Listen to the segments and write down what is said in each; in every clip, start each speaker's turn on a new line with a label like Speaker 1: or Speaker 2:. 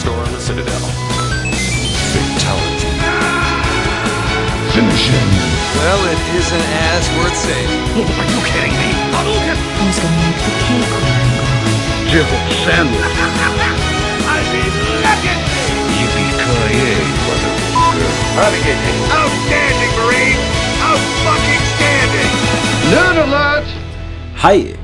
Speaker 1: store on the Citadel. Fatality.
Speaker 2: Finish him.
Speaker 3: Well, it isn't as worth saying.
Speaker 2: Are you kidding me?
Speaker 4: Who's gonna make the cake
Speaker 2: Jibble sandwich. Yippee-ki-yay, motherfucker.
Speaker 5: Outstanding, Marine! Out fucking standing!
Speaker 2: Nerd alert!
Speaker 6: Hei!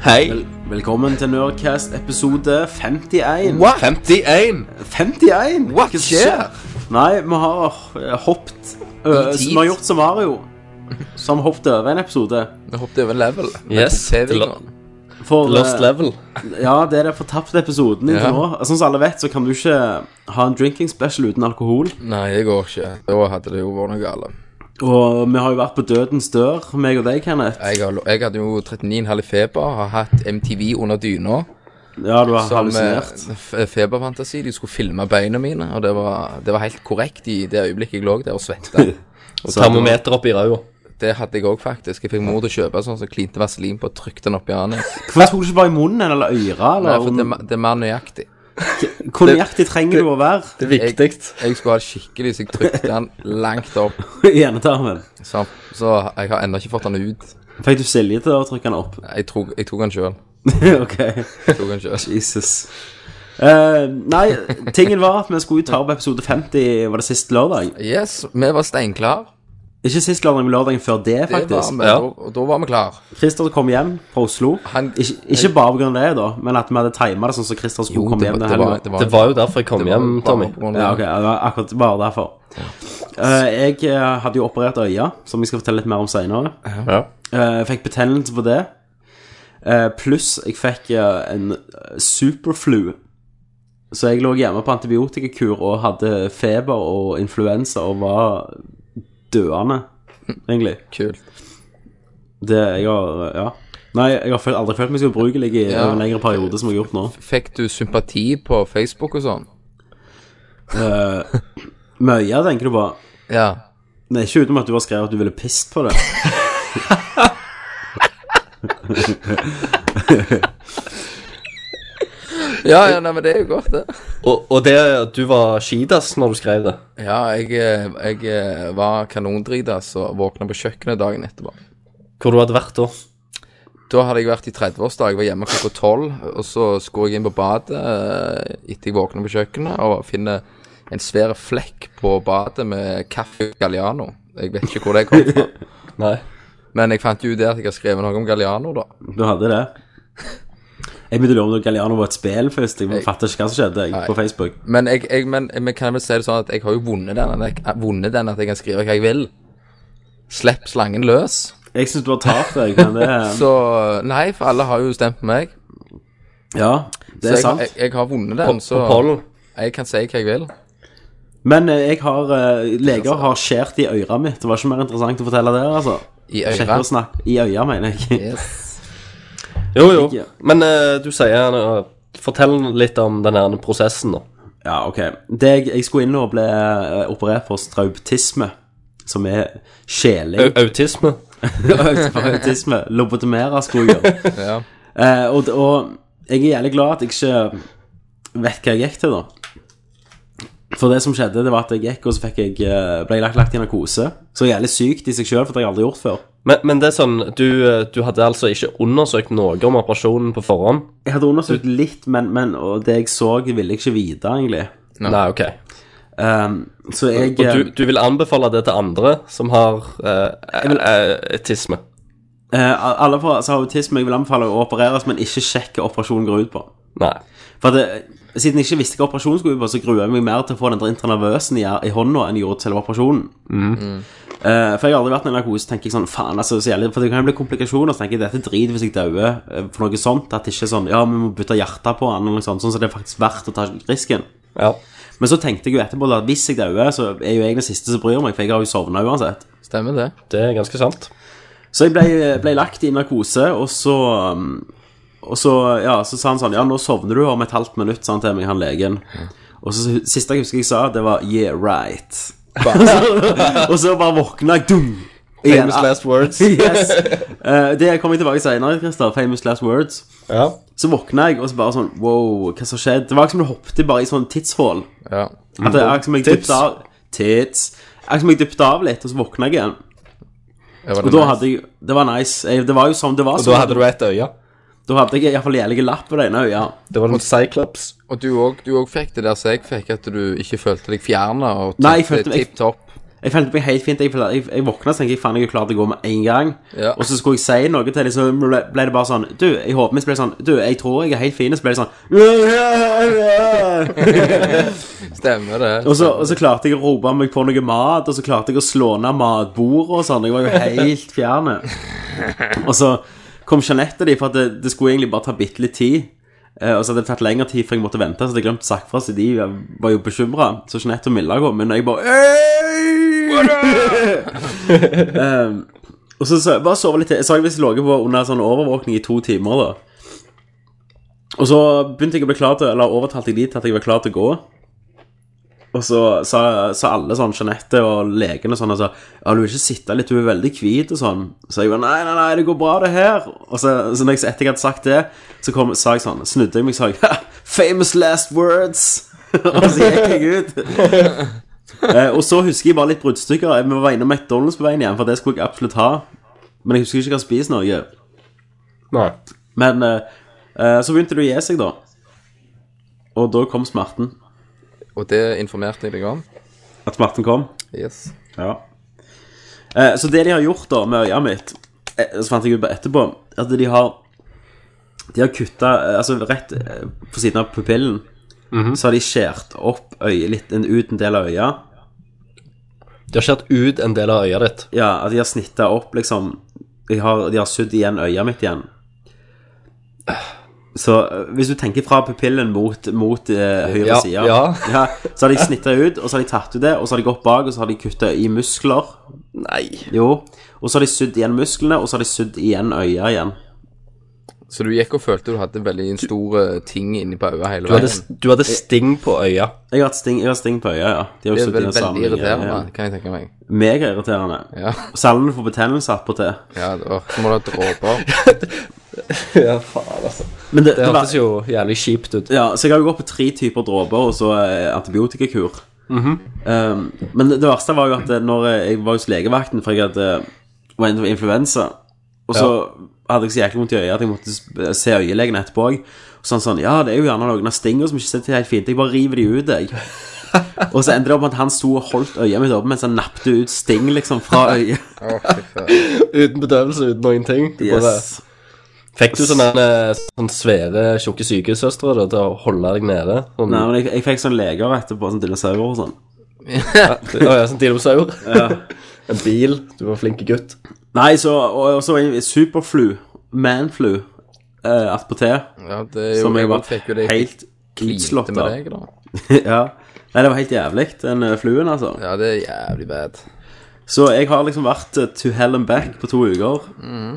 Speaker 7: Hei!
Speaker 6: Vel velkommen til Nerdcast episode 51.
Speaker 7: 51!
Speaker 6: 51?
Speaker 7: What
Speaker 6: Hva
Speaker 7: skjer?
Speaker 6: Nei, vi har eh, hoppet øh,
Speaker 7: I tid.
Speaker 6: Vi har gjort som Mario, som hoppet over en episode.
Speaker 7: Nå hoppet jeg over level.
Speaker 8: Yes,
Speaker 7: Med
Speaker 8: til
Speaker 7: TV-en.
Speaker 6: For,
Speaker 8: Lost
Speaker 6: eh,
Speaker 8: level.
Speaker 6: Ja, det er den fortapte episoden inntil
Speaker 7: Ja.
Speaker 6: nå. Altså, Som alle vet, så kan du ikke ha en drinking special uten alkohol.
Speaker 7: Nei, jeg går ikke. Da hadde det jo vært noe galt.
Speaker 6: Og vi har jo vært på dødens dør, meg og deg, Kenneth.
Speaker 7: Jeg, har, jeg hadde jo 39,5 i feber, har hatt MTV under dyna.
Speaker 6: Ja, du har
Speaker 7: Som
Speaker 6: hallusinert.
Speaker 7: eh, f- feberfantasi. De skulle filme beina mine, og det var, det var helt korrekt i det øyeblikket jeg lå der og svetta.
Speaker 8: Og termometer opp i ræva.
Speaker 7: Det hadde jeg òg, faktisk. Jeg fikk mor til å kjøpe sånn som klinte vaselin på og trykte den opp i anus.
Speaker 6: Hvorfor tok du ikke bare i munnen eller øra?
Speaker 7: Nei, for det,
Speaker 6: Eller
Speaker 7: er ma- det er mer nøyaktig.
Speaker 6: hvor nøyaktig trenger du å være
Speaker 8: Det er viktig.
Speaker 7: Jeg skulle ha det skikkelig, så jeg trykte den langt opp.
Speaker 6: i enetarmen?
Speaker 7: Så, så jeg har ennå ikke fått den ut.
Speaker 6: Fikk du Silje til å trykke den opp?
Speaker 7: Jeg tok, jeg tok den sjøl.
Speaker 6: ok,
Speaker 7: Tok den selv.
Speaker 6: Jesus. Eh, nei, tingen var at vi skulle jo ta opp episode 50, var det sist lørdag?
Speaker 7: Yes, vi var steinklar.
Speaker 6: Ikke sist lørdag, men lørdagen før det,
Speaker 7: Det var
Speaker 6: faktisk.
Speaker 7: vi,
Speaker 8: ja.
Speaker 7: da, og da var vi klar.
Speaker 6: Christer kom hjem fra Oslo.
Speaker 7: Han-
Speaker 6: ikke, ikke bare pga. det, da, men at vi hadde tima det sånn som Christer skulle komme hjem den helga.
Speaker 8: Det var jo derfor jeg kom
Speaker 7: det var
Speaker 8: hjem,
Speaker 7: bare
Speaker 8: Tommy.
Speaker 7: på grunn av-
Speaker 6: Ja, ok, det var akkurat bare derfor. Eh, jeg eh, hadde jo operert øya, som jeg skal fortelle litt mer om seinere.
Speaker 8: Ja.
Speaker 6: Jeg fikk betennelse på det. Eh, Pluss jeg fikk eh, en superflu. Så jeg lå hjemme på antibiotikakur og hadde feber og influensa og var døende, egentlig.
Speaker 7: Kult.
Speaker 6: Det jeg har eh, Ja. Nei, jeg har følt, aldri følt meg så ubrukelig i
Speaker 7: Ja.
Speaker 6: en lengre periode som jeg har gjort nå.
Speaker 7: Fikk du sympati på Facebook og sånn?
Speaker 6: Møya, tenker du på.
Speaker 7: Ja.
Speaker 6: Nei, ikke utenom at du har skrevet at du ville pist på det.
Speaker 7: Ja, ja, nei, men det er jo godt, det.
Speaker 8: Og, og det at du var skidas når du skrev det.
Speaker 7: Ja, jeg, eh, jeg eh, var kanondrita, så våkna på kjøkkenet dagen etterpå.
Speaker 8: Hvor du hadde vært da.
Speaker 7: Da hadde jeg vært i 30-årsdag, jeg var hjemme klokka tolv. Og så skulle jeg inn på badet eh, etter jeg våkna på kjøkkenet, og finner en svær flekk på badet med kaffe Galliano. Jeg vet ikke hvor det kom fra.
Speaker 8: Nei.
Speaker 7: Men jeg fant jo det at jeg har skrevet noe om Galliano, da.
Speaker 6: Du hadde det. Jeg begynte å lure om det Galliano var et spill først. Jeg fatter ikke hva som skjedde jeg, på Facebook.
Speaker 7: Men jeg, jeg men, men kan jeg vel si det sånn at jeg har jo vunnet den, at jeg, vunnet den at jeg kan skrive hva jeg vil. Slipp slangen løs.
Speaker 6: Jeg syns du har tapt deg, men det
Speaker 7: Så Nei, for alle har jo stemt på meg.
Speaker 6: Ja, det
Speaker 7: Så
Speaker 6: er
Speaker 7: jeg,
Speaker 6: sant.
Speaker 7: jeg, jeg har vunnet den, så
Speaker 8: På pollen.
Speaker 7: jeg kan si hva jeg vil.
Speaker 6: Men eh, jeg har eh,
Speaker 7: Altså-
Speaker 6: leger har skjært i øra mitt. Det var ikke mer interessant å fortelle det, altså.
Speaker 7: I
Speaker 6: Kjekkere
Speaker 7: øra.
Speaker 6: å snakke I øya, mener jeg.
Speaker 7: Yes.
Speaker 8: Jo, jo. Men eh, du sier gjerne eh, Fortell litt om den her prosessen, da.
Speaker 6: Ja, ok. Det jeg, jeg skulle inn og ble eh, operert for strautisme, som er
Speaker 8: Au-
Speaker 6: sjeling
Speaker 8: Autisme.
Speaker 6: for autisme. Lobotomere skulle jeg gjøre.
Speaker 7: Ja.
Speaker 6: Eh, og, og jeg er jævlig glad at jeg ikke vet hva jeg gikk til, da. For det som skjedde, det var at jeg gikk, og så fikk jeg, eh, ble jeg lagt, lagt i narkose. Så jævlig sykt i seg sjøl, for det har jeg aldri gjort før.
Speaker 8: Men, men det er sånn du, eh, du hadde altså ikke undersøkt noe om operasjonen på forhånd?
Speaker 6: Jeg hadde undersøkt litt, men, men og det jeg så, ville jeg ikke vite, egentlig.
Speaker 8: Nei, OK.
Speaker 6: Ehm, så jeg
Speaker 8: Og du, du vil anbefale det til andre som har eh, autisme?
Speaker 6: eh, Alle fra- som har autisme, jeg vil anbefale å opereres, men ikke sjekke hva operasjonen går ut på.
Speaker 8: Nei.
Speaker 6: For det, siden jeg ikke visste hva operasjonen skulle ut på, så gruer jeg meg mer til å få den der intranervøsen i, i hånda enn jeg gjorde til selve operasjonen. Eh, for jeg har aldri vært i narkose, tenker jeg sånn faen, altså, så jævlig For det kan jo bli komplikasjoner, så tenker jeg dette driter hvis jeg dauer eh, for noe sånt. At det ikke er sånn ja, vi må bytte hjerte på han, eller noe sånt. Sånn som det er faktisk verdt å ta risken.
Speaker 8: Ja.
Speaker 6: Men så tenkte jeg jo etterpå da, at hvis jeg dauer, så er jo jeg den siste som bryr meg, for jeg har jo sovna uansett.
Speaker 7: Stemmer det.
Speaker 8: Det er ganske sant.
Speaker 6: Så jeg ble, ble lagt i narkose, og så um, Og så, ja, så sa han sånn Ja, nå sovner du om et halvt minutt, sa han til meg, han legen. Og så siste jeg husker jeg sa, det var Yeah, right. og så bare våkna jeg, dum!
Speaker 8: Famous last words.
Speaker 6: Yes. Eh, det kommer jeg tilbake senere, Christer. Famous last words.
Speaker 8: Ja.
Speaker 6: Så våkna jeg og så bare sånn Wow, hva som skjedde? Det var akkurat som du hoppet bare i sånn tidshull.
Speaker 7: Ja.
Speaker 6: At det er akkurat som jeg
Speaker 8: Tips.
Speaker 6: dyppet av Tits. Akkurat som jeg dyppet av litt, og så våkna jeg igjen.
Speaker 7: Ja, var
Speaker 6: Og
Speaker 7: det
Speaker 6: da
Speaker 7: nice?
Speaker 6: hadde jeg Det var nice. Jeg, det var jo sånn det var.
Speaker 8: Og da hadde du et øye.
Speaker 6: da hadde jeg iallfall jævlig lapp på det ene øyet.
Speaker 8: Det var en cyclops.
Speaker 7: Og du òg- du òg fikk det der som jeg fikk, at du ikke følte deg fjerna og
Speaker 6: Nei, jeg følte meg-
Speaker 7: tipp topp.
Speaker 6: Jeg følte meg helt fint. Jeg, jeg, jeg våkna og tenkte jeg faen, jeg er klar til å gå med en gang.
Speaker 7: Ja.
Speaker 6: Og så skulle jeg si noe til dem, så ble ble det bare sånn Du, jeg håper vi spiller sånn Du, jeg tror jeg er helt fin. Og så ble det sånn
Speaker 7: Stemmer det.
Speaker 6: og så, og så klarte jeg å rope meg på noe mat, og så klarte jeg å slå ned matbordet og sånn. Jeg var jo helt fjerne. Og så kom Jeanette og de, for at det, det skulle egentlig bare ta bitte litt tid. Eh, og så hadde det tatt lengre tid, for jeg måtte vente. Så hadde jeg glemt å sagt fra, så de var jo bekymra. Så Jeanette og Milla kom, men jeg bare «Øy!» Em, Ehm, Og så, så bare sove litt til. Jeg så jeg visst lå på under sånn overvåkning i to timer, da. Og så begynte jeg å bli klar til Eller overtalte jeg de til at jeg var klar til å gå. Og så sa, sa alle sånn, Jeanette og legene og sånn, og sa Ja, du vil ikke sitte litt, du er veldig hvit og sånn. Så jeg bare Nei, nei, nei, det går bra, det her. Og så, så når jeg, etter jeg hadde sagt det, så kom, sa jeg sånn Snudde jeg meg og sa «Ha, Famous last words. og så gikk jeg ut. eh, og så husker jeg bare litt bruddstykker. Jeg var innom McDonald's på veien hjem, for det skulle jeg absolutt ha. Men jeg husker ikke hva jeg spiste noe.
Speaker 8: Nei.
Speaker 6: Men eh, eh, så begynte det å gi seg, da. Og da kom smerten.
Speaker 7: Og det informerte jeg deg om.
Speaker 6: At smerten kom.
Speaker 7: Yes.
Speaker 6: Ja. Eh, så det de har gjort da med øya mitt, eh, så fant jeg ut etterpå, at de har De har kutta eh, Altså rett eh, på siden av pupillen,
Speaker 8: Mhm.
Speaker 6: så har de skjært opp øyet litt, en, ut en del av øya.
Speaker 8: De har skjært ut en del av øyet ditt.
Speaker 6: Ja, at de har snitta opp, liksom. De har, de har sydd igjen øyet mitt igjen. Så eh, hvis du tenker fra pupillen mot, mot eh, høyre
Speaker 8: Ja,
Speaker 6: side
Speaker 8: ja.
Speaker 6: Så har de snitta ut, og så har de tatt ut det, og så har de gått bak, og så har de kutta i muskler.
Speaker 8: Nei.
Speaker 6: Jo, og så har de sydd igjen musklene, og så har de sydd igjen øya igjen.
Speaker 7: Så du gikk og følte du hadde veldig en stor eh, ting inni på øyet hele
Speaker 8: Du hadde,
Speaker 7: veien.
Speaker 8: du hadde sting på øya.
Speaker 6: Jeg har hatt sting, jeg har hatt sting på øya, ja. De har
Speaker 7: Det
Speaker 6: jo
Speaker 7: er
Speaker 6: sydd
Speaker 7: vel,
Speaker 6: igjen
Speaker 7: veldig
Speaker 6: sammen.
Speaker 7: irriterende,
Speaker 6: Ja,
Speaker 7: kan jeg tenke meg.
Speaker 6: ja. Megairriterende.
Speaker 7: Ja,
Speaker 6: Selv om du får betennelse attpåtil.
Speaker 7: ja det var, så må du ha dråper.
Speaker 8: Ja, faen, altså.
Speaker 6: Men det,
Speaker 8: Det
Speaker 6: det var,
Speaker 8: hørtes jo jævlig kjipt ut.
Speaker 6: ja, så jeg har jo gått på tre typer dråper og så eh, antibiotikakur. um, men det verste var jo at eh, når jeg var hos legevakten, for jeg hadde eh, var inne for influensa, og så hadde jeg så jæklig vondt i øyet at jeg måtte s- se øyelegen etterpå òg. Og så han sånn Ja, det er jo gjerne noen av stingene som ikke sitter helt fint. Jeg bare river de ut, jeg. og så endte det opp med at han sto og holdt øyet mitt oppe mens han nappte ut sting liksom fra øyet.
Speaker 7: Å, fy faen.
Speaker 8: Uten bedøvelse, uten noen ting. Du bare,
Speaker 6: Yes.
Speaker 8: fikk du sånne, eh, sånne svære, tjukke sykesøstre da, til å holde deg nede? Sånn,
Speaker 6: Nei, men jeg, jeg fikk sånn leger etterpå, sånn dinosaurer og sånn.
Speaker 8: Å ja, sånn dinosaur. en bil. Du var flink gutt.
Speaker 6: Nei, så Og, og så var jeg superflu. Manflu. Uh, Attpåtil.
Speaker 7: Ja, det er jo,
Speaker 6: Som jeg var
Speaker 7: fikk jo det
Speaker 6: helt
Speaker 7: klinte
Speaker 6: utslått
Speaker 7: med
Speaker 6: av.
Speaker 7: deg, da.
Speaker 6: ja. Nei, det var helt jævlig, den eh, fluen, altså.
Speaker 7: Ja, det er jævlig bad.
Speaker 6: Så jeg har liksom vært eh, to hell and back på to uker.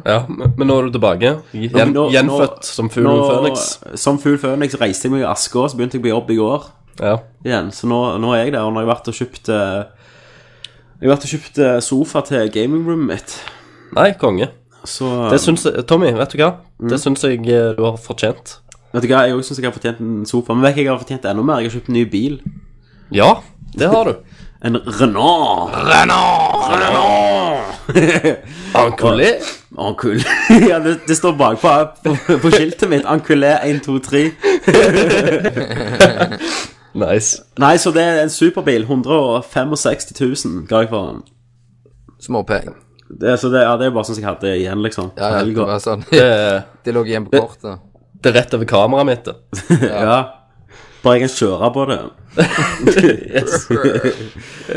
Speaker 8: Ja, men men nå er du tilbake. Gjen,
Speaker 6: Nå- nå-
Speaker 8: gjenfødt som fuglen
Speaker 6: nå-
Speaker 8: Phoenix.
Speaker 6: Som fugl Phoenix reiste jeg meg i aska, så begynte jeg på jobb i går
Speaker 8: Ja.
Speaker 6: igjen. Så nå, nå er jeg der, og nå har jeg vært og kjøpt eh, Jeg har vært og kjøpt eh, sofa til gamingroomet mitt.
Speaker 8: Nei, konge.
Speaker 6: Så
Speaker 8: Det syns jeg, Tommy, vet du hva? Det
Speaker 6: Mm.
Speaker 8: syns jeg eh, du har fortjent.
Speaker 6: vet du hva, jeg òg syns jeg har fortjent en sofa. Men vet du hva jeg har fortjent enda mer? Jeg har kjøpt en ny bil.
Speaker 8: Ja, det har du.
Speaker 6: En Renault.
Speaker 8: Ankulé.
Speaker 6: Ankul. ja, det, det står bakpå på, på skiltet mitt. Ankulé 123.
Speaker 8: Nice.
Speaker 6: Nei, så det er en superbil. 165 000 ga jeg for den.
Speaker 7: Småpeng.
Speaker 6: Det, så det, ja, det er bare sånn som jeg hadde igjen, liksom.
Speaker 7: Ja, ja, det
Speaker 6: Helga.
Speaker 7: var sånn.
Speaker 8: Det, er-
Speaker 7: Det lå igjen på kortet.
Speaker 8: det er rett over kameraet mitt. det.
Speaker 6: ja. Bare jeg kan kjøre på det.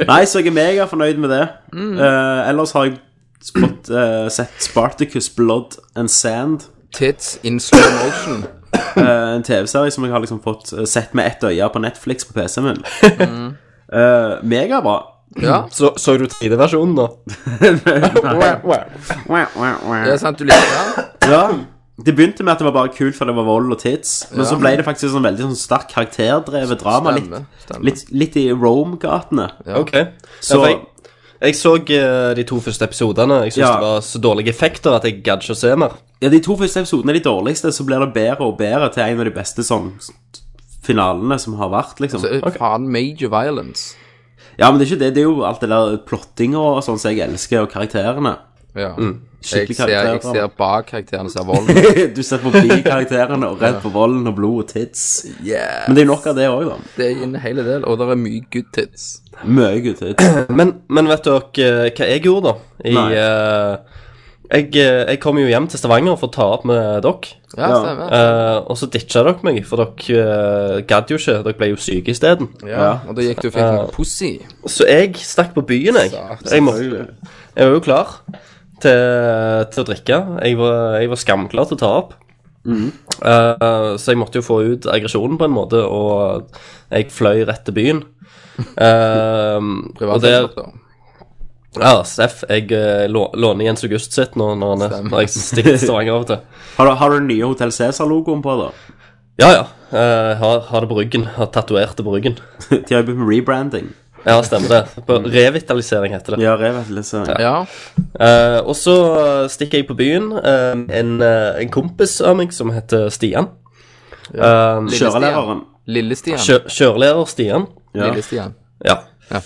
Speaker 6: Nei, så jeg er megafornøyd med det.
Speaker 7: Mm.
Speaker 6: Eh, ellers har jeg fått eh, sett Spartacus Blood and Sand.
Speaker 7: Tits in slow motion.
Speaker 6: Eh, en TV-serie som jeg har liksom fått eh, sett med ett øye på Netflix på PC-en min. Eh, megabra.
Speaker 7: Ja,
Speaker 8: Så, så du 3D-versjonen, da?
Speaker 7: det er sant du liker den.
Speaker 6: Ja, det begynte med at det var bare kult, for det var vold og tits. Men så ble det faktisk sånn veldig sånn sterk karakterdrevet drama.
Speaker 7: Stemmer,
Speaker 6: Litt,
Speaker 7: stemmer.
Speaker 6: litt, litt i Rome-gatene.
Speaker 8: Ok.
Speaker 6: Så
Speaker 8: for jeg, Jeg så eh, de to første episodene. Jeg syns
Speaker 6: Ja.
Speaker 8: det var så dårlige effekter at jeg gadd ikke å se mer.
Speaker 6: Ja, De to første episodene er de dårligste, så blir det bedre og bedre til en av de beste sånn finalene som har vært, liksom.
Speaker 7: Så, Faen, major violence.
Speaker 6: Ja, men det er ikke det. Det er jo alt det der plottinga og sånn som jeg elsker, og karakterene.
Speaker 7: Ja. Jeg
Speaker 6: Skikkelig
Speaker 7: ser, Mm. jeg
Speaker 6: karakterer.
Speaker 7: ser bak karakterene ser volden.
Speaker 6: Du ser forbi karakterene og redd for volden og blod og tits.
Speaker 7: Yeah.
Speaker 6: Men det er jo nok av det òg, da.
Speaker 7: Det er en hel del, og det er mye good tits.
Speaker 6: Mye good tits.
Speaker 8: Men, men vet dere eh, hva jeg gjorde, da? I,
Speaker 6: Nei.
Speaker 8: eh, jeg, eh, jeg kom jo hjem til Stavanger for å ta opp med dere.
Speaker 7: Ja,
Speaker 6: Ja.
Speaker 7: stemmer.
Speaker 8: Eh, og så ditcha dere meg, for dere eh, gadd jo ikke. Dere ble jo syke isteden.
Speaker 7: ja. Og da gikk du og fikk noe pussy.
Speaker 8: Så jeg stakk på byen, jeg.
Speaker 7: Satan.
Speaker 8: Jeg, må, jeg var jo klar til, til å drikke. Jeg var, jeg var skamklar til å ta opp. Eh, så jeg måtte jo få ut aggresjonen på en måte, og jeg fløy rett til byen. Eh, og der
Speaker 7: Privatselskap, da.
Speaker 8: Ja, Steff, jeg eh, lå- låner Jens August sitt nå når, han er,
Speaker 7: Stemmer.
Speaker 8: når jeg stikker til Stavanger av og til.
Speaker 6: Har du, har du den nye Hotell Cæsar-logoen på, da?
Speaker 8: Ja, ja. eh, har, har det på ryggen. Har tatovert det på ryggen.
Speaker 6: De har jo begynt med rebranding.
Speaker 8: Ja, stemmer det. På revitalisering heter det.
Speaker 6: Ja, revitalisering.
Speaker 7: Ja.
Speaker 8: Eh, og så eh, stikker jeg på byen. eh, en, eh, en kompis av meg som heter Stian. Eh,
Speaker 7: Lille Stian.
Speaker 6: Kjørelæreren.
Speaker 7: Lille Stian.
Speaker 8: kjø kjørelærer Stian.
Speaker 6: Ja.
Speaker 7: Lille Stian.
Speaker 8: Ja.
Speaker 7: Ja.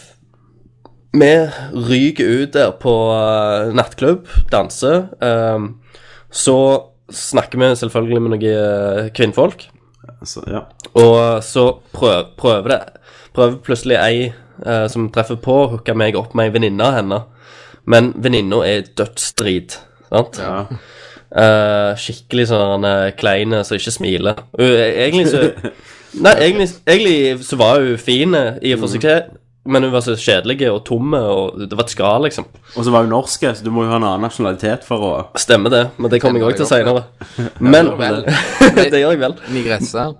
Speaker 8: Vi ryker ut der på eh, nattklubb, danser. eh, så snakker vi selvfølgelig med noen eh, kvinnfolk.
Speaker 6: Altså, ja.
Speaker 8: Og så prøv, prøver det Prøver plutselig ei eh, som treffer på, å hooke meg opp med ei venninne av henne. Men venninna er dødsdrit. Sant?
Speaker 6: Ja.
Speaker 8: Eh, skikkelig sånn eh, kleine som ikke smiler. Hun er egentlig så Nei, egentlig, egentlig så var hun fin eh, i og for seg, men hun var så kjedelig og tom, eh, og det var et skall, liksom.
Speaker 6: Og så var hun norsk, så du må jo ha en annen nasjonalitet for å
Speaker 8: Stemmer det, men det kommer jeg òg til
Speaker 7: Kjenner
Speaker 8: seinere. Men
Speaker 7: Vel.
Speaker 8: Det gjør jeg vel.
Speaker 7: Nigresser.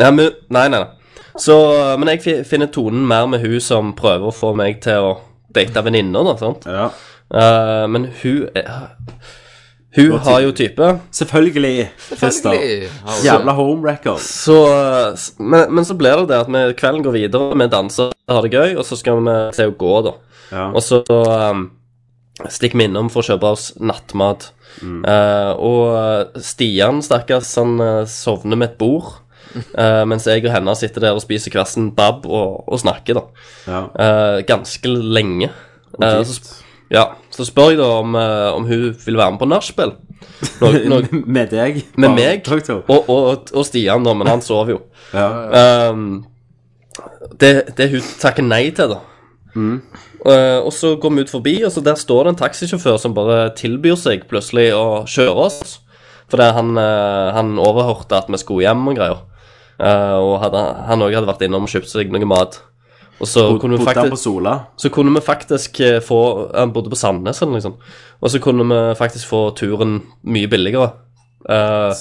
Speaker 8: Nei, men, nei, nei, nei. Så, eh, men jeg fi- finner tonen mer med hun som prøver å få meg til å date venninner, da, sant?
Speaker 6: Ja.
Speaker 8: Eh, men hun er, Hun har jo type,
Speaker 6: Selvfølgelig, Christer.
Speaker 7: Selvfølgelig. Har du-
Speaker 6: Jævla homewrecker.
Speaker 8: så s- men, men så blir det det at vi kvelden går videre, vi danser, har det gøy, og så skal vi til å gå, da.
Speaker 6: Ja.
Speaker 8: Og så eh, stikker vi innom for å kjøpe oss nattmat. Eh, og Stian, stakkars, han eh, sovner med et bord, eh, mens jeg og henne sitter der og spiser hver sin bab og, og snakker, da.
Speaker 6: Ja.
Speaker 8: eh, ganske lenge. Eh, så,
Speaker 6: Dypt.
Speaker 8: sp- ja, så spør jeg da om, eh, om hun vil være med på nachspiel. Nå- nå-
Speaker 6: Med deg.
Speaker 8: Med meg
Speaker 6: Doktor.
Speaker 8: og, og, og Stian, da, men han sover jo.
Speaker 6: Ja.
Speaker 8: Ehm, det, det hun takker nei til, da.
Speaker 6: Mm.
Speaker 8: Eh, og så går vi ut forbi, og så der står det en taxisjåfør som bare tilbyr seg plutselig å kjøre oss. Fordi han, eh, han overhørte at vi skulle hjem og greier. Eh, og hadde, han òg hadde vært innom og kjøpt seg noe mat. Og så kunne vi
Speaker 6: Bodde han
Speaker 8: faktisk
Speaker 6: på Sola?
Speaker 8: så kunne vi faktisk eh, få Han bodde på Sandnes eller noe sånt. Og så kunne vi faktisk få turen mye billigere. Eh,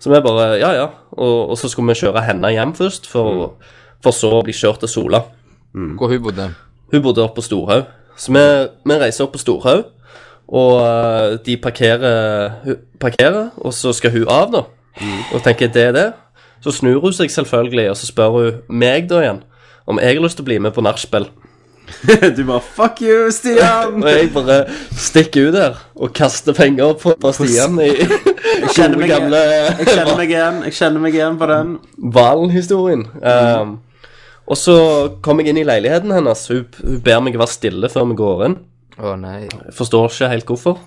Speaker 8: så vi bare Ja, ja. Og, og så skulle vi kjøre henne hjem først, for, for så å bli kjørt til Sola.
Speaker 7: Hvor hun bodde.
Speaker 8: Hun bodde oppe på Storhaug. Så vi, vi reiser opp på Storhaug, og eh, de parkerer, hun parkerer, og så skal hun av, da. Og tenker det er det. Så snur hun seg selvfølgelig, og så spør hun meg da igjen om jeg har lyst til å bli med på nachspiel.
Speaker 6: Du bare Fuck you, Stian!
Speaker 8: Og jeg bare stikker ut der og kaster penger på, på Stian i
Speaker 6: kjenner
Speaker 8: gode
Speaker 6: meg-
Speaker 8: gamle
Speaker 6: Jeg kjenner meg igjen jeg kjenner meg igjen på den.
Speaker 8: Valen-historien. Um, og så kom jeg inn i leiligheten hennes. Hun, hun ber meg være stille før vi går inn.
Speaker 7: Å nei.
Speaker 8: Jeg forstår ikke helt hvorfor.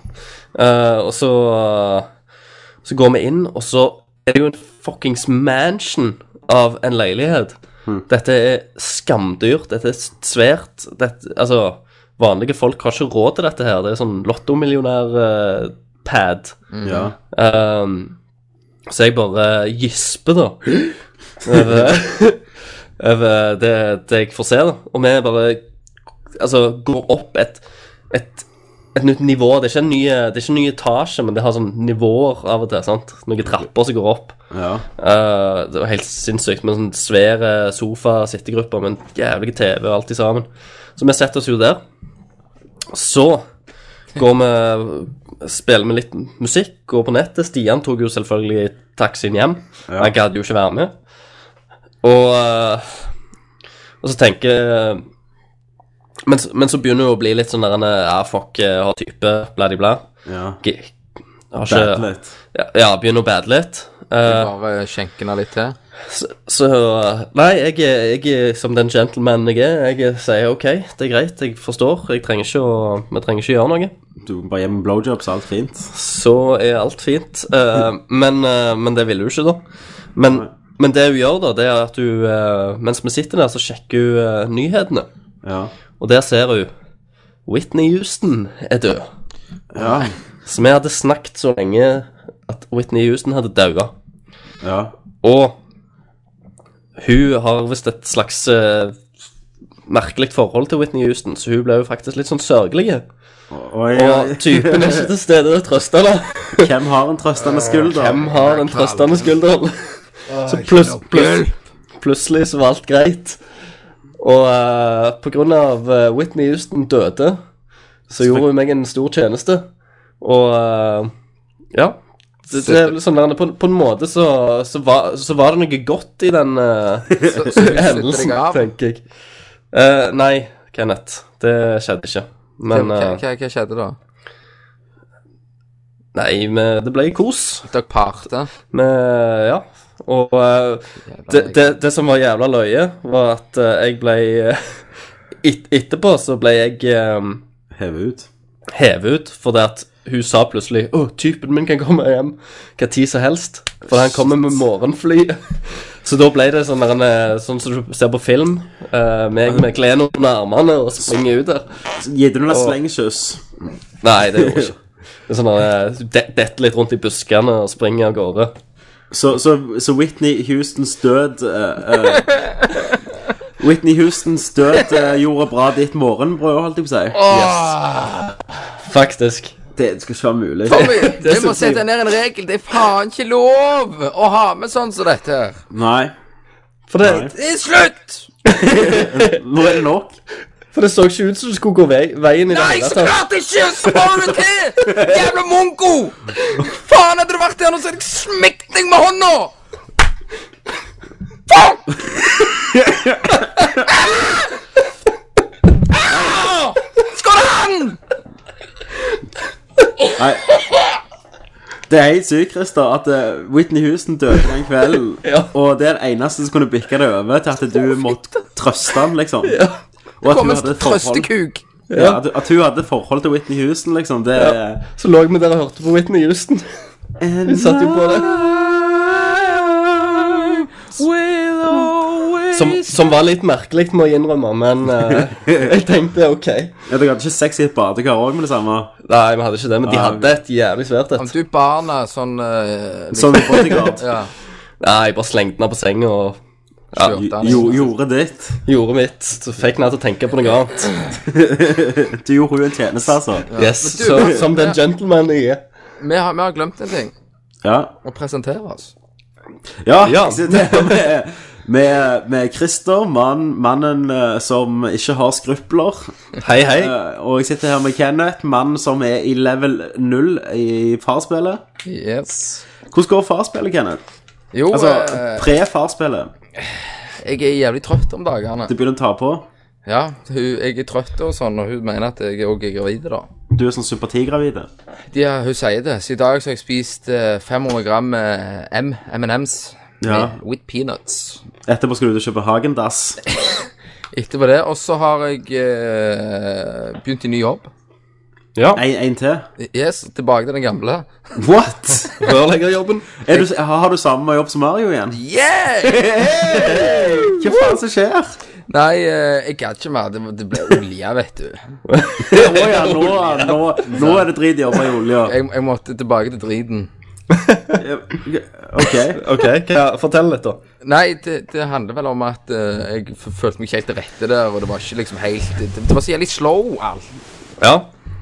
Speaker 8: Eh, og så eh, Så går vi inn, og så er det jo en fuckings mansion av en leilighet. Dette er skamdyrt. Dette er svært. Dette, altså, vanlige folk har ikke råd til dette her. Det er sånn eh, lottomillionær-pad.
Speaker 6: Ja.
Speaker 8: Um, så jeg bare eh, gisper, da. Over, over det, det jeg får se, da. Og vi bare altså, går opp et, et, et nytt nivå. Det er, ikke en ny, det er ikke en ny etasje, men det har sånn nivåer av og til. sant? Noen trapper som går opp.
Speaker 6: ja.
Speaker 8: Uh, det var helt sinnssykt med sånn svære sofa-sittegrupper med en jævlig TV og alt i sammen. Så vi setter oss jo der. Så går vi Spiller vi litt musikk, går på nettet. Stian tok jo selvfølgelig taxien hjem. Han gadd jo ikke være med. eh, Og, uh, og så tenker Men, s- men så begynner det å bli litt sånn der en Ja, fuck, jeg har type, bladibla.
Speaker 6: Ja.
Speaker 8: Har
Speaker 6: Battle
Speaker 8: ikke
Speaker 6: litt.
Speaker 8: Ja, ja, begynner å bade litt. Eh,
Speaker 7: Bare skjenke henne litt til.
Speaker 8: Så, så Nei, jeg, er- jeg er som den gentleman jeg er. Jeg er- sier OK, det er greit, jeg forstår. Jeg trenger ikke å, vi trenger ikke gjøre noe.
Speaker 6: Du bare gir meg blowjobs, alt fint.
Speaker 8: Så er alt fint. Eh, men, eh, men det ville hun ikke, da. Men, men det hun gjør, da, det er at hun eh, Mens vi sitter der, så sjekker hun eh, nyhetene.
Speaker 6: Ja.
Speaker 8: Og der ser hun Whitney Houston er død.
Speaker 6: Ja.
Speaker 8: Så vi hadde snakket så lenge at Whitney Houston hadde daua.
Speaker 6: ja.
Speaker 8: Og hun har visst et slags eh, merkelig forhold til Whitney Houston, så hun ble jo faktisk litt sånn sørgelig.
Speaker 6: Oi,
Speaker 8: Og typen er ikke til stede til å trøste henne.
Speaker 6: Hvem har en trøstende skulder?
Speaker 8: Hvem har den trøstende skulderen? Så pluss, pluss, plutselig så var alt greit. Og eh, på grunn av eh, Whitney Houston døde, så gjorde hun meg en stor tjeneste. Og eh, ja. Det, det er vel sånn der, på, på en måte så, så, var, så var det noe godt i den eh,
Speaker 7: Så, så hun slutter
Speaker 8: hendelsen,
Speaker 7: deg av.
Speaker 8: tenker jeg. Eh, nei, Kenneth. Det skjedde ikke. Men
Speaker 7: hva,
Speaker 8: eh,
Speaker 7: hva, hva skjedde da?
Speaker 8: Nei, men det ble kos.
Speaker 7: Dere parte?
Speaker 8: Men, ja. Og eh, det, det, det som var jævla løye, var at eh, jeg ble eh, et, Etterpå så ble jeg um,
Speaker 6: Heve ut.
Speaker 8: hevet ut fordi at hun sa plutselig 'Å, typen min kan komme hjem hva tid som helst', for han kommer med morgenfly. Så da ble det sånn, der en, eh, sånn som du ser på film, eh, meg med klærne under armene og springer ut der.
Speaker 6: Gitt henne et slengkyss.
Speaker 8: Nei, det gjorde hun ikke. Det er sånn at du de- detter litt rundt i buskene og springer av gårde.
Speaker 6: Så, så, så Whitney Houstons død eh, eh, Whitney Houstons død eh, gjorde bra ditt morgenbrød, holdt jeg på å si.
Speaker 8: Faktisk.
Speaker 6: Det skal ikke være mulig.
Speaker 7: Vi må sette ned en regel. Det er faen ikke lov å ha med sånn som dette. her.
Speaker 6: Nei.
Speaker 8: For det,
Speaker 7: Det er slutt!
Speaker 6: Nå er det nok.
Speaker 8: for det så ikke ut som det skulle gå vei, veien i det
Speaker 7: Nei,
Speaker 8: hele
Speaker 7: så
Speaker 8: tatt.
Speaker 7: klart ikke! Så får du det til! Jævla monko! Faen, hadde du vært der nå, så hadde jeg smekt deg med hånda! Faen! Ah! Skål han!
Speaker 6: Nei. Det er helt sykt, Christer, at eh, Whitney Houston døde den kvelden.
Speaker 8: Ja.
Speaker 6: Og det er den eneste som kunne bikke det over til at du måtte trøste ham, liksom. Og at
Speaker 7: Kom
Speaker 6: hun
Speaker 7: en
Speaker 6: hadde et forhold
Speaker 7: trøstekuk.
Speaker 6: ja, at, at hun hadde et forhold til Whitney Houston, liksom. Det er
Speaker 8: Så lå vi der og hørte på Whitney Houston. Vi satt jo på det. Som, som var litt merkelig, må jeg innrømme, men eh, jeg tenkte OK.
Speaker 6: ja, Dere hadde ikke sex i et badekar òg med det samme?
Speaker 8: Nei, vi hadde ikke det, men de hadde et jævlig svært
Speaker 7: Om
Speaker 8: et.
Speaker 7: du barna sånn eh, liksom,
Speaker 6: Sånn bodyguard.
Speaker 7: ja,
Speaker 8: Nei, jeg bare slengte den av på senga og
Speaker 7: skjørte han.
Speaker 6: Jo, gjorde ditt.
Speaker 8: gjorde mitt. Så fikk den her til å tenke på noe annet.
Speaker 6: Du gjorde hun en tjeneste, altså.
Speaker 8: Yes,
Speaker 7: du-
Speaker 8: så, Som den gentleman jeg er.
Speaker 7: Vi har, vi har glemt en ting.
Speaker 6: Ja.
Speaker 7: Å presentere oss.
Speaker 6: ja,
Speaker 8: Ja.
Speaker 6: så det er med, med, med Christer, mann, mannen eh, som ikke har skrupler.
Speaker 8: Hei, hei.
Speaker 6: Eh, Og jeg sitter her med Kenneth, mann som er i level 0 i farspillet.
Speaker 7: Yes.
Speaker 6: Hvordan går farspillet, Kenneth?
Speaker 7: Jo,
Speaker 6: Altså,
Speaker 7: eh,
Speaker 6: pre-farspillet.
Speaker 7: jeg er jævlig trøtt om dagene.
Speaker 6: Det begynner å ta på.
Speaker 7: Ja, hun, jeg er trøtt og sånn, og hun mener at jeg òg er gravid, da.
Speaker 6: Du er sånn sympatigravide.
Speaker 7: De, har- hun sier det. Så i dag så har jeg spist eh, 500 gram eh, M- M&M's
Speaker 6: Ja.
Speaker 7: med- with peanuts.
Speaker 6: Etterpå skal du ut og kjøpe Hagendass.
Speaker 7: Etterpå det. Og så har jeg eh, begynt i ny jobb.
Speaker 6: En, en til.
Speaker 7: Yes, tilbake til den gamle.
Speaker 6: What?!
Speaker 8: Rørleggerjobben.
Speaker 6: Er du, har du samme jobb som Mario igjen?
Speaker 7: Yeah!
Speaker 6: Hva faen som skjer?
Speaker 7: Nei, eh, jeg gadd ikke mer. Det, det ble olje, vet du.
Speaker 6: Å ja, nå, nå, nå er det dritjobber i olja.
Speaker 7: Jeg, jeg måtte tilbake til driten.
Speaker 6: OK.
Speaker 8: OK, hva, fortell litt, da.
Speaker 7: Nei, det, det handler vel om at eh, jeg f- følte meg ikke helt til rette der, og det var ikke liksom helt Det, det var så jævlig slow, alt.
Speaker 8: Ja.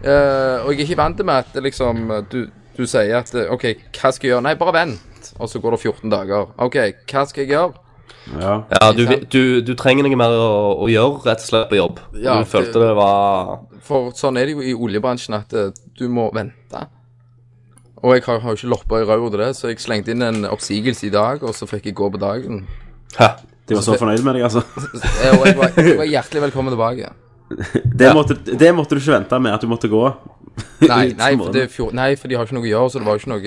Speaker 7: Eh, og jeg er ikke vant med at det liksom du, du sier at eh, OK, hva skal jeg gjøre? Nei, bare vent. Og så går det 14 dager. OK, hva skal jeg gjøre?
Speaker 6: Ja.
Speaker 8: Ja, du, du, du trenger noe mer å, å gjøre, rett og slett, på jobb.
Speaker 7: Ja,
Speaker 8: du følte
Speaker 7: det-
Speaker 8: det var
Speaker 7: For sånn er det jo i oljebransjen at eh, du må vente. Og jeg har har jo ikke lopper i ræva til det, så jeg slengte inn en oppsigelse i dag, og så fikk jeg gå på dagen.
Speaker 8: Hæ?
Speaker 6: De var så fornøyd med deg, altså.
Speaker 7: Eh, og jeg var, jeg var hjertelig velkommen tilbake.
Speaker 6: Det, måtte, det måtte du ikke vente med at du måtte gå.
Speaker 7: Nei,
Speaker 6: Ut
Speaker 7: nei,
Speaker 6: som
Speaker 7: for det er fjor, nei, for de har ikke noe å gjøre, så det var jo ikke noe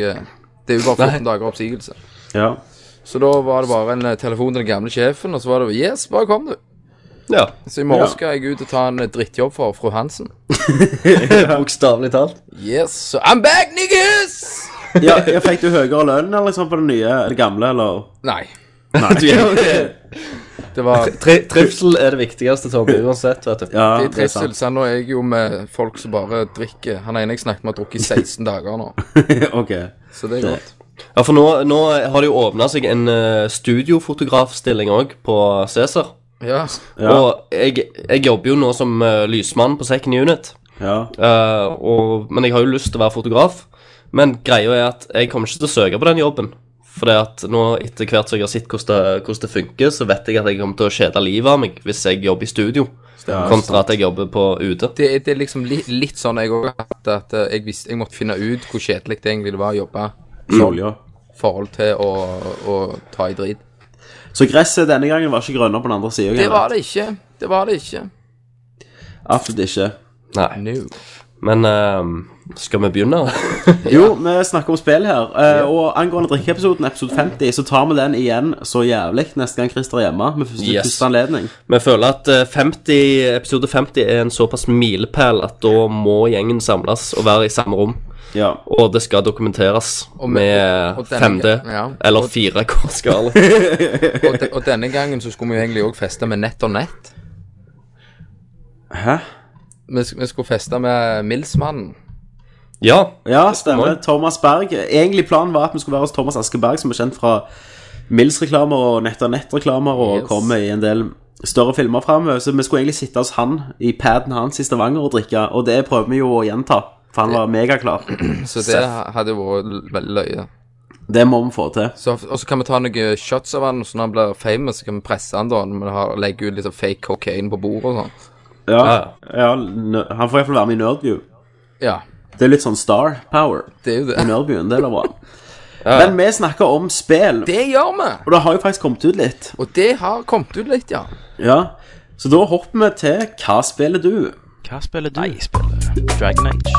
Speaker 7: Det er jo bare 14 dager oppsigelse.
Speaker 6: Ja.
Speaker 7: Så da var det bare en eh, telefon til den gamle sjefen, og så var det Yes, bare kom, du.
Speaker 8: Ja,
Speaker 7: Så i morgen
Speaker 6: Ja.
Speaker 7: skal jeg ut og ta en eh, drittjobb for fru Hansen.
Speaker 8: Bokstavelig talt.
Speaker 7: Yes, so I'm back, niggas!
Speaker 6: Ja, ja, fikk du høyere lønn eller liksom på det nye, det gamle, eller?
Speaker 7: Nei.
Speaker 6: Nei.
Speaker 7: Det var
Speaker 8: Tri trivsel er det viktigste, Tommy, uansett, vet du.
Speaker 6: Ja,
Speaker 7: i
Speaker 6: det er
Speaker 7: trivsel.
Speaker 6: sant.
Speaker 7: Så nå er jeg jo med folk som bare drikker. Han ene jeg snakket med, har drukket i 16 dager nå.
Speaker 6: Ok.
Speaker 7: Så det er godt.
Speaker 8: Ja, for nå, nå har det jo åpna seg en eh, studiofotografstilling òg på Cæsar.
Speaker 7: Ja.
Speaker 6: Ja.
Speaker 8: Og jeg, jeg jobber jo nå som eh, lysmann på second unit,
Speaker 6: Ja.
Speaker 8: eh, og, men jeg har jo lyst til å være fotograf. Men greia er at jeg kommer ikke til å søke på den jobben. For at nå etter hvert som jeg har sett hvordan det, hvordan det funker, så vet jeg at jeg kommer til å kjede livet av meg hvis jeg jobber i studio,
Speaker 6: Ja,
Speaker 8: kontra at jeg jobber på ute.
Speaker 7: Det, er- det er liksom li, litt sånn jeg òg har hatt, at eh, jeg, visste, jeg måtte finne ut hvor kjedelig det egentlig var å jobbe
Speaker 6: Sol, ja.
Speaker 7: i forhold til å, å ta i drit.
Speaker 6: Så gresset denne gangen var ikke grønnere på den andre siden
Speaker 7: Det var det ikke. Det var det ikke.
Speaker 6: Absolutt ikke.
Speaker 8: Nei.
Speaker 7: No.
Speaker 8: Men eh, skal vi begynne?
Speaker 6: Jo, vi snakker om spill her. eh, Og angående drikkeepisoden, episode 50, så tar vi den igjen så jævlig neste gang Christer er hjemme. Med første,
Speaker 8: Yes.
Speaker 6: første anledning.
Speaker 8: Vi føler at eh, 50, episode 50 er en såpass milepæl at da må gjengen samles og være i samme rom.
Speaker 6: Ja.
Speaker 8: Og det skal dokumenteres
Speaker 7: Og med-
Speaker 8: med
Speaker 7: og denne-
Speaker 8: 5D
Speaker 7: ja.
Speaker 8: eller
Speaker 7: Og-
Speaker 8: 4K-skala.
Speaker 7: Og, de, og denne gangen så skulle vi jo egentlig òg feste med nett og nett.
Speaker 6: Hæ?
Speaker 7: Vi, sk- vi skulle feste med Milsmannen.
Speaker 8: Ja,
Speaker 6: Ja, stemmer.
Speaker 8: Morgen.
Speaker 6: Thomas Berg. Egentlig planen var at vi skulle være hos Thomas Askeberg, som er kjent fra Mills-reklamer og Nett og Nett-reklamer, og
Speaker 7: Yes.
Speaker 6: kommer i en del større filmer framover. Så vi skulle egentlig sitte hos han i paden hans i Stavanger og drikke, og det prøver vi jo å gjenta. For han var megaklar.
Speaker 7: Så det hadde jo vært l- veldig løye.
Speaker 6: Det må vi få til.
Speaker 7: Så- Og så kan vi ta noen shots av han, og så når han blir famous, så kan vi presse han da. Når vi har, legger ut litt sånn fake cocaine på bordet og sånn.
Speaker 6: Ja,
Speaker 8: ja.
Speaker 6: ja nø- Han får iallfall være med i Nerdview.
Speaker 7: Ja,
Speaker 6: Det er litt sånn Star Power
Speaker 7: det er jo
Speaker 6: i
Speaker 7: det.
Speaker 6: Nerdviewen. Det blir bra. Men vi snakker om spill,
Speaker 7: Det gjør vi!
Speaker 6: og det har jo faktisk kommet ut litt.
Speaker 7: Og det har kommet ut litt, ja.
Speaker 6: Ja, Så da hopper vi til Hva spiller du?
Speaker 1: Hva spiller du? Jeg spiller Dragon Age.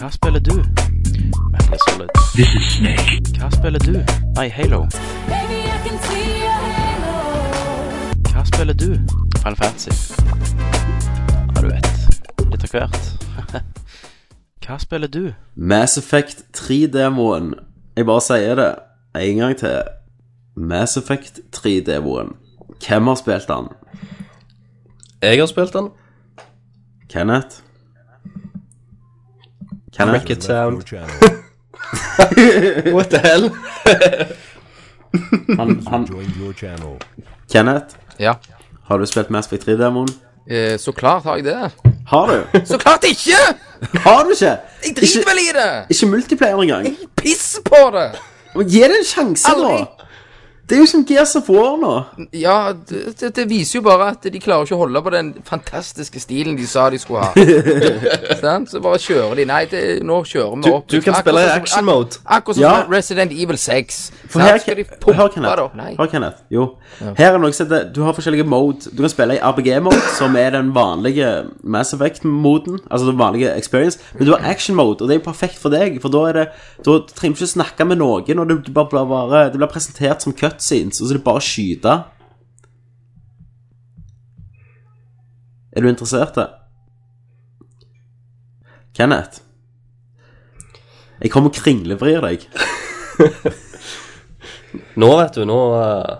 Speaker 1: Hva spiller du? Metal Gear Solid. This is Snake. Hva spiller du? Nei, Halo.
Speaker 4: Baby, I can see your halo.
Speaker 1: Hva spiller du? Final Fantasy. Ja, du vet. Litt av hvert. Hva spiller du?
Speaker 6: Mass Effect 3-demoen. Jeg bare sier det en gang til. Mass Effect 3-demoen. Hvem har spilt den?
Speaker 8: Jeg har spilt den.
Speaker 6: Kenneth?
Speaker 8: Make
Speaker 6: Kenneth?
Speaker 8: it sound. What the hell?
Speaker 6: Han, han, Kenneth?
Speaker 7: Ja.
Speaker 6: Har du spilt Mass Effect 3-demoen?
Speaker 7: Eh, så klart har jeg det.
Speaker 6: Har du?
Speaker 7: Så klart ikke!
Speaker 6: Har du ikke?
Speaker 7: Jeg driter vel i det!
Speaker 6: Ikke multiplayer engang.
Speaker 7: Jeg pisser på det!
Speaker 6: Men Gi det en sjanse,
Speaker 7: Aldri.
Speaker 6: da! Det er jo som Gears of War nå.
Speaker 7: Ja, det, det- det viser jo bare at de klarer ikke å holde på den fantastiske stilen de sa de skulle ha. Sant? så bare kjører de. Nei, det, nå kjører vi
Speaker 8: Du-
Speaker 7: opp. sånn
Speaker 8: du kan spille i
Speaker 7: som-
Speaker 8: action
Speaker 7: ak-
Speaker 8: mode.
Speaker 7: Akkurat som
Speaker 6: Ja.
Speaker 7: Resident Evil 6.
Speaker 6: For
Speaker 7: Sant?
Speaker 6: her,
Speaker 7: Skal de
Speaker 6: hør,
Speaker 7: pumpe
Speaker 6: Kenneth.
Speaker 7: da? Nei.
Speaker 6: hør, Kenneth. Jo. Her er noe som heter Du har forskjellige mode. Du kan spille i RPG-mode, som er den vanlige Mass Effect-moden. Altså den vanlige experience. Men du har action-mode, og det er jo perfekt for deg. For da er det Da trenger du ikke snakke med noen, og det, du bare, blir bare, det blir presentert som cutscenes, og så er det bare å skyte. Er du interessert? da? Kenneth? Jeg kommer og kringlevrir deg.
Speaker 8: Nå, vet du, nå eh,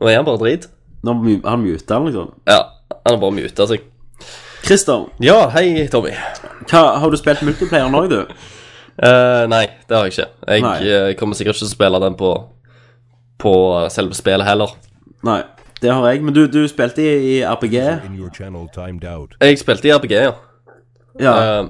Speaker 8: Nå er han bare drit.
Speaker 6: Nå mu- han muter han, liksom.
Speaker 8: Ja, han har bare muta seg.
Speaker 6: Christer,
Speaker 8: Ja, hei, Tommy.
Speaker 6: hva, har du spilt multiplayer nå, du?
Speaker 8: Eh, nei, det har jeg ikke. Jeg
Speaker 6: Nei.
Speaker 8: eh, kommer sikkert ikke til å spille den på, på eh, selve spillet heller.
Speaker 6: Nei, det har jeg, men du, du spilte i, i RPG.
Speaker 8: Jeg spilte i RPG, ja.
Speaker 6: Ja,
Speaker 8: Eh,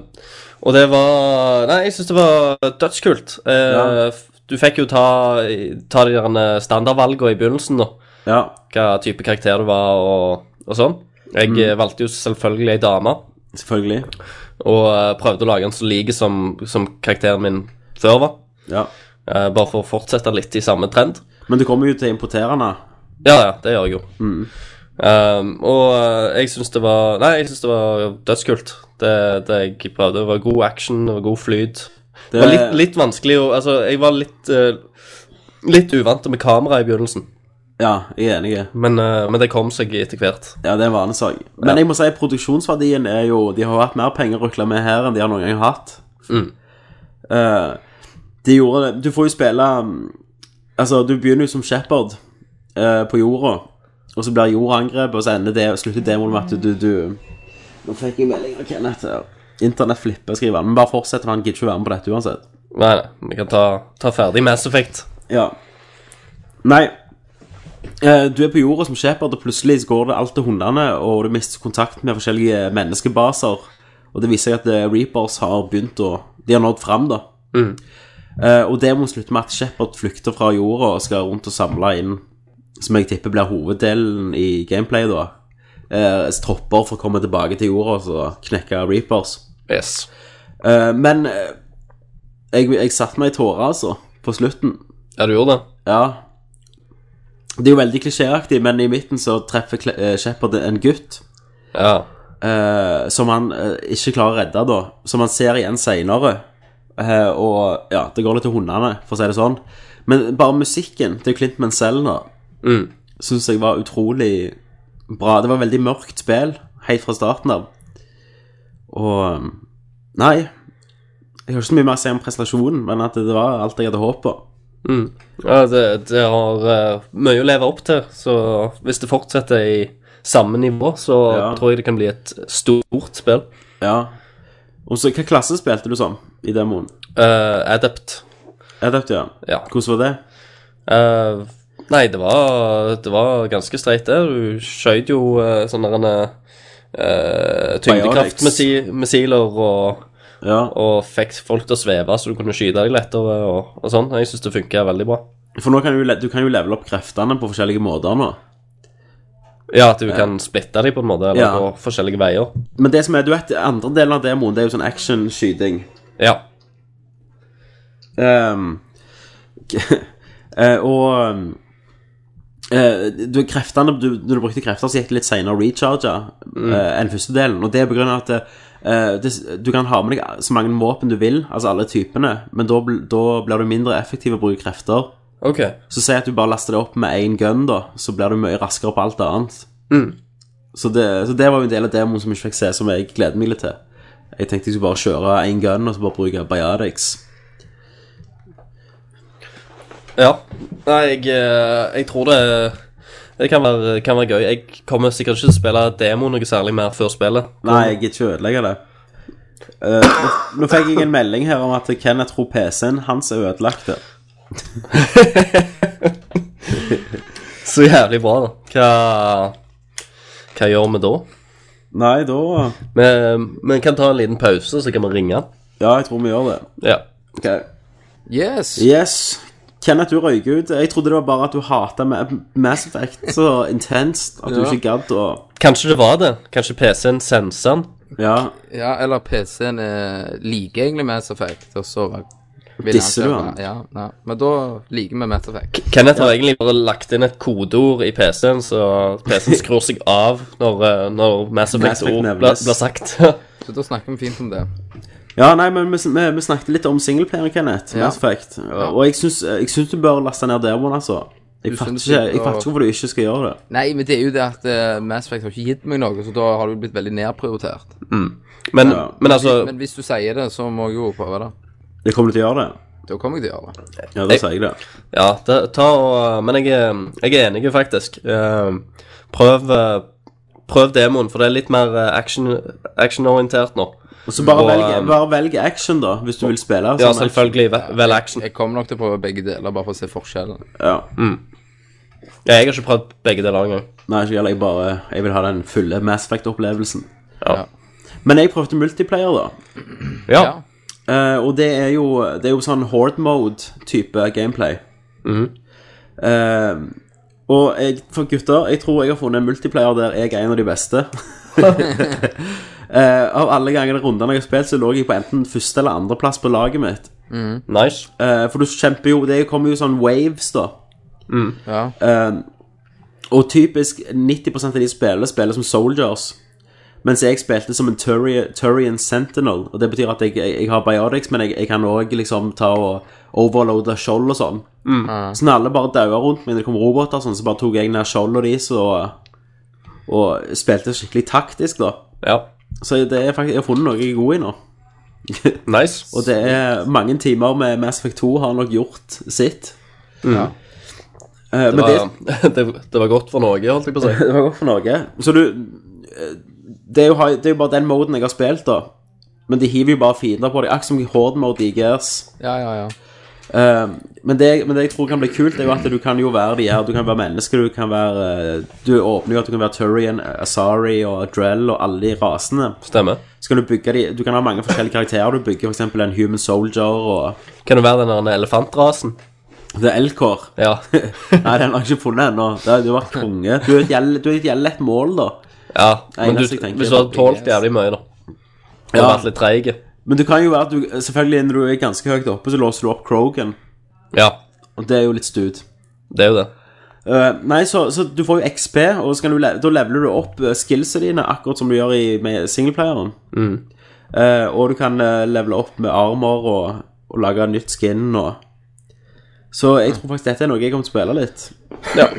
Speaker 8: og det var Nei, jeg syns det var dødskult. Eh,
Speaker 6: Ja.
Speaker 8: f- Du fikk jo ta, ta de der standardvalgene i begynnelsen, da.
Speaker 6: ja,
Speaker 8: Hva type karakter du var, og, og sånn. Jeg eh, valgte jo selvfølgelig ei dame,
Speaker 6: selvfølgelig.
Speaker 8: og eh, prøvde å lage en så lik som, som karakteren min før var.
Speaker 6: Ja.
Speaker 8: Eh, bare for å fortsette litt i samme trend.
Speaker 6: Men du kommer jo til å importere henne.
Speaker 8: Ja, ja, det gjør jeg jo. Um, og eh, jeg syns det var Nei, jeg syns det var dødskult. Det, det jeg prøvde. Det var god action, det var god flyt. Det var litt, litt vanskelig å Altså, jeg var litt eh, Litt uvant med kamera i begynnelsen,
Speaker 6: Ja, jeg er enig.
Speaker 8: men, eh, men det kom seg etter hvert.
Speaker 6: Ja, det er en vanesak. Men jeg må si produksjonsverdien er jo De har hatt mer penger å rukle med her enn de har noen gang hatt. Eh, de gjorde det Du får jo spille mm, Altså, du begynner jo som shepherd eh, på jorda, og så blir jorda angrepet, og så ender det, slutter demoen med at du, du Nå fikk jeg melding av Kenneth her. Internett flipper, skriver han. Men bare fortsett, for han gidder ikke å være med på dette uansett.
Speaker 8: Nei, nei, vi kan ta, ta ferdig Mass Effect.
Speaker 6: Ja. Nei. Eh, Du er på jorda som shepherd, og plutselig så går det alt til hundene, og du mister kontakt med forskjellige menneskebaser. Og det viser seg at eh, Reapers har begynt å De har nådd fram, da. Eh, og det må slutte med at Shepherd flykter fra jorda og skal rundt og samle inn, som jeg tipper blir hoveddelen i gameplay, da, eh, tropper for å komme tilbake til jorda og så knekke Reapers.
Speaker 8: Yes.
Speaker 6: Eh, men eh, jeg, jeg satte meg i tårer, altså, på slutten.
Speaker 8: Ja, du gjorde det?
Speaker 6: Ja. Det er jo veldig klisjéaktig, men i midten så treffer Kle- eh, Shepard en gutt
Speaker 8: Ja.
Speaker 6: eh, som han eh, ikke klarer å redde, da. Som han ser igjen seinere. og ja, det går litt til hundene, for å si det sånn. Men bare musikken til Clint Mansell nå
Speaker 8: Mm.
Speaker 6: syns jeg var utrolig bra. Det var veldig mørkt spill helt fra starten av. Og um, Nei. Jeg har ikke så mye mer å si om prestasjonen, men at det var alt jeg hadde håpa.
Speaker 8: ja det, det har eh, mye å leve opp til, så hvis det fortsetter i samme nivå, så
Speaker 6: Ja.
Speaker 8: tror jeg det kan bli et stort spill.
Speaker 6: Ja. Og så, hva klasse spilte du som i demoen?
Speaker 8: Eh, Adept.
Speaker 6: Adept, ja.
Speaker 8: Ja.
Speaker 6: Hvordan var det?
Speaker 8: Eh, nei, det var, det var ganske streit det. Du skjøt jo eh, sånne derne, eh, tyngdekraftmissiler og,
Speaker 6: Ja.
Speaker 8: og fikk folk til å sveve så du kunne skyte deg lettere og, og sånn. Jeg syns det funka veldig bra.
Speaker 6: For nå kan du, le- du kan jo levele opp kreftene på forskjellige måter nå.
Speaker 8: Ja, at du kan splitte dem på en måte, eller
Speaker 6: Ja.
Speaker 8: gå forskjellige veier.
Speaker 6: Men det som er, du vet, andre delen av demoen, det er jo sånn action-skyting.
Speaker 8: Ja.
Speaker 6: Ehm, eh, og ehm, eh, du, kreftene, du, når du brukte krefter, så gikk det litt senere å recharge eh, enn første delen. Og det er på grunn av at eh, det, du kan ha med deg så mange våpen du vil, altså alle typene, men da bl- da blir du mindre effektiv å bruke krefter.
Speaker 8: Ok.
Speaker 6: Så si at du bare laster det opp med én gun, da, så blir du mye raskere på alt annet. Så, det, så det var jo en del av demoen som jeg ikke fikk se, som jeg gleder meg litt til. Jeg tenkte jeg skulle bare kjøre én gun og så bare bruke Biodix.
Speaker 8: Ja. Nei, jeg, eh, jeg tror det det kan være, kan være gøy. Jeg kommer sikkert ikke til å spille demo noe særlig mer før spillet.
Speaker 6: Nei, jeg gidder ikke ødelegge det. Eh, nå- nå fikk jeg en melding her om at Kenneth tror PC-en hans er ødelagt.
Speaker 8: Så jævlig bra, da. Hva, hva gjør vi da?
Speaker 6: Nei, da
Speaker 8: Vi, vi kan ta en liten pause, så kan vi ringe.
Speaker 6: Ja, jeg tror vi gjør det.
Speaker 8: Ja.
Speaker 6: Ok.
Speaker 7: Yes!
Speaker 6: Yes. Kenneth, du røyker ut. Jeg trodde det var bare at du hata Mass Effect så intenst at du
Speaker 7: Ja.
Speaker 6: ikke gadd å
Speaker 8: Kanskje det var det. Kanskje PC-en senser den.
Speaker 6: Ja.
Speaker 7: Ja, eller PC-en eh, liker egentlig Mass Effect, og så vil
Speaker 6: Disser
Speaker 7: han
Speaker 6: du
Speaker 7: kjøpe-
Speaker 6: han?
Speaker 7: Ja, ja, men da liker vi Mass Effect.
Speaker 8: Kenneth har egentlig bare lagt inn et kodeord i PC-en, så PC-en skrur seg av når, eh, når Mass
Speaker 6: Mass Effect
Speaker 8: Effect-ord
Speaker 6: nevnes.
Speaker 8: blir blir sagt.
Speaker 7: Så da snakker vi fint om det.
Speaker 6: Ja, nei, men vi, vi, vi snakket litt om singleplayer, Kenneth.
Speaker 7: Ja.
Speaker 6: Mass Effect. Og jeg syns, jeg syns du bør laste ned demoen, altså. Jeg
Speaker 7: Du
Speaker 6: fatter
Speaker 7: syns
Speaker 6: ikke
Speaker 7: det,
Speaker 6: jeg
Speaker 7: og-
Speaker 6: fatter ikke hvorfor du ikke skal gjøre det.
Speaker 7: Nei, men det er jo det at eh, Mass Effect har ikke gitt meg noe, så da har det jo blitt veldig nedprioritert.
Speaker 8: Men,
Speaker 6: Ja.
Speaker 8: men altså
Speaker 7: Men hvis du sier det, så må jeg jo prøve det.
Speaker 6: Jeg kommer til å gjøre det.
Speaker 7: Da kommer jeg til å gjøre det.
Speaker 6: Ja, da sier jeg det.
Speaker 8: Ja, det, ta og Men jeg, er- jeg er enig, faktisk. Eh, Prøv, eh, prøv demoen, for det er litt mer eh, action- actionorientert nå.
Speaker 6: Og så bare,
Speaker 8: Og,
Speaker 6: velg,
Speaker 8: um,
Speaker 6: bare velg action, da, hvis du vil spille. sånn
Speaker 8: Ja,
Speaker 6: som action.
Speaker 8: selvfølgelig. ve- Vel action.
Speaker 7: Jeg kommer nok til å prøve begge deler, bare for å se forskjellen.
Speaker 6: Ja.
Speaker 8: Ja, jeg har ikke prøvd begge deler engang.
Speaker 6: Nei, ikke heller. Jeg bare Jeg vil ha den fulle Mass Effect-opplevelsen.
Speaker 8: Ja.
Speaker 6: Men jeg prøvde multiplayer, da.
Speaker 8: Ja.
Speaker 7: Ja.
Speaker 6: Eh, og det er jo Det er jo sånn horde mode-type gameplay. Eh, og jeg, for gutter, jeg tror jeg har funnet en multiplayer der jeg er en av de beste. Eh, av alle gangene rundene jeg har spilt, så lå jeg på enten første eller andreplass på laget mitt.
Speaker 8: Nice.
Speaker 6: Eh, for du kjemper jo Det kommer jo sånn waves, da.
Speaker 7: Ja.
Speaker 6: Eh, Og typisk 90 av de spiller, spiller som soldiers. Mens jeg spilte som en Turi- Turian Sentinel. Og det betyr at jeg, jeg, jeg har biotics, men jeg, jeg kan òg liksom ta og overloade skjold og sånn. Så når alle bare dauer rundt meg når det kom roboter, og sånn, så bare tok jeg ned skjoldet deres og, og spilte skikkelig taktisk, da.
Speaker 8: Ja.
Speaker 6: Så det er faktisk, jeg har funnet noe jeg er god i nå.
Speaker 8: Nice.
Speaker 6: Og det er mange timer med Mass Effect 2 har nok gjort sitt. Eh, men
Speaker 8: det,
Speaker 6: det,
Speaker 8: var, det, det var godt for Norge, holdt jeg på å si.
Speaker 6: det var godt for Norge. Så du eh, det er, jo, ha- det er jo bare den moden jeg har spilt, da. Men de hiver jo bare fiender på deg. Akkurat som i Horde Mode i Gears.
Speaker 7: Ja, ja, ja.
Speaker 6: Eh, men, det, men det jeg tror kan bli kult, er jo at du kan jo være de her. Du kan være menneske, du kan være eh, Du åpner jo at du kan være Turian, Asari og Drell og alle de rasene.
Speaker 8: Stemmer.
Speaker 6: Så kan du bygge de Du kan ha mange forskjellige karakterer. Du bygger f.eks. en Human Soldier og
Speaker 8: Kan det være den der elefantrasen?
Speaker 6: The Elcor.
Speaker 8: Ja.
Speaker 6: Nei, den har jeg ikke funnet ennå. Det hadde jo vært konge. Du er et gjeld- du er et gjeldelett mål, da.
Speaker 8: ja.
Speaker 6: Nei,
Speaker 8: Men du,
Speaker 6: neste jeg tenker
Speaker 8: hvis du hadde
Speaker 6: er
Speaker 8: tålt jævlig mye, da. Og
Speaker 6: Ja.
Speaker 8: vært litt treig.
Speaker 6: Men du kan jo være at du, Selvfølgelig, når du er ganske høyt oppe, så låser du opp Krogan.
Speaker 8: Ja.
Speaker 6: Og det er jo litt stud.
Speaker 8: Det er jo det.
Speaker 6: Eh, nei, så, så du får jo XP, og så kan du, le- da leveler du opp eh, skillsene dine, akkurat som du gjør i, med singleplayeren. Eh, og du kan eh, levele opp med armer og, og lage nytt skin og Så jeg tror faktisk dette er noe jeg kommer til å spille litt.
Speaker 8: Ja,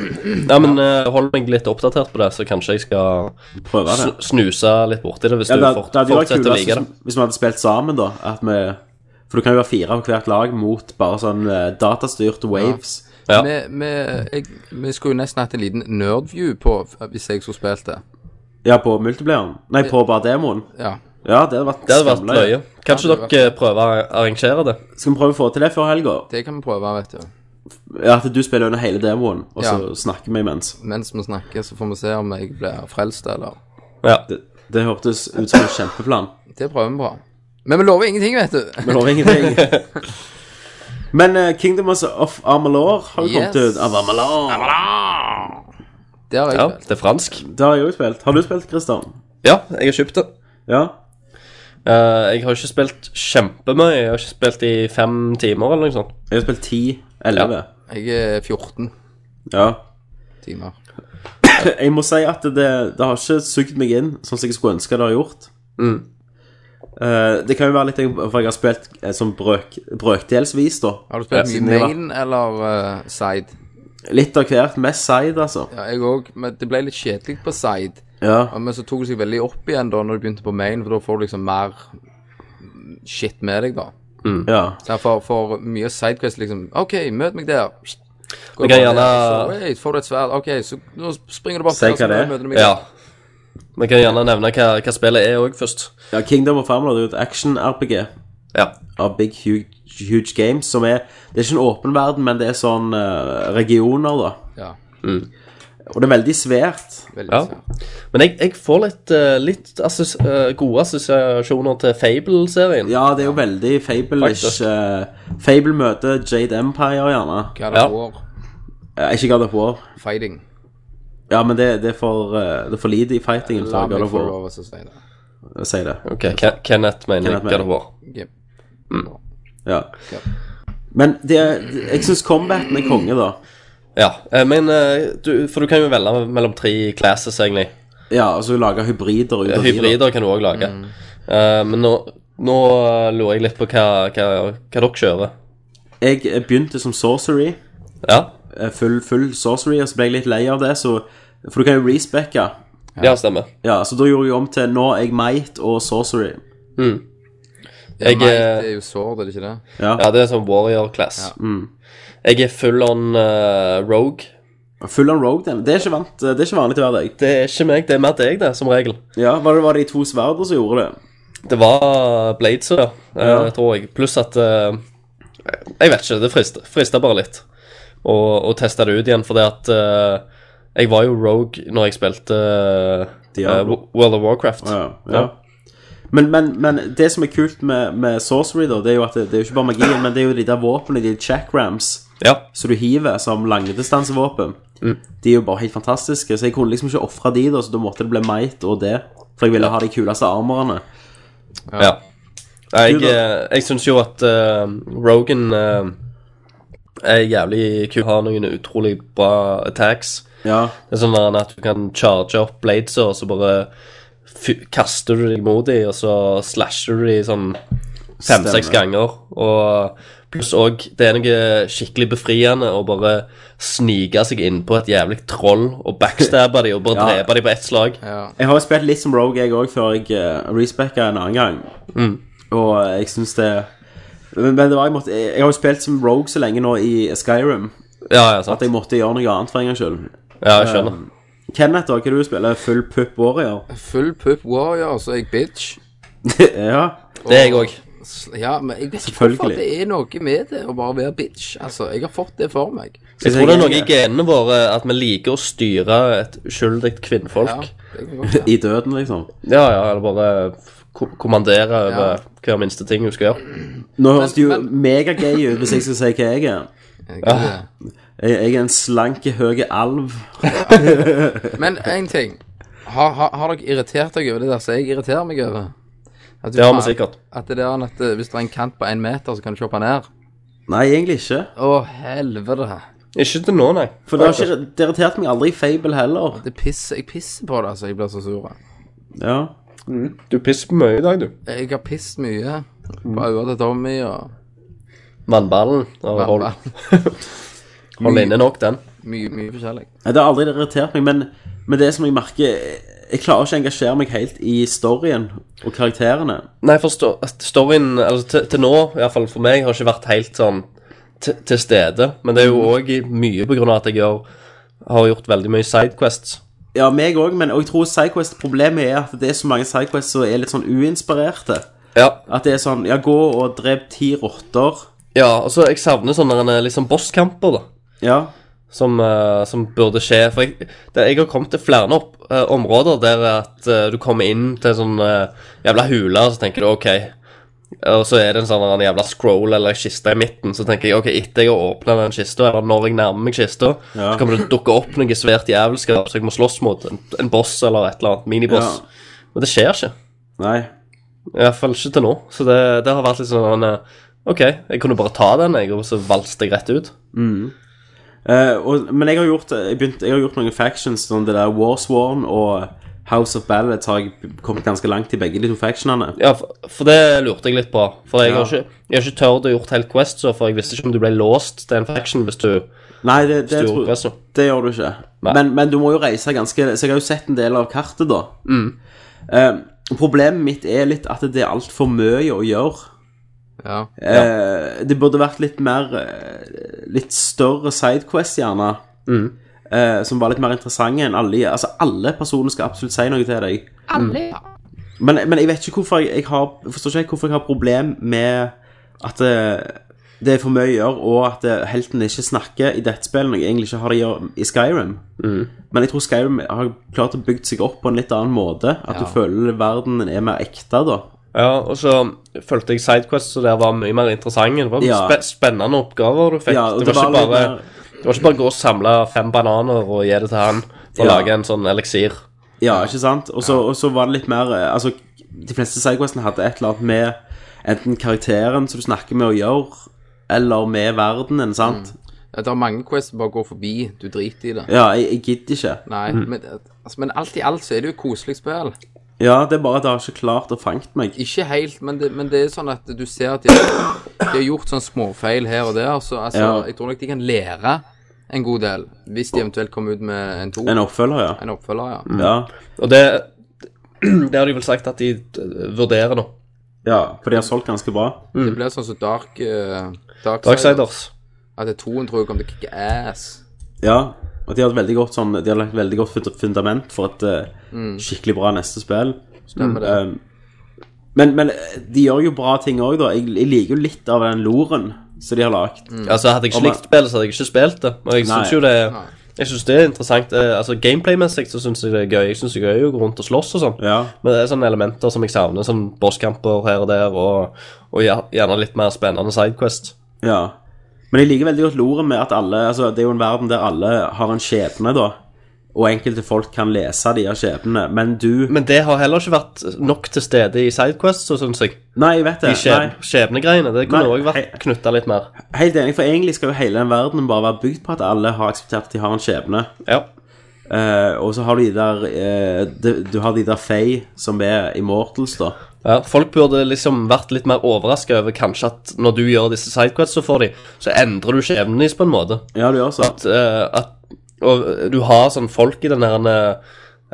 Speaker 8: ja men eh, hold meg litt oppdatert på det, så kanskje jeg skal
Speaker 6: Prøve det.
Speaker 8: sn- snuse litt borti det hvis
Speaker 6: Ja,
Speaker 8: du
Speaker 6: det,
Speaker 8: fort,
Speaker 6: det hadde jo vært
Speaker 8: fortsetter å
Speaker 6: kulest
Speaker 8: like det.
Speaker 6: hvis, hvis vi hadde spilt sammen, da. At vi, for du kan jo være fire av hvert lag mot bare sånn eh, datastyrte waves.
Speaker 8: Ja.
Speaker 7: Vi, vi, jeg, vi skulle jo nesten hatt en liten nerdview på hvis jeg skulle spilt det.
Speaker 6: Ja, på multiplayeren. Nei, på bare demoen.
Speaker 7: Ja.
Speaker 6: Ja, det hadde vært
Speaker 8: Det hadde vært
Speaker 6: skamløye.
Speaker 8: løye. Kanskje
Speaker 7: Ja, det hadde
Speaker 8: dere prøver å arrangere det?
Speaker 6: Skal vi prøve å få til det før helga?
Speaker 7: Det kan vi prøve, vet du.
Speaker 6: Ja, At du spiller under hele demoen, og
Speaker 7: Ja.
Speaker 6: så snakker vi imens.
Speaker 7: Mens vi snakker, så får vi se om jeg blir frelst, eller
Speaker 8: Ja.
Speaker 6: Det, det hørtes ut som en kjempeplan.
Speaker 7: Det prøver vi på. Men vi lover ingenting, vet du.
Speaker 6: Vi lover ingenting. Men eh, Kingdom of Amalur har jo kommet
Speaker 7: Yes.
Speaker 6: ut. Av Amalur.
Speaker 7: Det har jeg
Speaker 8: ja,
Speaker 7: spilt.
Speaker 8: det er fransk.
Speaker 6: Det har jeg òg spilt. Har du spilt, Christian?
Speaker 8: Ja, jeg har kjøpt det.
Speaker 6: Ja?
Speaker 8: Eh, jeg har ikke spilt kjempemye. Jeg har ikke spilt i fem timer eller noe sånt.
Speaker 6: Jeg har spilt 10. 11.
Speaker 7: Jeg er 14
Speaker 6: ja.
Speaker 7: timer.
Speaker 6: Jeg må si at det, det har ikke sugd meg inn sånn som jeg skulle ønske det har gjort. Eh, det kan jo være litt jeg- for jeg har spilt eh, sånn brøk, brøkdelsvis, da.
Speaker 7: Har du
Speaker 6: Ja,
Speaker 7: spilt
Speaker 6: siden
Speaker 7: mye
Speaker 6: jeg var-
Speaker 7: main eller eh, side?
Speaker 6: Litt av hvert. Mest side, altså.
Speaker 7: Ja, jeg òg, men det ble litt kjedelig på side. Ja,
Speaker 6: Ja.
Speaker 7: Men så tok det seg veldig opp igjen da når du begynte på main, for da får du liksom mer shit med deg, da.
Speaker 6: ja.
Speaker 7: Derfor for mye sidequest liksom OK, møt meg der. Går
Speaker 8: Vi
Speaker 7: bare
Speaker 8: kan gjerne-
Speaker 7: der, så, wait, får du et sverd? OK, så nå springer du bare
Speaker 6: Si
Speaker 7: opp der,
Speaker 6: hva det er.
Speaker 7: så møter du meg
Speaker 8: Ja.
Speaker 7: der.
Speaker 8: Vi kan gjerne nevne hva, hva spillet er òg, først.
Speaker 6: ja Kingdom of Amalur er jo et action-RPG
Speaker 8: Ja.
Speaker 6: av Big Huge, Huge Games som er Det er ikke en åpen verden, men det er sånn eh, regioner, da.
Speaker 7: Ja,
Speaker 6: Og det er veldig svært.
Speaker 7: veldig
Speaker 8: ja.
Speaker 7: sant.
Speaker 8: Men jeg, jeg får litt, eh, litt assos eh, gode assosiasjoner til Fable-serien.
Speaker 6: Ja, det er jo veldig fable-ish.
Speaker 8: Faktisk.
Speaker 6: eh, Fable møter Jade Empire, gjerne.
Speaker 7: God of
Speaker 8: Ja.
Speaker 7: War,
Speaker 6: Eh, ikke God of War.
Speaker 7: fighting.
Speaker 6: Ja, men det, det, er for, eh, det er for lite i fightingen for
Speaker 7: La
Speaker 6: å
Speaker 7: meg
Speaker 6: gjøre
Speaker 7: få
Speaker 6: for
Speaker 7: lov til å si det.
Speaker 6: å si det.
Speaker 8: Ok, Ke- Kenneth mener
Speaker 6: Kenneth
Speaker 8: jeg hva det
Speaker 6: mener.
Speaker 8: var.
Speaker 7: Jep.
Speaker 6: Ja.
Speaker 7: Ja.
Speaker 6: Men det, er- jeg syns combaten er konge, da.
Speaker 8: Ja, eh, men eh, du, For du kan jo velge mellom tre classes, egentlig.
Speaker 6: Ja, og så lage hybrider ut av de, da.
Speaker 8: Hybrider kan du òg lage. Eh, men nå, nå eh, lurer jeg litt på hva, hva, hva dere kjører.
Speaker 6: Jeg eh, begynte som sorcery.
Speaker 8: Ja,
Speaker 6: eh, Full, full sorcery, og så ble jeg litt lei av det, så For du kan jo respecke.
Speaker 8: ja stemmer.
Speaker 6: Ja, så da gjorde jeg om til nå er jeg might og sorcery.
Speaker 8: Jeg,
Speaker 7: Might
Speaker 8: eh,
Speaker 7: er jo sword, er det ikke det?
Speaker 6: Ja.
Speaker 8: Ja, det er sånn warrior class. Mm. Jeg er full on eh, rogue.
Speaker 6: Full on rogue, den. Det er ikke, vant, eh, det er ikke vanlig til hver dag.
Speaker 8: Det er ikke meg, det er mer deg, det, som regel.
Speaker 6: Ja, var det, var det de to sverdene som gjorde det?
Speaker 8: Det var Blades, ja, eh,
Speaker 6: Ja.
Speaker 8: tror jeg. Pluss at eh, Jeg vet ikke, det frist- frista bare litt å, å teste det ut igjen, fordi at eh, jeg var jo rogue når jeg spilte eh,
Speaker 6: Diablo.
Speaker 8: eh, Wo- World of Warcraft.
Speaker 6: Ja, ja. Men, men, men det som er kult med, med sorcery, da, det er jo at det, det er jo ikke bare magien, men det er jo de der våpnene, de chackrams,
Speaker 8: Ja.
Speaker 6: som du hiver som langdistansevåpen. De er jo bare helt fantastiske, så jeg kunne liksom ikke ofre de, da, så da måtte det bli might og det. For jeg ville ha de kuleste armerne.
Speaker 8: ja. Nei, Jeg,
Speaker 6: Du da?
Speaker 8: eh, jeg syns jo at eh, Rogan eh, er jævlig kul. Har noen utrolig bra attacks.
Speaker 6: Ja.
Speaker 8: Det er sånn der at du kan charge opp bladeser, og så bare fy- kaster du deg mot dem, og så slasher du dem sånn fem-seks
Speaker 6: Stemmer.
Speaker 8: ganger. Og pluss òg Det er noe skikkelig befriende å bare snike seg innpå et jævlig troll og backstabbe dem og bare
Speaker 6: Ja.
Speaker 8: drepe dem på ett slag.
Speaker 6: Jeg har jo spilt litt som Rogue, jeg òg, før jeg uh, respecka en annen gang. Og eh, jeg syns det men, men det var jeg måtte jeg, jeg har jo spilt som Rogue så lenge nå i Skyrim
Speaker 8: Ja, ja,
Speaker 6: at
Speaker 8: sant.
Speaker 6: jeg måtte gjøre noe annet for en gangs skyld.
Speaker 8: Ja, jeg skjønner.
Speaker 6: Kenneth, da, hva er det du spiller? Full pup warrior?
Speaker 7: Full pup warrior, så er jeg bitch.
Speaker 6: ja.
Speaker 8: Det er jeg òg.
Speaker 7: Ja, men jeg vet ikke
Speaker 6: Selvfølgelig.
Speaker 7: hvorfor det er noe med det å bare være bitch. Altså, jeg har fått det for meg.
Speaker 8: Jeg tror det er noe i genene våre at vi liker å styre et uskyldig
Speaker 7: Ja,
Speaker 8: kvinnfolk.
Speaker 7: det kan godt være.
Speaker 6: I døden, liksom.
Speaker 8: Ja, ja, eller bare ko kommandere over
Speaker 7: Ja.
Speaker 8: hver minste ting du skal gjøre.
Speaker 6: Nå høres det jo
Speaker 7: men-
Speaker 6: megagay ut hvis jeg skal si hva jeg er.
Speaker 7: Jeg kan det.
Speaker 6: Jeg, jeg er en slank, høy alv.
Speaker 7: Men én ting. Har, har, har dere irritert dere over det der som jeg irriterer meg over? At du
Speaker 8: Det har
Speaker 7: faen-
Speaker 8: vi sikkert.
Speaker 7: At det der han at eh, hvis det er en kant på én meter, så kan du ikke hoppe ned?
Speaker 6: Nei, egentlig ikke.
Speaker 7: Å, helvete.
Speaker 8: Ikke til nå, nei.
Speaker 6: For det har ikke det irriterte meg aldri i Fable heller.
Speaker 7: Det pisser, jeg pisser på det, altså. Jeg blir så sur.
Speaker 6: Ja.
Speaker 8: Du pisser på mye i dag, du.
Speaker 7: Jeg har pisset mye på øynene til Tommy og
Speaker 8: Vannballen. da Hold, hold inne nok, den.
Speaker 7: mye, mye forskjellig.
Speaker 6: Nei, Det har aldri irritert meg, men, men det som jeg merker Jeg klarer ikke å engasjere meg helt i storyen og karakterene.
Speaker 8: Nei, for sto- storyen altså, til, til nå, i hvert fall for meg, har ikke vært helt sånn til til stede. Men det er jo òg mye på grunn av at jeg gjør, har gjort veldig mye sidequests.
Speaker 6: Ja, meg òg, men og jeg tror Psyquest-problemet er at det er så mange Psyquests som er litt sånn uinspirerte.
Speaker 8: Ja.
Speaker 6: At det er sånn Ja, gå og drep ti rotter.
Speaker 8: ja, altså, jeg savner sånne eh, liksom bosskamper, da.
Speaker 6: Ja.
Speaker 8: som, eh, som burde skje. For jeg, det, jeg har kommet til flere opp, eh, områder der at eh, du kommer inn til en sånn eh, jævla hule, og så tenker du OK. Og så er det en sånn en jævla scroll eller en kiste i midten. Så tenker jeg OK, etter jeg har åpna den kista, eller når jeg nærmer meg kista,
Speaker 6: Ja.
Speaker 8: så kommer det dukke opp noe svært jævelskap som jeg må slåss mot. En, en boss eller et eller annet. Miniboss.
Speaker 6: Ja.
Speaker 8: Men det skjer ikke.
Speaker 6: Nei.
Speaker 8: I hvert fall ikke til nå. Så det, det har vært litt sånn eh, OK, jeg kunne bare ta den, jeg, og så valste jeg rett ut.
Speaker 6: Eh, og, men jeg har gjort jeg, begynt, jeg har gjort noen factions, sånn det der Warsworn og House of Ballads har jeg kommet ganske langt i begge de to factionene.
Speaker 8: Ja, for, for det lurte jeg litt på. For jeg, har
Speaker 6: Ja.
Speaker 8: ikke, jeg har ikke tørt å gjort helt Quest, så for jeg visste ikke om du ble låst til en faction hvis du
Speaker 6: Nei, det, det,
Speaker 8: Stor
Speaker 6: tror-
Speaker 8: presse.
Speaker 6: det gjør du ikke.
Speaker 8: Nei.
Speaker 6: Men, men du må jo reise ganske Så jeg har jo sett en del av kartet, da.
Speaker 8: Mm.
Speaker 6: Eh, problemet mitt er litt at det er altfor mye å gjøre.
Speaker 7: Ja.
Speaker 6: Eh, det burde vært litt mer eh, Litt større sidequest, gjerne. Eh, som var litt mer interessante enn alle Altså, alle personer skal absolutt si noe til deg. Men, men jeg vet ikke hvorfor jeg, jeg har jeg forstår ikke helt hvorfor jeg har problem med at det, det er for mye å gjøre, og at eh, heltene ikke snakker i dette spillet når jeg egentlig ikke har det å gjøre i Skyrim. Men jeg tror Skyrim har klart å bygge seg opp på en litt annen måte. At du føler verdenen er mer ekte, da.
Speaker 8: Ja, og så fulgte jeg Sidequest, så det var mye mer interessant. Det var
Speaker 6: Ja.
Speaker 8: spe spennende oppgaver du fikk.
Speaker 6: Ja, og
Speaker 8: det, var
Speaker 6: det var
Speaker 8: ikke bare,
Speaker 6: litt mer-
Speaker 8: det var ikke bare gå og samle fem bananer og gi det til han for å
Speaker 6: Ja.
Speaker 8: lage en sånn eliksir.
Speaker 6: Ja, ikke sant? Og så og så var det litt mer eh, Altså, de fleste sidequestene hadde et eller annet med enten karakteren som du snakker med å gjøre, eller med verdenen,
Speaker 7: Mm.
Speaker 6: sant?
Speaker 7: Det er mange quests som bare går forbi. Du driter i det.
Speaker 6: Ja, jeg, jeg gidder ikke.
Speaker 7: Nei,
Speaker 8: Mm.
Speaker 7: men, altså, men alt i alt så er det jo et koselig spill.
Speaker 6: Ja, det er bare at det har ikke klart å fange meg.
Speaker 7: Ikke helt, men det, men det er sånn at du ser at de har, de har gjort sånne småfeil her og der. Så altså,
Speaker 6: Ja.
Speaker 7: jeg tror nok de kan lære en god del, hvis de eventuelt kommer ut med en to.
Speaker 6: En oppfølger, ja.
Speaker 7: En oppfølger, ja.
Speaker 6: Ja,
Speaker 8: Og det, det har de vel sagt at de eh, vurderer nå.
Speaker 6: ja for de har solgt ganske bra.
Speaker 8: Mm.
Speaker 7: Det blir sånn som Dark uh, Darksiders.
Speaker 8: Darksiders.
Speaker 7: At det er toen tror jeg kommer til å kicke ass.
Speaker 6: Ja, og de har, et veldig godt, sånn, de har lagt et veldig godt fund- fundament for et eh, skikkelig bra neste spill.
Speaker 7: Mm. Stemmer det.
Speaker 6: Um, men, men eh, de gjør jo bra ting òg, da. Jeg, jeg liker jo litt av den loren som de har lagd.
Speaker 7: Mm.
Speaker 8: Altså, hadde
Speaker 6: Og
Speaker 8: jeg ikke
Speaker 6: man-
Speaker 8: likt spillet, så hadde jeg ikke spilt det. Og jeg
Speaker 6: Nei.
Speaker 8: syns jo det Jeg synes det er interessant. Eh, Altså, Gameplay-messig så syns jeg det er gøy. Jeg syns det er gøy å gå rundt og slåss og sånn.
Speaker 6: Ja.
Speaker 8: Men det er sånne elementer som jeg savner. Sånn bosskamper her og der, og, og gjer- gjerne litt mer spennende sidequest.
Speaker 6: Ja. Men jeg liker veldig godt loren med at alle altså Det er jo en verden der alle har en skjebne, da. Og enkelte folk kan lese de her skjebnene. Men du
Speaker 8: Men det har heller ikke vært nok til stede i sidequest, så syns jeg.
Speaker 6: Nei, jeg vet det.
Speaker 8: De skjeb-
Speaker 6: Nei,
Speaker 8: skjebnegreiene. Det kunne
Speaker 6: Nei,
Speaker 8: òg
Speaker 6: hei.
Speaker 8: vært knytta litt mer.
Speaker 6: helt enig, for egentlig skal jo hele den verdenen bare være bygd på at alle har akseptert at de har en skjebne.
Speaker 8: Ja.
Speaker 6: Eh, og så har du de der eh, de, Du har de der Faye som er Immortals, da.
Speaker 8: Ja, folk burde liksom vært litt mer overraska over kanskje at når du gjør disse sidequests for de, så endrer du ikke evnen deres på en måte.
Speaker 6: Ja, du gjør så.
Speaker 8: At, eh, at og du har sånn folk i denne, herne,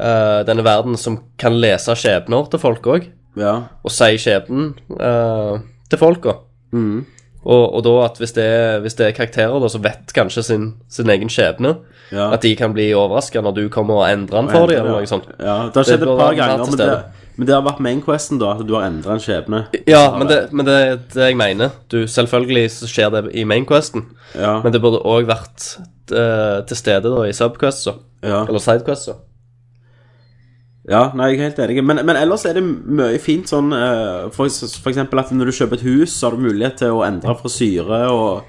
Speaker 8: eh, denne verden som kan lese skjebner til folk òg,
Speaker 6: Ja.
Speaker 8: og si skjebnen eh, til folka.
Speaker 6: Mm.
Speaker 8: Og, og da at hvis det, er, hvis det er karakterer da, som vet kanskje sin, sin egen skjebne,
Speaker 6: Ja.
Speaker 8: at de kan bli overraska når du kommer og endrer den for dem, eller noe sånt.
Speaker 6: Ja, det har skjedd
Speaker 8: Det
Speaker 6: et
Speaker 8: bør
Speaker 6: par
Speaker 8: være
Speaker 6: ganger,
Speaker 8: til
Speaker 6: men det,
Speaker 8: stede.
Speaker 6: men det har vært mainquesten, da. At du har endra en skjebne.
Speaker 8: Ja, men det, men det er det jeg mener. Du, selvfølgelig så skjer det i mainquesten,
Speaker 6: Ja.
Speaker 8: men det burde òg vært eh, til stede da, i subquests,
Speaker 6: Ja.
Speaker 8: eller sidequests.
Speaker 6: Ja, nei, jeg er helt enig. Men, men ellers er det mye fint sånn eh, for, for eksempel at når du kjøper et hus, så har du mulighet til å endre frisyre og,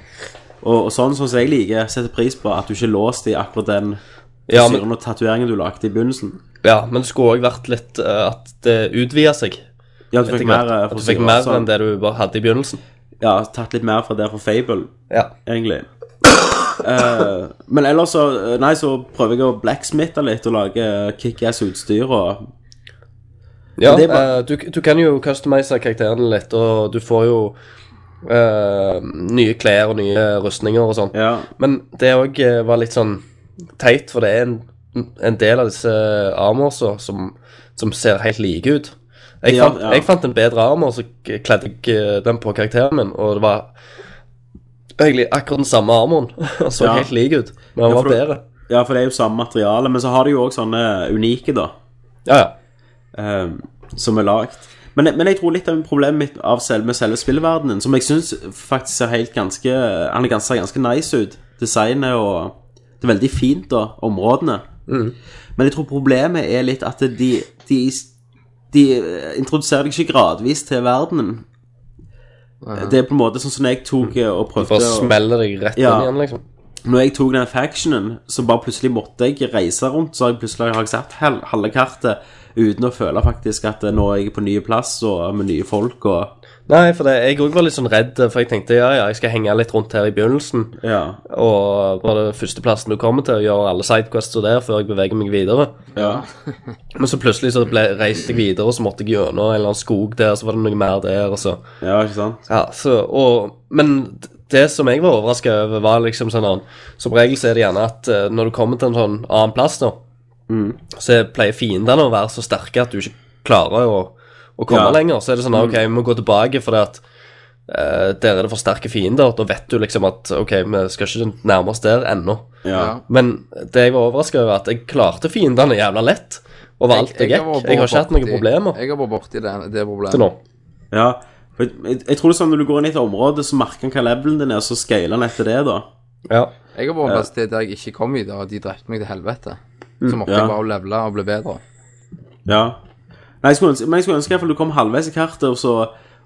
Speaker 6: og, og sånn, sånn som jeg liker. Setter pris på at du ikke er låst i akkurat den
Speaker 8: Ja,
Speaker 6: frisyren
Speaker 8: men-
Speaker 6: og tatoveringen du lagde i begynnelsen.
Speaker 8: Ja, men det skulle òg vært litt eh, at det utvida seg.
Speaker 6: Ja, at du
Speaker 8: etter
Speaker 6: fikk
Speaker 8: hvert.
Speaker 6: mer eh,
Speaker 8: at du
Speaker 6: frisyrer.
Speaker 8: fikk mer
Speaker 6: sånn.
Speaker 8: enn det du bare hadde i begynnelsen.
Speaker 6: Ja, tatt litt mer fra det fra Fable,
Speaker 8: Ja.
Speaker 6: egentlig. Eh, men ellers så eh, Nei, så prøver jeg å blacksmithe litt og lage kickass-utstyr og
Speaker 8: Ja,
Speaker 6: Men det er bare-
Speaker 8: eh, du, du kan jo customize karakterene litt, og du får jo eh, nye klær og nye rustninger og sånn.
Speaker 6: Ja.
Speaker 8: Men det òg var litt sånn teit, for det er en, en del av disse eh, armorsa som, som ser helt like ut. Jeg,
Speaker 6: Ja,
Speaker 8: fant,
Speaker 6: ja.
Speaker 8: jeg fant en bedre armor, så k- kledde jeg eh, den på karakteren min, og det var egentlig akkurat den samme armoren. Den så
Speaker 6: Ja.
Speaker 8: helt lik ut, men den
Speaker 6: Ja, for
Speaker 8: var
Speaker 6: du-
Speaker 8: bedre.
Speaker 6: Ja, for det er jo samme materiale, men så har de jo òg sånne unike, da.
Speaker 8: Ja, ja.
Speaker 6: eh, som er lagt. Men, men jeg tror litt av problemet mitt av selve, med selve spillverdenen, som jeg syns faktisk ser helt ganske Han er ganske, ser ganske nice ut. Designet og Det er veldig fint, da, områdene. Men jeg tror problemet er litt at de, de, de introduserer deg ikke gradvis til verdenen. Det er på en måte sånn som når jeg tok eh, og prøvde
Speaker 8: For å
Speaker 6: å-
Speaker 8: smelle deg rett
Speaker 6: Ja.
Speaker 8: inn igjen, liksom.
Speaker 6: når jeg tok den factionen, så bare plutselig måtte jeg reise rundt, så har jeg plutselig har jeg sett hel- halve kartet uten å føle faktisk at eh, nå er jeg på nye plass og med nye folk og
Speaker 8: Nei, for det, jeg òg var litt sånn redd, for jeg tenkte ja, ja, jeg skal henge litt rundt her i begynnelsen.
Speaker 6: Ja.
Speaker 8: Og bare førsteplassen du kommer til, og gjøre alle sidequests og der før jeg beveger meg videre.
Speaker 6: Ja.
Speaker 8: Men så plutselig så ble, reiste jeg videre, og så måtte jeg gjennom en eller annen skog der, så var det noe mer der, og så
Speaker 6: Ja, ikke sant?
Speaker 8: Ja, så og, Men det som jeg var overraska over, var liksom sånn annen- Som regel så er det gjerne at eh, når du kommer til en sånn annen plass, da, så pleier fiendene å være så sterke at du ikke klarer å, å komme
Speaker 6: Ja.
Speaker 8: lenger. Så er det sånn OK, vi må gå tilbake fordi at eh, der er det for sterke fiender. Da vet du liksom at OK, vi skal ikke nærme oss der ennå.
Speaker 6: Ja.
Speaker 8: Men det jeg var overraska over, at jeg klarte fiendene jævla lett. Og var alt jeg gikk.
Speaker 7: vært
Speaker 8: Jeg har ikke hatt noen
Speaker 7: borti-
Speaker 8: problemer
Speaker 7: Jeg har vært borti det, det problemet.
Speaker 8: til nå.
Speaker 6: ja. For Jeg, jeg, jeg tror det er sånn Når du går inn i et område, så merker han hva levelen din er, og så scaler han etter det, da.
Speaker 8: Ja. Mm.
Speaker 7: Jeg har vært en plass til der jeg ikke kom videre, og de drepte meg til helvete. Så måtte
Speaker 6: ja.
Speaker 7: jeg bare levele og bli bedre.
Speaker 6: Ja. Nei, jeg skulle ønske, men jeg skulle ønske i hvert fall du kom halvveis i kartet, og så,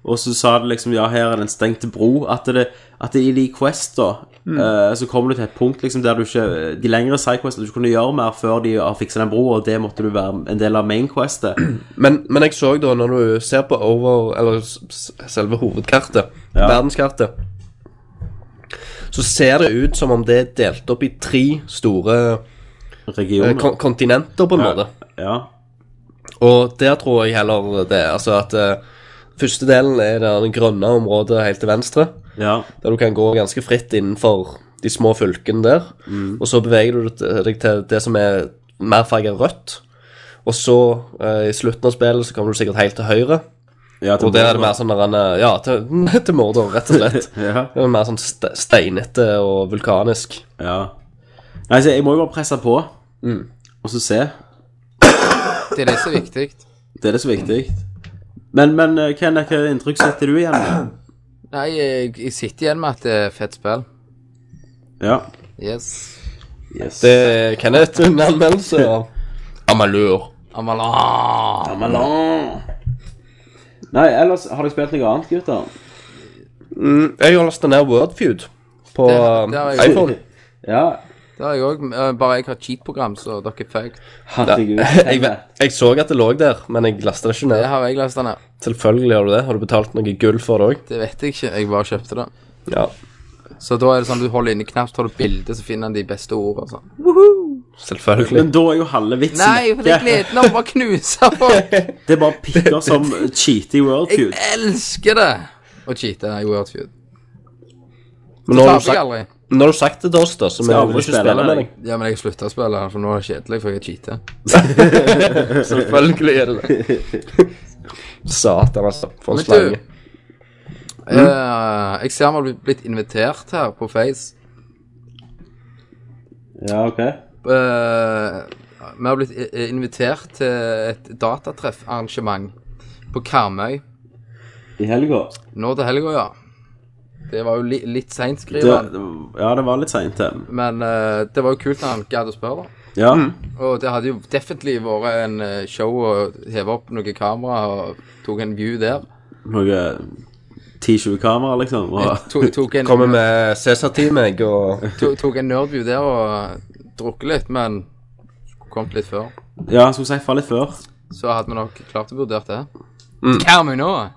Speaker 6: og så sa det liksom Ja, her er den stengte bro. At det, at det i de Quest, da,
Speaker 8: Mm.
Speaker 6: eh, så kommer du til et punkt liksom der du ikke De lengre sidequestene du ikke kunne gjøre mer før de har fiksa den broa, og det måtte du være en del av mainquestet.
Speaker 8: Men, men jeg så da, når du ser på over, eller s- s- selve hovedkartet, verdenskartet, så ser det ut som om det er delt opp i tre store eh,
Speaker 6: Regionen.
Speaker 8: kon kontinenter, på en måte.
Speaker 6: Ja.
Speaker 8: Og der tror jeg heller det. Altså at eh, første delen er det den grønne området helt til venstre,
Speaker 6: Ja.
Speaker 8: der du kan gå ganske fritt innenfor de små fylkene der.
Speaker 7: Mm.
Speaker 8: Og så beveger du deg til- til det som er mer farget rødt. Og så, eh, i slutten av spillet, så kommer du sikkert helt til høyre.
Speaker 6: ja til
Speaker 8: Og der er det
Speaker 6: Mordor.
Speaker 8: mer sånn der, en, ja, til, til morder, rett og slett.
Speaker 6: Ja.
Speaker 8: Det er mer sånn ste steinete og vulkanisk.
Speaker 6: ja. Nei, så jeg må jo bare presse på,
Speaker 8: Mm.
Speaker 6: og så se.
Speaker 7: Det er det som er viktig.
Speaker 6: Det er det som er viktig. Men, men eh, Kenneth, hva inntrykk setter du igjen med?
Speaker 7: Nei, jeg, jeg sitter igjen med at det er fett spill.
Speaker 6: Ja.
Speaker 7: Yes.
Speaker 6: Yes.
Speaker 8: Det er Kenneth en anmeldelse av Amalur.
Speaker 7: Amala!
Speaker 6: Amalon. Nei, ellers har dere spilt noe annet, gutter?
Speaker 8: Mm, jeg har lasta ned Wordfeud på
Speaker 7: Det- det har jeg
Speaker 8: eh, iPhone.
Speaker 6: Ja.
Speaker 7: Det har jeg òg. Bare jeg har cheat-program, så dere er fucked.
Speaker 6: Herregud.
Speaker 8: Jeg, ve- jeg så at det lå der, men jeg lasta det ikke
Speaker 7: Det
Speaker 8: ned.
Speaker 7: har jeg lasta ned.
Speaker 8: Selvfølgelig har du det. Har du betalt noe gull for det òg?
Speaker 7: Det vet jeg ikke. Jeg bare kjøpte det.
Speaker 8: Ja.
Speaker 7: Så da er det sånn du holder inne knapt, tar du bilde, så finner han de beste ordene. og Sånn.
Speaker 8: Selvfølgelig.
Speaker 6: Men da er jo halve vitsen
Speaker 7: Nei, for det er
Speaker 6: vekke.
Speaker 7: gleden over å knuse folk.
Speaker 6: Det er bare pikker som cheater i World
Speaker 7: Jeg
Speaker 6: Feud.
Speaker 7: elsker det! Å cheate i World Feud.
Speaker 8: Men
Speaker 7: Så
Speaker 8: nå har, du
Speaker 7: taper jeg
Speaker 8: sagt,
Speaker 7: aldri.
Speaker 8: nå har du sagt det til oss, da, så vi
Speaker 6: Skal
Speaker 8: vil
Speaker 6: aldri
Speaker 8: ikke
Speaker 6: spille
Speaker 8: spille
Speaker 6: med
Speaker 8: med deg.
Speaker 7: Ja, men jeg slutta å spille, for nå er det kjedelig, for jeg cheater.
Speaker 8: Selvfølgelig er det det. Satan, altså. For en
Speaker 7: Men
Speaker 8: slange.
Speaker 7: du
Speaker 8: Mm.
Speaker 7: eh, Jeg ser vi har blitt- blitt invitert her på Face.
Speaker 6: Ja, ok.
Speaker 7: Eh, vi har blitt i- i- invitert til et datatreffarrangement på Karmøy
Speaker 6: I helga.
Speaker 7: nå til helga, ja. Det var jo li litt seint,
Speaker 6: Det,
Speaker 7: skriver han.
Speaker 6: ja, det var litt seint. det.
Speaker 7: Men eh, det var jo kult når han gadd å spørre. da.
Speaker 6: Ja.
Speaker 7: Og det hadde jo definitivt vært en eh, show å heve opp noen kamera og tok en view der.
Speaker 6: Noe 10-20 kamera, liksom. Og,
Speaker 7: Tok, tok, en,
Speaker 8: Kommer med Cæsar-team, jeg, og
Speaker 7: to- tok en nerdview der og drukket litt, men kom litt før.
Speaker 6: ja, skulle si fra litt før.
Speaker 7: Så hadde vi nok klart å vurdert det. Hva er vi nå?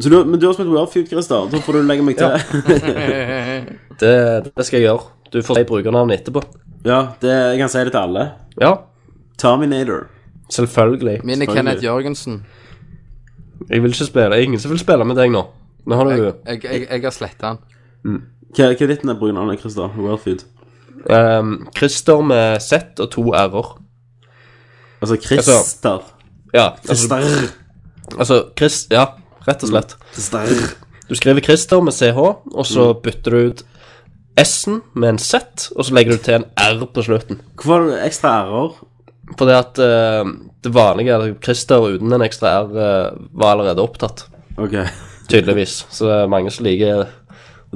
Speaker 6: Så du, men du har spilt World Feud, Christer. Da får du legge meg til. Ja,
Speaker 8: det, det skal jeg gjøre. Du får si brukernavnet etterpå.
Speaker 6: det, jeg kan si det til alle.
Speaker 8: Ja,
Speaker 6: Terminator.
Speaker 8: selvfølgelig.
Speaker 7: Min er
Speaker 6: Selvfølgelig.
Speaker 7: Kenneth Jørgensen.
Speaker 8: Jeg vil ikke spille. Det er ingen som vil spille med deg nå. Nå har du
Speaker 7: Jeg, jeg, jeg, jeg har sletta den.
Speaker 6: Hva, hva er ditt brukernavn, Christer? World Feud.
Speaker 8: ehm, Christer med Z og to r-er.
Speaker 6: Altså Christer.
Speaker 8: Ja, altså,
Speaker 6: Christer.
Speaker 8: altså Chris, Ja, rett og slett.
Speaker 6: Christer.
Speaker 8: Du skriver Christer med CH, og så bytter du ut S-en med en Z, og så legger du til en R på slutten.
Speaker 6: Hvorfor har du ekstra ærer?
Speaker 8: Fordi at eh, det vanlige er at Christer uten en ekstra R eh, var allerede opptatt,
Speaker 6: Ok.
Speaker 8: tydeligvis. Så det er mange som liker å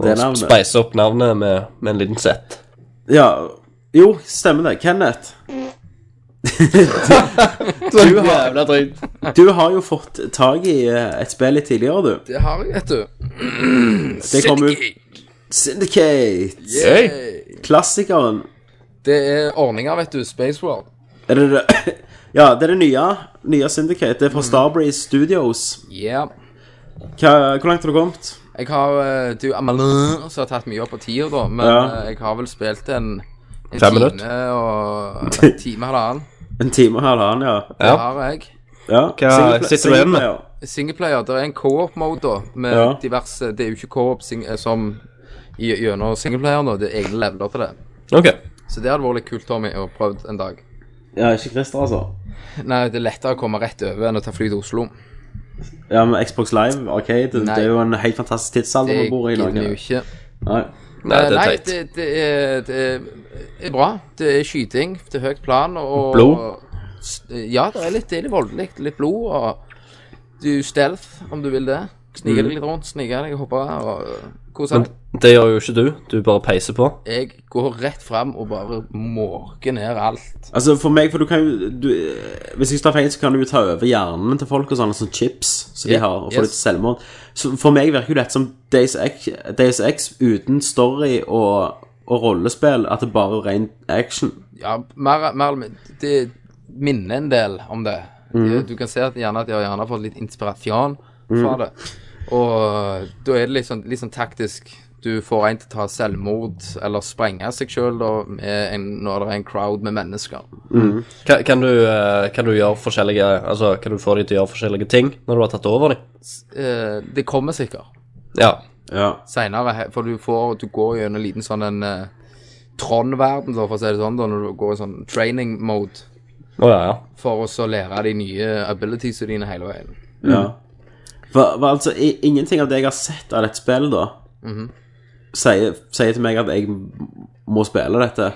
Speaker 6: Det navnet.
Speaker 8: speise opp navnet med, med en liten Z.
Speaker 6: Ja. Jo, stemmer det. Kenneth.
Speaker 8: Du jævla drit.
Speaker 6: Du har jo fått tak i eh, et spill litt tidligere, du.
Speaker 7: Det har jeg, vet du.
Speaker 6: Det kom ut Syndicate. Klassikeren.
Speaker 7: Det er ordninger, vet du. Space World.
Speaker 6: Er det det? Ja, det er det nye. Nye Syndicate. Det er
Speaker 7: Mm.
Speaker 6: fra Starbreeze Studios.
Speaker 7: Yeah.
Speaker 6: Hva, hvor langt har du kommet?
Speaker 7: Jeg har eh, Du, Amalin, som har tatt mye opp på tida, da, men
Speaker 6: Ja.
Speaker 7: eh, jeg har vel spilt en, en time
Speaker 8: Fem minutter?
Speaker 7: og en time halvannen.
Speaker 6: En time og halvannen, ja.
Speaker 7: Det
Speaker 8: Ja.
Speaker 7: har jeg.
Speaker 6: ja.
Speaker 8: Hva sitter du igjen med?
Speaker 6: singleplayer.
Speaker 7: Singleplayer, det er en co-op-mode, da, med
Speaker 6: Ja.
Speaker 7: diverse Det er jo ikke co-op sing- eh, som i- gjennom singleplayer nå, det er egne leveler til det.
Speaker 8: Ok.
Speaker 7: Så det hadde vært litt kult, Tommy, å prøve en dag.
Speaker 6: Ja, ikke Christer, altså.
Speaker 7: Nei, det er lettere å komme rett over enn å ta fly til Oslo.
Speaker 6: Ja, men Xbox Live Arcade, det,
Speaker 7: Nei.
Speaker 6: det er jo en helt fantastisk tidsalder
Speaker 7: Det
Speaker 6: vi bor i i
Speaker 7: gidder vi
Speaker 6: Norge.
Speaker 7: jo ikke.
Speaker 6: Nei.
Speaker 8: Eh, Nei, det er
Speaker 7: Nei,
Speaker 8: teit.
Speaker 7: det, det, er, det er- er bra. Det er skyting til høyt plan og
Speaker 8: Blod?
Speaker 7: s- Ja, det er litt, det er litt voldelig. Litt blod og Du stealth, om du vil det. Snike
Speaker 8: Mm.
Speaker 7: deg litt rundt, snike deg, hoppe og kose deg.
Speaker 8: Det gjør jo ikke du. Du bare peiser på.
Speaker 7: Jeg går rett fram og bare måker ned alt.
Speaker 6: Altså, for meg, for du kan jo du, eh, Hvis jeg ikke tar feil, så kan du jo ta over hjernen til folk og sånne sånne chips som de
Speaker 7: Ja,
Speaker 6: har, og få
Speaker 7: yes.
Speaker 6: litt selvmord. Så for meg virker jo dette som Days X, Days X uten story og, og rollespill, at det bare er ren action.
Speaker 7: Ja, mer, mer eller min- Det minner en del om det. Du kan se at, gjerne at de har gjerne fått litt inspirasjon fra det. Og da er det litt sånn, litt sånn taktisk. Du får en til å ta selvmord eller sprenge seg sjøl når det er en crowd med mennesker.
Speaker 8: Kan, kan, du, eh, kan du gjøre forskjellige Altså, kan du få de til å gjøre forskjellige ting når du har tatt over dem?
Speaker 7: Eh, det kommer sikkert
Speaker 8: Ja.
Speaker 6: Ja.
Speaker 7: seinere, for du, får, du går gjennom en liten sånn en eh, Trond-verden, da, for å si det sånn, da, når du går i sånn training mode
Speaker 8: Å ja, ja.
Speaker 7: for å så lære de nye abilitiesene dine hele veien.
Speaker 6: ja. For, for altså, i, ingenting av det jeg har sett av dette spillet, da,
Speaker 7: Mhm.
Speaker 6: sier, sier til meg at jeg må spille dette.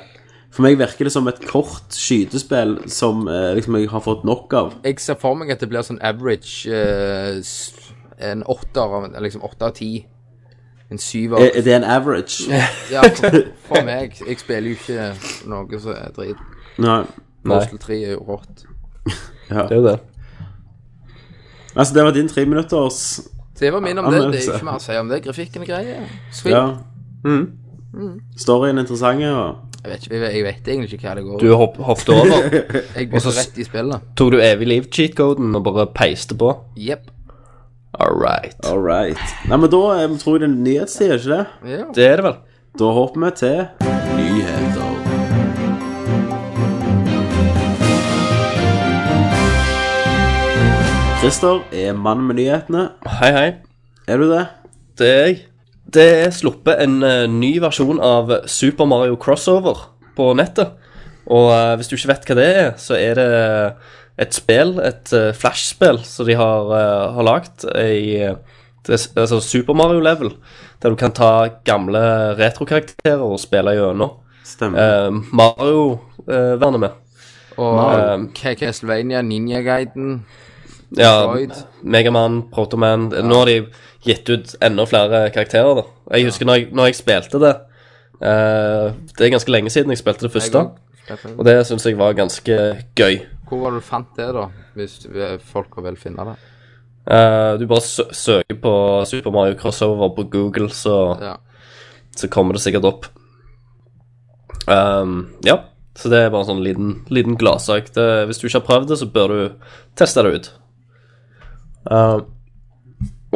Speaker 6: For meg virker det som et kort skytespill som eh, liksom jeg har fått nok av.
Speaker 7: jeg ser for meg at det blir sånn average eh, s- En åtter av liksom åtte av ti. En syver.
Speaker 8: Eh.
Speaker 6: Er, er det en average?
Speaker 7: Ja, for, for meg. Jeg spiller jo ikke noe som er drit.
Speaker 6: Nei.
Speaker 7: Postal 3 er jo rått.
Speaker 6: Ja.
Speaker 8: Det er jo det.
Speaker 6: Altså, det var din treminutters
Speaker 7: Det var min om det. Det er
Speaker 6: Anmeldelse.
Speaker 7: ikke mer å si om det. Grafikken er grei. Sweet.
Speaker 6: Ja. Mm. Storyen er interessant, ja.
Speaker 7: Jeg, vet ikke, jeg, jeg vet egentlig ikke hva det går
Speaker 8: Du hopp, hoppet over.
Speaker 7: Jeg går rett i spillet.
Speaker 8: Tok du evig liv-cheat-coden og bare peiste på?
Speaker 7: Jepp.
Speaker 8: All right.
Speaker 6: All right. Nei, men da eh, tror jeg det er nyhetstid, er ikke det?
Speaker 7: Ja.
Speaker 8: Det er det vel.
Speaker 6: Da hopper vi til nyheter. Christer er mann med nyhetene.
Speaker 8: Hei, hei.
Speaker 6: Er du det?
Speaker 8: Det er jeg. Det er sluppet en eh, ny versjon av Super Mario Crossover på nettet. Og eh, hvis du ikke vet hva det er, så er det eh, et spill, et uh, flashspill, som de har, uh, har lagd i eh, det, s- altså Super Mario-level. Der du kan ta gamle retrokarakterer og spille gjennom.
Speaker 6: Stemmer.
Speaker 8: Uh, Mario-vernet med.
Speaker 7: Og
Speaker 8: Nei.
Speaker 7: K- Castlevania, Ninja Guiden
Speaker 8: Ja,
Speaker 7: Metroid.
Speaker 8: Megaman, Protoman Nå har de gitt ut enda flere karakterer da Jeg husker når jeg, når jeg spilte det eh, Det er ganske lenge siden jeg spilte det første Og det synes jeg var ganske gøy
Speaker 7: Hvor var det du fant det, da? Hvis du- folk vil finne det.
Speaker 8: Eh, Du bare sø søker på Super Mario Crossover på Google Så,
Speaker 7: Ja.
Speaker 8: så kommer det sikkert opp Ehm, Ja, så det er bare en sånn liten, liten gladsak Det- Hvis du ikke har prøvd det så bør du teste det ut Eh,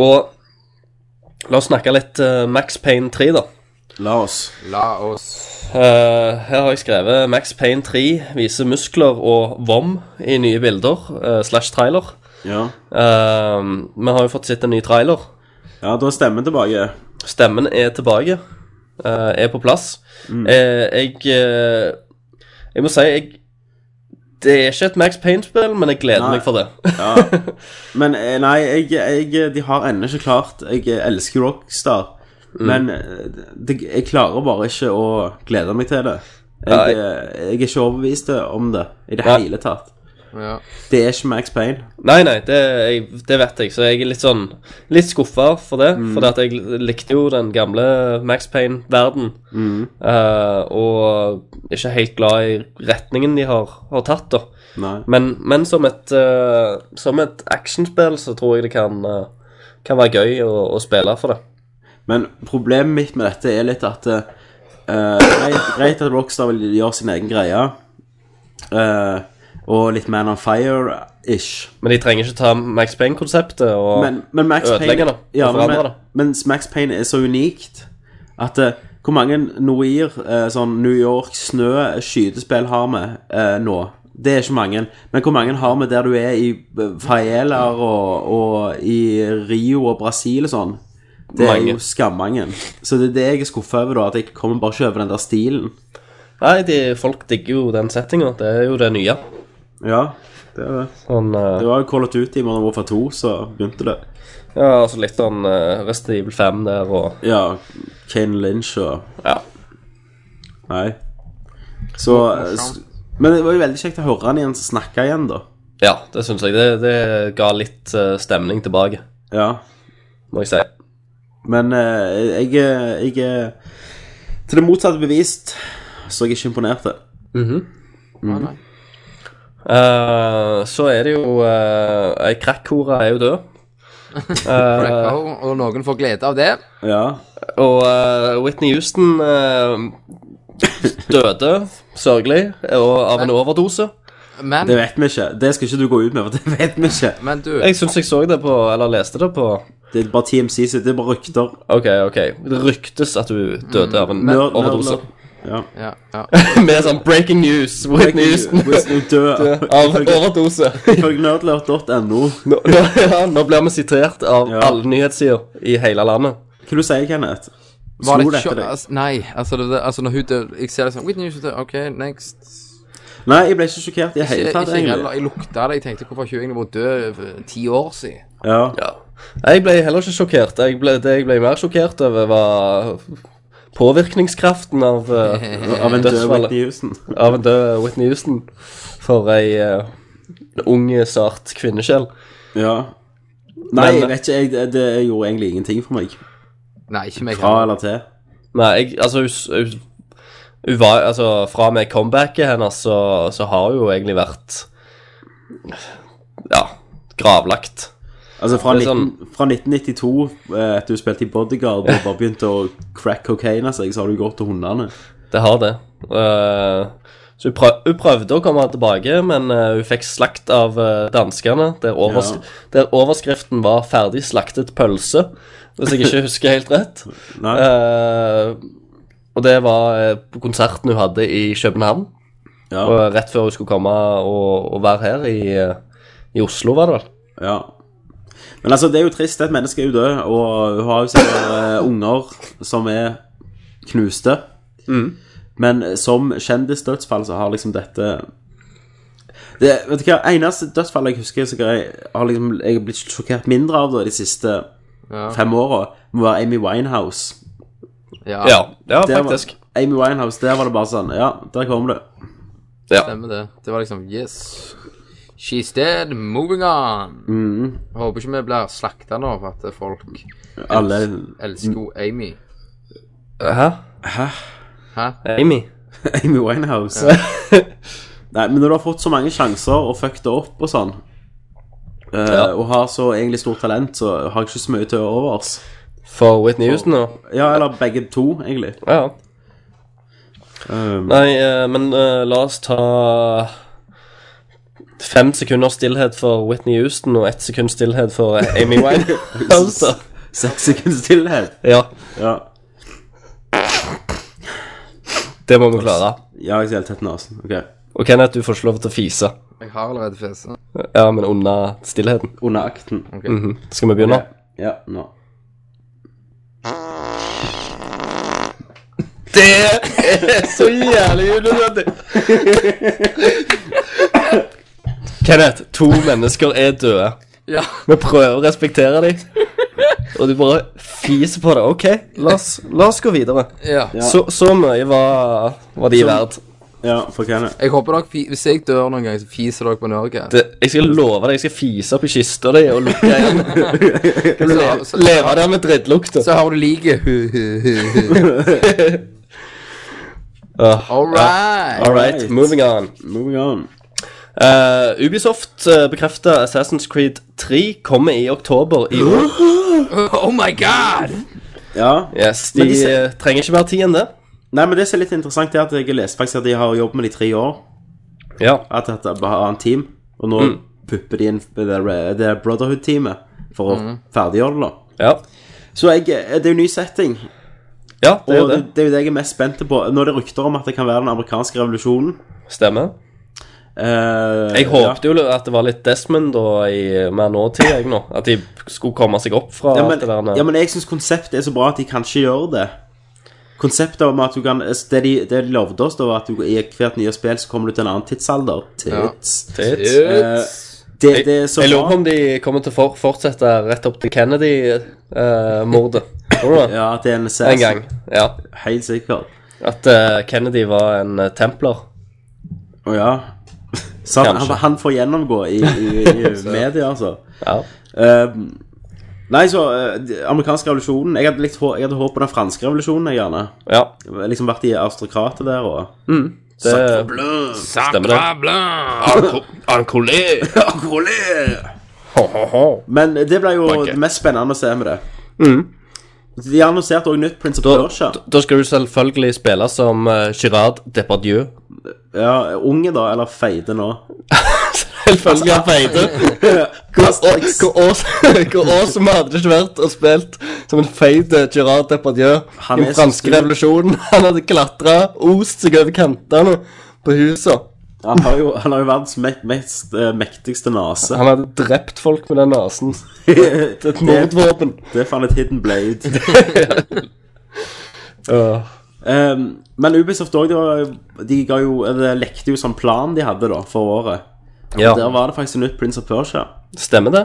Speaker 8: Og la oss snakke litt eh, Max Payne 3, da.
Speaker 6: La oss.
Speaker 7: La oss
Speaker 8: Eh, her har jeg skrevet Max Payne 3 viser muskler og vom i nye bilder, eh, slash trailer.
Speaker 6: Ja.
Speaker 8: Eh, vi har jo fått sett en ny trailer.
Speaker 6: ja, da er stemmen tilbake.
Speaker 8: Stemmen er tilbake. eh, er på plass. Eh, jeg eh, Jeg må si jeg Det er ikke et Max Payne-spill, men jeg gleder
Speaker 6: Nei.
Speaker 8: meg for det.
Speaker 6: Men eh, nei, jeg, jeg, de har ennå ikke klart Jeg eh, elsker Rockstar, men eh, det, jeg klarer bare ikke å glede meg til det.
Speaker 8: Ja,
Speaker 6: Jeg, eh, jeg er ikke overbevist om det i det
Speaker 8: Nei.
Speaker 6: hele tatt.
Speaker 7: Ja.
Speaker 6: Det er ikke Max Payne.
Speaker 8: Nei, nei, det, jeg, det vet jeg, så jeg er litt sånn Litt skuffa for det. For at jeg likte jo den gamle Max Payne-verden. eh, og ikke helt glad i retningen de har, har tatt, da.
Speaker 6: Nei.
Speaker 8: Men, men som et eh, Som et actionspill så tror jeg det kan eh, Kan være gøy å, å spille for det.
Speaker 6: Men problemet mitt med dette er litt at eh, greit, greit at Rockstar vil gjøre sin egen greie. eh, og litt Man on Fire-ish.
Speaker 8: Men de trenger ikke ta Max Payne-konseptet og
Speaker 6: Men, men Max
Speaker 8: ødelegge
Speaker 6: Payne
Speaker 8: det.
Speaker 6: ja,
Speaker 8: og
Speaker 6: men,
Speaker 8: forandre det.
Speaker 6: men Max Payne er så unikt At eh, hvor mange Noir, eh, sånn New York snø skytespill har vi eh, nå Det er ikke mange Men hvor mange har vi der du er i eh, Faeler og, og i Rio og Brasil og sånn Det er
Speaker 8: Mange.
Speaker 6: jo skammangen Så det er det jeg er skuffet over da At jeg kommer bare ikke over den der stilen
Speaker 8: Nei, de, folk digger jo den settinga. Det er jo det nye.
Speaker 6: Ja, det er det
Speaker 8: Sånn, eh,
Speaker 6: Det var jo Call of Duty i Modern Warfare 2 Så begynte det
Speaker 8: ja, altså litt sånn uh, Resident Evil 5 der og
Speaker 6: Ja, Kane Lynch og
Speaker 8: Ja.
Speaker 6: Nei. Så eh, s- Men det var jo veldig kjekt å høre han igjen snakke igjen, da.
Speaker 8: Ja, det syns jeg. Det, det ga litt eh, stemning tilbake,
Speaker 6: Ja.
Speaker 8: må jeg si.
Speaker 6: Men eh, jeg, er- jeg er Til det motsatte bevist, så jeg er ikke imponert.
Speaker 8: Eh, så er det jo uh, Ei krakkhore er jo død. Eh.
Speaker 7: Cracker, og noen får glede av det.
Speaker 6: Ja.
Speaker 8: Og eh, Whitney Houston eh, døde sørgelig og av en overdose.
Speaker 7: Men,
Speaker 6: Det vet vi ikke. Det skal ikke du gå ut med, for det vet vi ikke.
Speaker 7: men du
Speaker 8: Jeg syns jeg så det på, eller leste det på
Speaker 6: Det er bare TMC sitt, det er bare rykter.
Speaker 8: OK, OK. Det ryktes at hun døde av en
Speaker 6: Nør-
Speaker 8: overdose.
Speaker 6: nørder. Ja.
Speaker 7: ja, ja.
Speaker 8: Med sånn breaking news. Whitney Houston
Speaker 6: Houston død.
Speaker 8: av overdose.
Speaker 6: Ifølge nerdlert.no.
Speaker 8: Nå, nå, ja, nå blir vi sitert av
Speaker 6: Ja.
Speaker 8: alle nyhetssider i hele landet.
Speaker 6: Hva du sier du, Kenneth?
Speaker 7: Var
Speaker 6: Slo
Speaker 7: det
Speaker 6: det
Speaker 7: ikke
Speaker 6: etter deg?
Speaker 7: altså, Nei, altså, det, det- altså når hun dør Jeg ser det sånn Whitney Houston dør, OK, next.
Speaker 6: Nei, jeg ble ikke sjokkert i det
Speaker 7: Jeg,
Speaker 6: hele tatt,
Speaker 7: ikke, heller,
Speaker 6: egentlig.
Speaker 7: jeg lukta det. Jeg tenkte hvorfor har ikke hun egentlig vært død for ti år siden?
Speaker 6: Ja.
Speaker 8: Ja. Jeg ble heller ikke sjokkert. Jeg ble, det jeg ble mer sjokkert over, var påvirkningskraften av, eh,
Speaker 6: Av en død
Speaker 8: dødsfallet.
Speaker 6: Whitney Houston.
Speaker 8: av en død Whitney Houston for ei eh, ung, sart kvinnesjel.
Speaker 6: Ja. Nei,
Speaker 8: Men-
Speaker 6: jeg vet ikke. Jeg, det, det gjorde egentlig ingenting for meg.
Speaker 7: Nei, ikke meg.
Speaker 6: Fra
Speaker 7: heller.
Speaker 6: eller til.
Speaker 8: Nei, jeg, altså hun, s- hun, hun var, altså, Fra og med comebacket hennes så, så har hun jo egentlig vært Ja, gravlagt.
Speaker 6: Altså fra,
Speaker 8: Det er sånn-
Speaker 6: 19, fra 1992, eh, etter du spilte i Bodyguard og bare begynte å crack cocaine seg, så har du gått til hundene.
Speaker 8: Det har det. Eh, så hun, prøv, hun prøvde å komme tilbake, men eh, hun fikk slakt av eh, danskene. Der, overs
Speaker 6: Ja.
Speaker 8: der overskriften var 'ferdig slaktet pølse', hvis jeg ikke husker helt rett.
Speaker 6: Nei.
Speaker 8: Eh, og det var eh, på konserten hun hadde i København.
Speaker 6: Ja.
Speaker 8: Og rett før hun skulle komme og, og være her i, eh, i Oslo, var det vel.
Speaker 6: ja. Men altså, det er jo trist. Et menneske er jo død, og hun har jo sine eh, unger som er knuste. Men som kjendisdødsfall så har liksom dette det, vet du hva, Eneste dødsfall jeg husker som jeg har liksom, jeg har blitt sjokkert mindre av da, de siste fem åra, må være Amy Winehouse.
Speaker 7: Ja,
Speaker 8: Ja, ja
Speaker 6: Der var-
Speaker 8: faktisk.
Speaker 6: Amy Winehouse, der var det bare sånn Ja, der kom det.
Speaker 7: stemmer det. Det var liksom Yes. She's dead, moving on.
Speaker 6: Mm.
Speaker 7: Håper ikke vi blir slakta nå for at folk
Speaker 6: Alle
Speaker 7: elsker jo
Speaker 6: Mm.
Speaker 7: Amy.
Speaker 8: Hæ?
Speaker 7: Hæ?
Speaker 8: Amy?
Speaker 6: Amy Winehouse. Nei, men når du har fått så mange sjanser og fucket det opp og sånn, eh,
Speaker 8: Ja.
Speaker 6: og har så egentlig stort talent, så har jeg ikke så mye til overs.
Speaker 8: For Whitney Houston og
Speaker 6: Ja, eller begge to, egentlig.
Speaker 8: Ja, ja. Nei, eh, men eh, la oss ta fem sekunder stillhet for Whitney Houston og ett sekund stillhet for eh, Amy Winehouse. da.
Speaker 6: Seks sekunders stillhet.
Speaker 8: ja,
Speaker 6: Ja.
Speaker 8: det må vi klare.
Speaker 6: ja, jeg ser helt tett nesen. Ok.
Speaker 8: Og Kenneth, du får ikke lov til å fise.
Speaker 7: Jeg har allerede fjeset.
Speaker 8: Ja, men under stillheten.
Speaker 6: Under akten.
Speaker 8: Mhm. Skal vi begynne?
Speaker 6: Ja, nå.
Speaker 8: Det er så jævlig unødvendig! Kenneth, to mennesker er døde.
Speaker 7: Ja.
Speaker 8: Vi prøver å respektere dem, og du bare fiser på det. OK, la oss, la oss gå videre.
Speaker 7: ja.
Speaker 8: Så, så mye var, var de verdt.
Speaker 6: Ja, for hva er det?
Speaker 7: Jeg håper dere, fi- Hvis jeg dør noen gang, så fiser dere på Norge.
Speaker 8: Det, jeg skal love deg, jeg skal fise opp i kista di og lukke igjen.
Speaker 7: Så, så,
Speaker 8: Leve der med drittlukta.
Speaker 7: så har du liket.
Speaker 8: Ah,
Speaker 7: All right.
Speaker 8: All right, moving on.
Speaker 6: Moving on.
Speaker 8: Eh, Ubisoft uh, bekrefter Assassin's Creed 3 kommer i oktober i år.
Speaker 7: Oh my god!
Speaker 6: Ja.
Speaker 8: Yes, de
Speaker 6: Men de ser-
Speaker 8: eh, trenger ikke mer tid enn det.
Speaker 6: Nei, men det som er litt interessant, er at jeg har lest faktisk at de har jobbet med det i tre år.
Speaker 8: Ja.
Speaker 6: At dette bare har en team. Og nå pupper de inn det der- det der Brotherhood-teamet for å ferdiggjøre det, da.
Speaker 8: Ja,
Speaker 6: Så jeg, eh, det er jo ny setting,
Speaker 8: ja
Speaker 6: og
Speaker 8: det er jo det.
Speaker 6: det, det er jo det jeg er mest spent på. Nå er det rykter om at det kan være den amerikanske revolusjonen.
Speaker 8: Stemmer.
Speaker 6: Eh,
Speaker 8: Jeg håpte jo at det var litt Desmond da i mer nåtid, jeg nå. At de skulle komme seg opp fra
Speaker 6: ja,
Speaker 8: alt det der.
Speaker 6: men,
Speaker 8: nede.
Speaker 6: ja, men jeg syns konseptet er så bra at de kanskje gjør det. Konseptet om at du kan eh, Det de, det de lovde oss, da, var at du i hvert nye spill så kommer du til en annen tidsalder. Tids.
Speaker 8: Tits.
Speaker 6: Eh, det, det er så
Speaker 8: jeg lurer på
Speaker 6: bra.
Speaker 8: om de kommer til å for- fortsette rett opp til Kennedy-mordet. Tror du det?
Speaker 6: Ja, altså. at det er en
Speaker 8: En gang. Ja.
Speaker 6: Helt sikkert.
Speaker 8: At eh, Kennedy var en eh, templer.
Speaker 6: Å ja. Så han,
Speaker 8: Kanskje.
Speaker 6: han får gjennomgå i, i, i media, altså.
Speaker 8: Ja.
Speaker 6: Ehm, nei, så eh, de- amerikansk revolusjonen Jeg hadde, likt, hå- jeg hadde håpet på den franske revolusjonen, jeg gjerne.
Speaker 8: ja.
Speaker 6: Liksom vært i aristokratet der og
Speaker 8: Det Mm. stemmer, det.
Speaker 6: Men det ble jo
Speaker 8: Banke.
Speaker 6: det mest spennende å se med det. De annonserte også nytt Prince of
Speaker 8: Mm. Da,
Speaker 6: Persia.
Speaker 8: da- da skal du selvfølgelig spille som uh, Girard Depardieu.
Speaker 6: Ja, Unge, da, eller feite nå.
Speaker 8: Selvfølgelig Altså, han feite. Hvor
Speaker 6: Asterix.
Speaker 8: hvor awes- hvor awesome hadde det ikke vært å spilt som en feit eh, Gerard Depardieu
Speaker 6: Han
Speaker 8: i
Speaker 6: er
Speaker 8: den
Speaker 6: så
Speaker 8: franske
Speaker 6: stor.
Speaker 8: revolusjonen. Han hadde klatra, ost seg over kantene på huset.
Speaker 6: Han har jo, han har jo verdens me- mest eh, mektigste nase.
Speaker 8: Han hadde drept folk med den nesen.
Speaker 6: det,
Speaker 8: Et mordvåpen.
Speaker 6: det er faen et hidden blade.
Speaker 8: Ja.
Speaker 6: Ehm, men Ubisoft òg, de ga jo Eller lekte jo sånn plan de hadde da for året.
Speaker 8: Ja,
Speaker 6: Der var det faktisk et nytt Prince of Persia.
Speaker 8: stemmer det?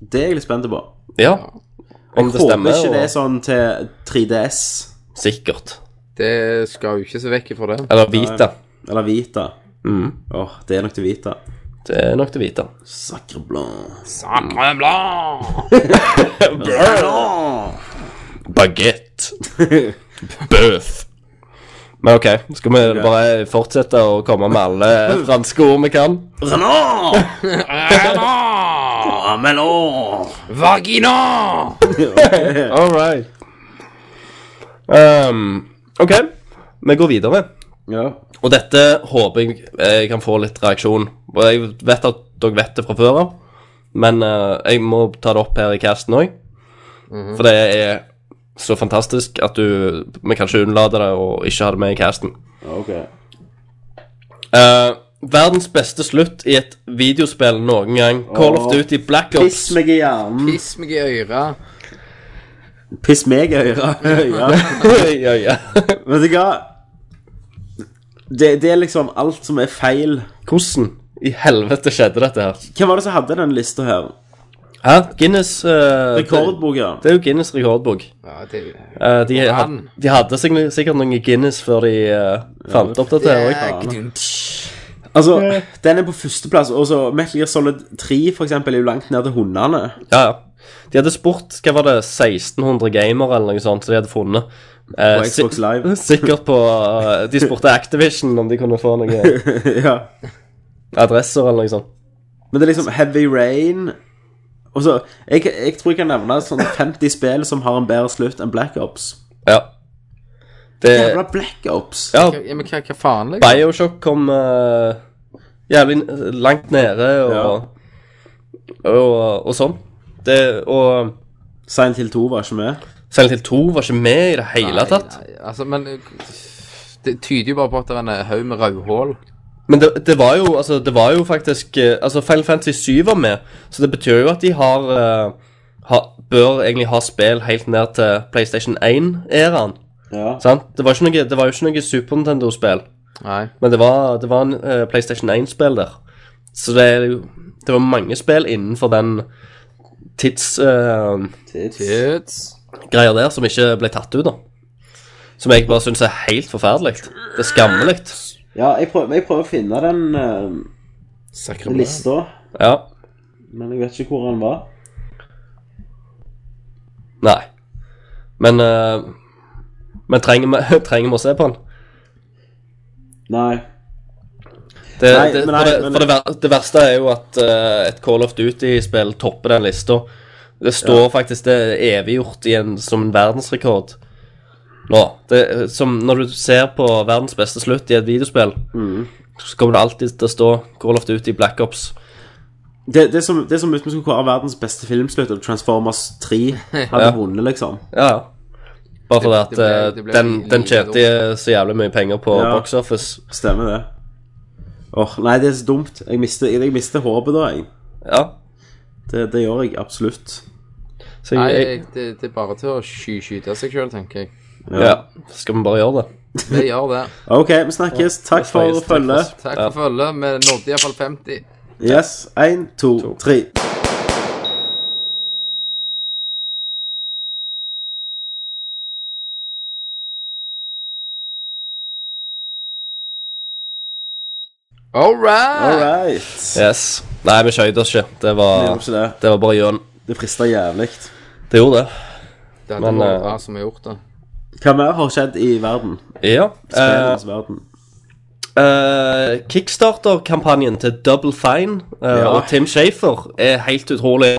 Speaker 6: Det er jeg litt spent på.
Speaker 8: Ja. Om det
Speaker 6: Håper
Speaker 8: stemmer,
Speaker 6: ikke det er
Speaker 8: og
Speaker 6: sånn til 3DS
Speaker 8: sikkert.
Speaker 7: Det skal jo ikke se vekk ifra det.
Speaker 8: Eller Vita.
Speaker 6: eller Vita.
Speaker 8: Mm.
Speaker 6: Åh, det er nok til Vita.
Speaker 8: Det er nok til Vita.
Speaker 6: Sacre blanc.
Speaker 8: Baguette. Bøf. Men OK, skal vi bare fortsette å komme med alle franske ord vi kan?
Speaker 6: Renault! Amelon!
Speaker 7: Vagina!
Speaker 8: All right. Um, OK, vi går videre.
Speaker 6: Ja.
Speaker 8: Og dette håper jeg eh, jeg kan få litt reaksjon. Og jeg vet at dere vet det fra før av, men eh, jeg må ta det opp her i casten òg.
Speaker 6: Mhm.
Speaker 8: For det er så fantastisk at du Vi kan ikke unnlate det og ikke ha det med i casten.
Speaker 6: Ok.
Speaker 8: Eh, Verdens beste slutt i et videospill noen gang. Call of
Speaker 6: Åh.
Speaker 8: Duty Black
Speaker 6: Piss
Speaker 8: Ops.
Speaker 6: meg i hjernen.
Speaker 7: Piss meg i øret.
Speaker 6: Piss meg i øret. ja.
Speaker 8: ja, ja.
Speaker 6: Vet du hva? Det, det er liksom alt som er feil.
Speaker 8: Hvordan i helvete skjedde dette her?
Speaker 6: Hvem var det som hadde den lista her?
Speaker 8: Hæ? Guinness eh,
Speaker 6: Rekordbok, ja.
Speaker 8: Det, det er jo Guinness rekordbok.
Speaker 7: Ja, det,
Speaker 8: Eh, de, had,
Speaker 7: Han.
Speaker 8: de hadde sikk- sikkert noen Guinness før de eh, fant opp dette. her, ikke?
Speaker 6: Altså, den er på førsteplass. Og så Metal Gear Solid 3 for eksempel, er jo langt ned til hundene.
Speaker 8: Ja, ja. De hadde spurt hva var det, 1600 gamere eller noe sånt som de hadde funnet. Eh,
Speaker 6: På Xbox
Speaker 8: si-
Speaker 6: Live.
Speaker 8: Sikkert på eh, De spurte Activision om de kunne få noen
Speaker 6: ja.
Speaker 8: adresser eller noe sånt.
Speaker 6: Men det er liksom Heavy Rain Og så, jeg, jeg tror jeg kan nevne sånn 50 spill som har en bedre slutt enn Black Ops.
Speaker 8: Ja. Det,
Speaker 6: Jævla Black Ops.
Speaker 8: ja,
Speaker 7: Ja, men hva, hva faen, liksom?
Speaker 8: Bioshock kom eh, jævlig n- langt nede og, og, og sånn. Det, og
Speaker 6: Silent Hill 2 var ikke med.
Speaker 8: Silent Hill 2 var ikke med i det hele tatt.
Speaker 7: Nei, nei, Altså, men Det tyder jo bare på at det er en eh, haug med rødhål.
Speaker 8: Men det, det var jo altså, det var jo faktisk eh, Altså, Final Fantasy 7 var med, så det betyr jo at de har, eh, har Bør egentlig ha spill helt ned til PlayStation 1-æraen.
Speaker 6: Ja.
Speaker 8: Sant? Det var, ikke noe, det var jo ikke noe Super Nintendo-spill,
Speaker 7: Nei.
Speaker 8: men det var, det var en eh, PlayStation 1-spill der. Så det er jo Det var mange spill innenfor den tidsgreia
Speaker 7: Tits.
Speaker 8: der som ikke ble tatt ut, da. Som jeg bare syns er helt forferdelig. Det er skammelig.
Speaker 6: Ja, jeg prøver, jeg prøver å finne den eh,
Speaker 7: Sakrament.
Speaker 6: lista,
Speaker 8: Ja.
Speaker 6: men jeg vet ikke hvor den var.
Speaker 8: Nei. Men eh, Men trenger vi, trenger vi å se på den?
Speaker 6: Nei.
Speaker 8: Det,
Speaker 6: Nei,
Speaker 8: det,
Speaker 6: men
Speaker 8: for
Speaker 6: nei,
Speaker 8: det,
Speaker 6: men-
Speaker 8: for det, ver det verste er jo at eh, et Call of Duty-spill topper den lista. Det står faktisk det er eviggjort i en, som en verdensrekord. Nå, det, som Når du ser på verdens beste slutt i et videospill,
Speaker 6: Mm.
Speaker 8: så kommer det alltid til å stå Call of Duty Black Ops.
Speaker 6: Det, det, er som, det er som hvis vi skulle kåre verdens beste filmslutt, og Transformers 3 hadde vunnet, liksom.
Speaker 8: Ja, ja. Bare fordi at
Speaker 7: Det- det ble-
Speaker 8: eh,
Speaker 7: det ble
Speaker 8: den, den
Speaker 7: livet
Speaker 8: tjente så jævlig mye penger på
Speaker 6: Ja.
Speaker 8: box office.
Speaker 6: Stemmer det. Åh, Nei, det er så dumt. Jeg mister, jeg mister håpet da, jeg.
Speaker 8: Ja.
Speaker 6: Det, det gjør jeg absolutt.
Speaker 8: Så
Speaker 7: Nei,
Speaker 8: jeg,
Speaker 7: jeg- det, det er bare til å sky skyte seg sjøl, tenker jeg.
Speaker 8: Ja, skal vi bare gjøre det?
Speaker 7: Det gjør det.
Speaker 6: OK, vi snakkes. Takk for
Speaker 8: snakkes.
Speaker 6: å følge.
Speaker 7: Takk for følget. Vi nådde iallfall 50.
Speaker 6: Yes. Én, to, tre.
Speaker 7: All right!
Speaker 6: All right.
Speaker 8: Yes. Nei, vi skøyt oss ikke. Det
Speaker 6: Det
Speaker 8: var,
Speaker 6: gjorde ikke det.
Speaker 8: det var bare gjøn.
Speaker 6: Det frister jævlig.
Speaker 8: Det gjorde det.
Speaker 7: Det hadde
Speaker 8: Men,
Speaker 7: vært
Speaker 8: eh,
Speaker 7: bra som har gjort det.
Speaker 6: Hva mer har skjedd i verden?
Speaker 8: Ja. eh,
Speaker 6: Spillens verden.
Speaker 8: eh, Kickstarter-kampanjen til Double Fine eh,
Speaker 6: Ja.
Speaker 8: og Tim Shafer er helt utrolig.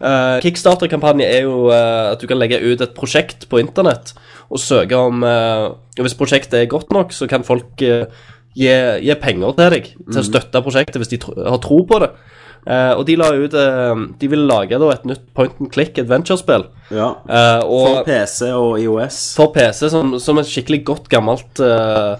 Speaker 8: Eh, Kickstarter-kampanje er jo eh, at du kan legge ut et prosjekt på internett og søke om eh, og Hvis prosjektet er godt nok, så kan folk eh, gi, gi penger til deg til å
Speaker 6: Mm.
Speaker 8: støtte prosjektet hvis de tro, har tro på det. Eh, og de la ut eh, De ville lage da, et nytt point and click adventure-spill.
Speaker 6: Ja.
Speaker 8: Eh, og,
Speaker 6: For PC og IOS.
Speaker 8: for PC som, som et skikkelig godt gammelt eh,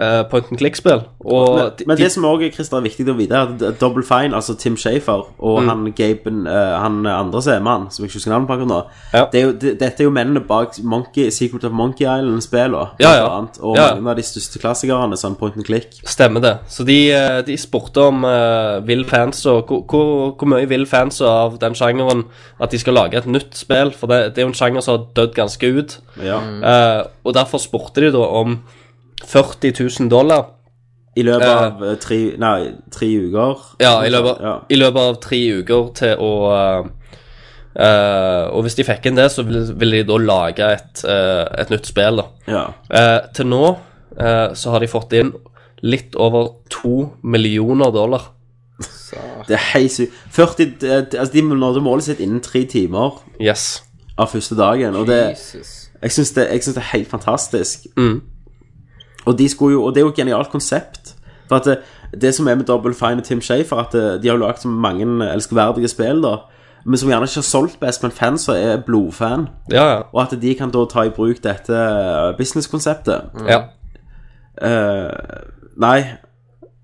Speaker 8: eh, point and click-spill. Og
Speaker 6: Men,
Speaker 8: de-
Speaker 6: men
Speaker 8: de-
Speaker 6: det som også er Christer, er viktig å vite, er at det er Double Fine, altså Tim Shafer og
Speaker 8: Mm.
Speaker 6: han Gaben, eh, han andre som er mann, som jeg ikke husker navnet på akkurat nå
Speaker 8: Ja.
Speaker 6: det er jo, det, Dette er jo mennene bak Monkey, Secret of Monkey Island-spillene.
Speaker 8: Ja, ja.
Speaker 6: blant annet, Og
Speaker 8: Ja, ja.
Speaker 6: mange av de største klassikerne, sånn point and click.
Speaker 8: stemmer det. Så de, eh, de spurte om eh, vil fans og hvor- hvor hvor mye vil fans av den sjangeren at de skal lage et nytt spill, for det, det er jo en sjanger som har dødd ganske ut.
Speaker 6: Ja.
Speaker 8: Eh, og derfor spurte de da om 40 000 dollar.
Speaker 6: I løpet
Speaker 8: Eh.
Speaker 6: av eh, tre, nei, tre uker.
Speaker 8: Ja, i løpet,
Speaker 6: Ja.
Speaker 8: i løpet av tre uker til å eh, eh, Og hvis de fikk inn det, så ville ville de da lage et, eh, et nytt spill, da.
Speaker 6: ja.
Speaker 8: Eh, til nå eh, så har de fått inn litt over to millioner dollar.
Speaker 6: Det er helt sykt. 40 d- d- Altså, de nådde målet sitt innen tre timer
Speaker 8: Yes.
Speaker 6: av første dagen, og det
Speaker 7: Jesus.
Speaker 6: Jeg syns det, jeg synes det er helt fantastisk.
Speaker 8: Mm.
Speaker 6: Og, de skulle jo, og det er jo et genialt konsept. For at det, det som er med Double Fine og Tim Shafer, at eh, de har jo lagd så mange eh, elskverdige spill, da. Men som gjerne ikke har solgt best, men fans som er blodfan.
Speaker 8: Ja, ja.
Speaker 6: Og at de kan da ta i bruk eh,
Speaker 8: Mm.
Speaker 6: Mm. dette businesskonseptet.
Speaker 8: ja.
Speaker 6: Eh, nei,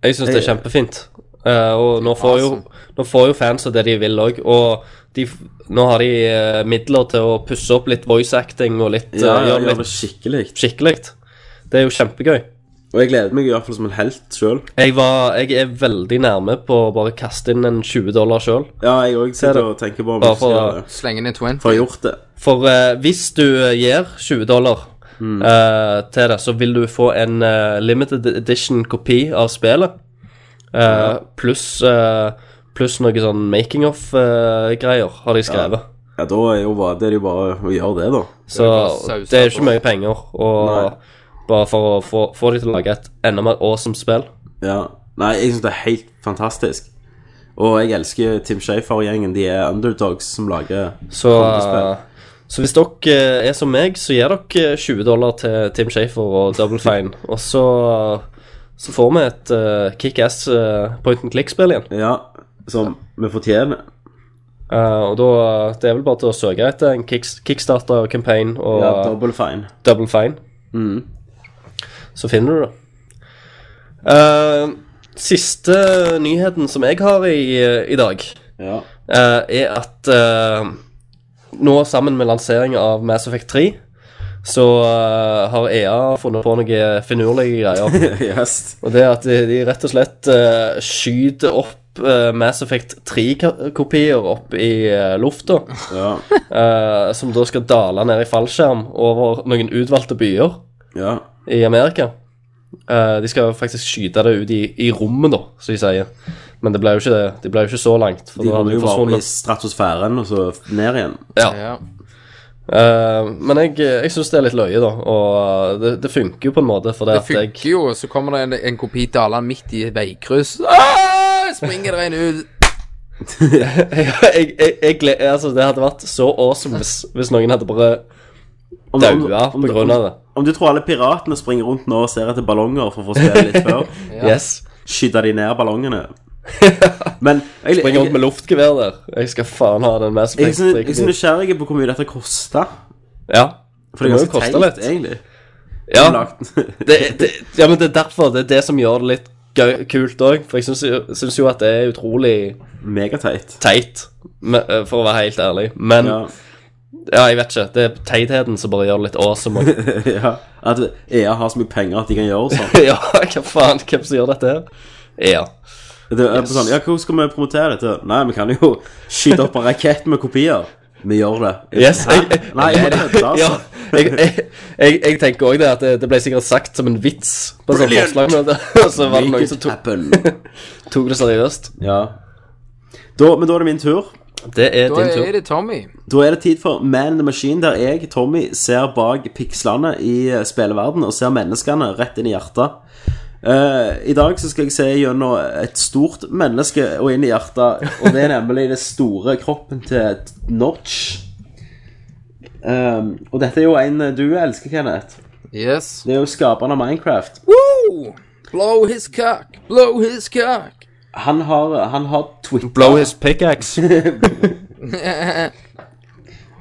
Speaker 8: Jeg syns det er kjempefint. Eh, og nå får, jo, nå får jo fansa det de vil òg. Og de, f- nå har de eh, midler til å pusse opp litt voice acting og litt
Speaker 6: Ja,
Speaker 8: eh,
Speaker 6: ja,
Speaker 8: gjøre
Speaker 6: gjør
Speaker 8: litt
Speaker 6: det skikkelig.
Speaker 8: skikkelig. Det er jo kjempegøy.
Speaker 6: Og jeg gleder meg i hvert fall som en helt sjøl.
Speaker 8: Jeg, var, jeg er veldig nærme på å bare kaste inn en 20 dollar sjøl.
Speaker 6: Ja, jeg òg sitter og tenker på om jeg
Speaker 8: Bare
Speaker 6: skal
Speaker 8: for-
Speaker 6: gjøre det.
Speaker 7: Slenge inn en 20.
Speaker 6: For jeg har gjort det.
Speaker 8: For eh, hvis du eh, gir 20 dollar eh, til det, så vil du få en eh, limited edition kopi av spillet. Eh, Pluss eh, pluss noe sånn making of-greier har de skrevet.
Speaker 6: Ja, da er jo bare, det er jo bare å gjøre det, da.
Speaker 8: Så
Speaker 7: bare sausa
Speaker 8: det er jo
Speaker 7: på.
Speaker 8: ikke mye penger. Og
Speaker 6: Nei.
Speaker 8: bare for å få, få de til å lage et enda mer awesome spill.
Speaker 6: Ja. Nei, jeg syns det er helt fantastisk. Og jeg elsker Tim Shafer og gjengen. De er underdogs som lager
Speaker 8: Så,
Speaker 6: kongespill.
Speaker 8: så hvis dere eh, er som meg, så gir dere 20 dollar til Tim Shafer og Double Fine. og så, så får vi et eh, kickass eh, point and click-spill igjen.
Speaker 6: Ja, som vi fortjener.
Speaker 8: Eh, og da Det er vel bare til å søke etter en kicks, kickstarter-campaign og
Speaker 6: Ja, double fine.
Speaker 8: Double Fine.
Speaker 6: Mhm.
Speaker 8: Så finner du det. Eh, siste nyheten som jeg har i, i dag,
Speaker 6: Ja.
Speaker 8: eh, er at eh, nå sammen med lanseringen av Mass Effect 3, så eh, har EA funnet på noen finurlige greier.
Speaker 6: yes.
Speaker 8: Og det er at de, de rett og slett eh, skyter opp eh, Mass Effect 3-kopier opp i eh, lufta.
Speaker 6: Ja.
Speaker 8: eh, som da skal dale ned i fallskjerm over noen utvalgte byer
Speaker 6: ja.
Speaker 8: i Amerika. Eh, de skal faktisk skyte det ut i, i rommet, da, som de sier. Men det ble jo ikke, det. De ble jo ikke så langt. For
Speaker 6: De
Speaker 8: da hadde
Speaker 6: kommer
Speaker 8: de
Speaker 6: jo bare opp i
Speaker 8: forsvunnet.
Speaker 6: stratosfæren og så ned igjen.
Speaker 8: Ja.
Speaker 7: Ja.
Speaker 8: Eh, men jeg, jeg syns det er litt løye, da. Og eh, det, det funker jo på en måte. For det,
Speaker 7: Det
Speaker 8: at jeg,
Speaker 7: funker jo, så kommer det en, en kopi dalende midt i et veikryss. Ah, springer det en ut.
Speaker 8: jeg, jeg, jeg, gled- altså, det hadde vært så awesome hvis, hvis noen hadde bare
Speaker 6: Om, om-
Speaker 8: daua
Speaker 6: om-
Speaker 8: på grunn av det.
Speaker 6: Om du tror alle piratene springer rundt nå og ser etter ballonger for å få spille litt før,
Speaker 8: Yes.
Speaker 6: skyter de ned ballongene. Men jeg,
Speaker 8: Springe rundt
Speaker 6: jeg,
Speaker 8: med luftgevær der. Jeg skal faen ha den Mass
Speaker 6: jeg,
Speaker 8: Effect.
Speaker 6: synes- jeg er så
Speaker 8: 3-kopien.
Speaker 6: nysgjerrig på hvor mye dette koster.
Speaker 8: Ja.
Speaker 6: For det er
Speaker 8: Det må jo
Speaker 6: ganske
Speaker 8: koste
Speaker 6: teit,
Speaker 8: litt.
Speaker 6: egentlig.
Speaker 8: Ja.
Speaker 6: Lagt-
Speaker 8: Det, det, ja, men det er derfor det er det som gjør det litt gøy, kult òg. For jeg syns jo- syns jo at det er utrolig
Speaker 6: Megateit.
Speaker 8: teit, me- eh, for å være helt ærlig. Men ja,
Speaker 6: Ja.
Speaker 8: jeg vet ikke. Det er teitheten som bare gjør det litt awesome. og-
Speaker 6: ja. At EA har så mye penger at de kan gjøre sånn.
Speaker 8: ja, hva faen? Hvem som gjør dette her? Ja.
Speaker 6: Det er på sånn, ja, Hvordan skal vi promotere dette? Nei, vi kan jo skyte opp en rakett med kopier. Vi gjør det.
Speaker 8: Yes, jeg, jeg,
Speaker 6: Nei, jeg må kødde, altså.
Speaker 8: ja, jeg, jeg, jeg, jeg tenker òg det at det, det ble sikkert sagt som en vits på sånn
Speaker 6: Brilliant.
Speaker 8: forslag, men det- og så var det
Speaker 6: Make
Speaker 8: noen
Speaker 6: it
Speaker 8: som tok,
Speaker 6: happen.
Speaker 8: tok det seriøst.
Speaker 6: Ja. Da, men da er det min tur.
Speaker 8: Det er
Speaker 7: Da
Speaker 8: din tur.
Speaker 7: er det Tommy.
Speaker 6: Da er det tid for Man in the Machine, der jeg, Tommy, ser bak pikslene i eh, spilleverden og ser menneskene rett inn i hjertet. Eh, I dag så skal jeg se gjennom et stort menneske og inn i hjertet, og det er nemlig det store kroppen til Notch. Um, og dette er jo en eh, du elsker, Kenneth.
Speaker 7: Yes.
Speaker 6: Det er jo skaperen av Minecraft.
Speaker 7: Woo! Blow his cock. Blow his cock.
Speaker 6: Han har, han har twittret
Speaker 8: Blow his pickaxe.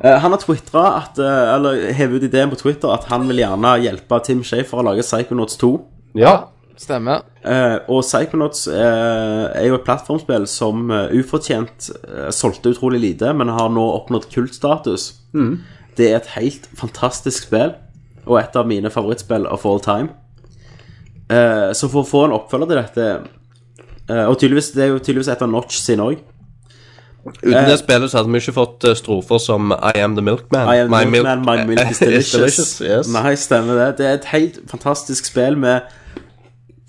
Speaker 6: Eh, Han har twittra at eh, Eller hevet ut ideen på Twitter at han vil gjerne hjelpe Tim Shafer å lage Psychonauts 2.
Speaker 8: Ja.
Speaker 7: Stemmer.
Speaker 6: Eh, og Psychonauts eh, er jo et plattformspill som eh, ufortjent eh, solgte utrolig lite, men har nå oppnådd kultstatus. Det er et helt fantastisk spill, og et av mine favorittspill of all time. Eh, så for å få en oppfølger til dette eh, Og tydeligvis, det er jo tydeligvis et av Notch sin òg.
Speaker 8: Uten det spillet så hadde vi ikke fått eh, strofer som I am the milkman.
Speaker 6: I am
Speaker 8: My
Speaker 6: my milk, man, my milk is delicious.
Speaker 8: yes.
Speaker 6: Nei, stemmer det. Det er et helt fantastisk spill med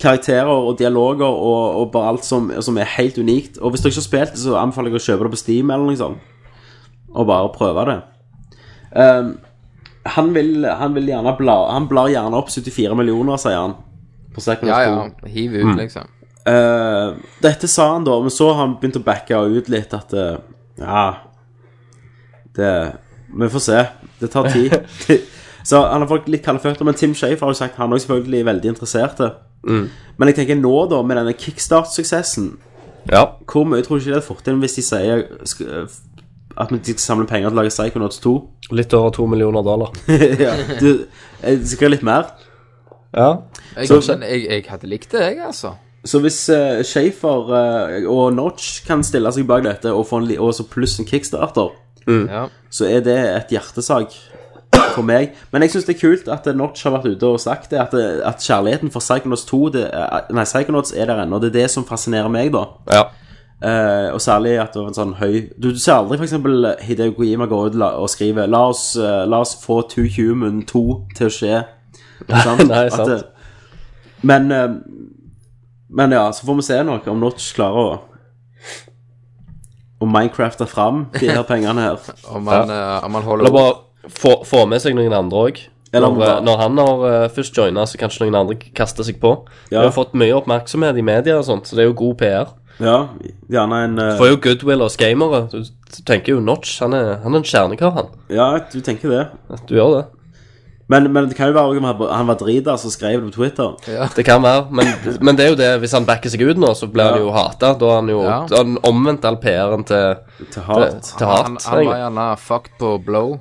Speaker 6: karakterer og dialoger og, og bare alt som, som er helt unikt. Og hvis dere ikke har spilt det, så anbefaler jeg å kjøpe det på Steam eller noe sånt. Og bare prøve det. Ehm, han, vil, han vil gjerne bla Han blar gjerne opp 74 millioner, sier han. På Second
Speaker 7: Ja,
Speaker 6: Hand
Speaker 7: ja.
Speaker 8: Mm.
Speaker 6: Store.
Speaker 7: Hiv ut, liksom.
Speaker 6: Eh, dette sa han da, men så har han begynt å backe ut litt at eh, Ja, det Vi får se. Det tar tid. så han har fått litt kalde føtter, men Tim Shafer har jo sagt han er selvfølgelig veldig interessert. Men jeg tenker nå, da, med denne kickstart-suksessen
Speaker 8: Ja.
Speaker 6: Hvor mye tror du ikke de hadde fått inn hvis de sier sk- eh, at de skal samle penger til å lage Psychonauts 2?
Speaker 8: Litt over to millioner dollar.
Speaker 6: ja, du, eh, sikkert litt mer.
Speaker 8: Ja.
Speaker 7: Jeg,
Speaker 6: Så-
Speaker 7: jeg, jeg hadde likt det, jeg, altså.
Speaker 6: Så hvis uh, Schaefer eh, og Notch kan stille seg bak dette og få en li og så pluss en kickstarter,
Speaker 8: Mm.
Speaker 7: Ja.
Speaker 6: så er det et hjertesak for meg. Men jeg syns det er kult at eh, Notch har vært ute og sagt det, at, eh, at kjærligheten for Psychonauts 2 det, er- Nei, Psychonauts er der ennå. Det er det som fascinerer meg, da.
Speaker 8: Ja.
Speaker 6: Eh, og særlig at det var en sånn høy Du, du ser aldri f.eks. Hideo Kojima går ut la- og skriver La oss, eh, la oss få Two Human 2 til å skje. Sant?
Speaker 8: Nei, sant.
Speaker 6: At, eh, men, eh, men ja, så får vi se noe om Notch klarer å Om Minecraft er fram, de her pengene her.
Speaker 7: Om han, eh, om han holder
Speaker 8: Eller bare få, få med seg noen andre òg.
Speaker 6: Eller
Speaker 8: Når,
Speaker 6: om det-
Speaker 8: eh, når han har eh, først joina, så kanskje noen andre kaster seg på. Vi
Speaker 6: Ja.
Speaker 8: har fått mye oppmerksomhet i media, og sånt, så det er jo god PR.
Speaker 6: Ja, gjerne en eh,
Speaker 8: Får jo goodwill hos gamere. Du du tenker jo Notch. Han er, han er en kjernekar, han.
Speaker 6: Ja, du tenker det.
Speaker 8: Du gjør det.
Speaker 6: Men, men det kan jo være om han- han var drita, så skrev det på Twitter.
Speaker 8: Det kan være, men, men det er jo det hvis han backer seg ut nå, så blir han jo hata. Da har han jo
Speaker 7: Ja.
Speaker 8: da har han omvendt all PR-en til,
Speaker 6: Til
Speaker 8: til,
Speaker 6: hat.
Speaker 8: til
Speaker 7: han,
Speaker 8: hat.
Speaker 7: han var
Speaker 8: egentlig.
Speaker 7: gjerne fucked på blow.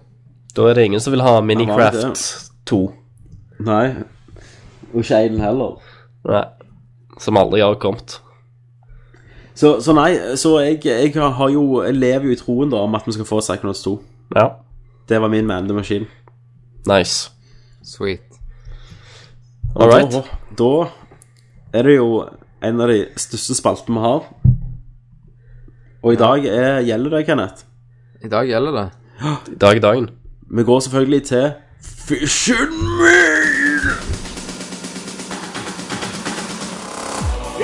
Speaker 8: Da er det ingen som vil ha
Speaker 6: Han var det.
Speaker 8: Minicraft 2.
Speaker 6: Nei. Og ikke Aiden heller.
Speaker 8: Nei. Som aldri har kommet.
Speaker 6: Så, så nei, så jeg, jeg, har jo, jeg lever jo i troen da om at vi skal få Psychonauts 2.
Speaker 8: Ja.
Speaker 6: Det var min man in the machine.
Speaker 8: Nice.
Speaker 7: Sweet.
Speaker 6: Og
Speaker 8: All right.
Speaker 6: Da, da er det jo en av de største spaltene vi har. Og i dag er, gjelder det, Kenneth.
Speaker 7: I dag gjelder det.
Speaker 8: I dag er dagen.
Speaker 6: Vi går selvfølgelig til Fission Meal!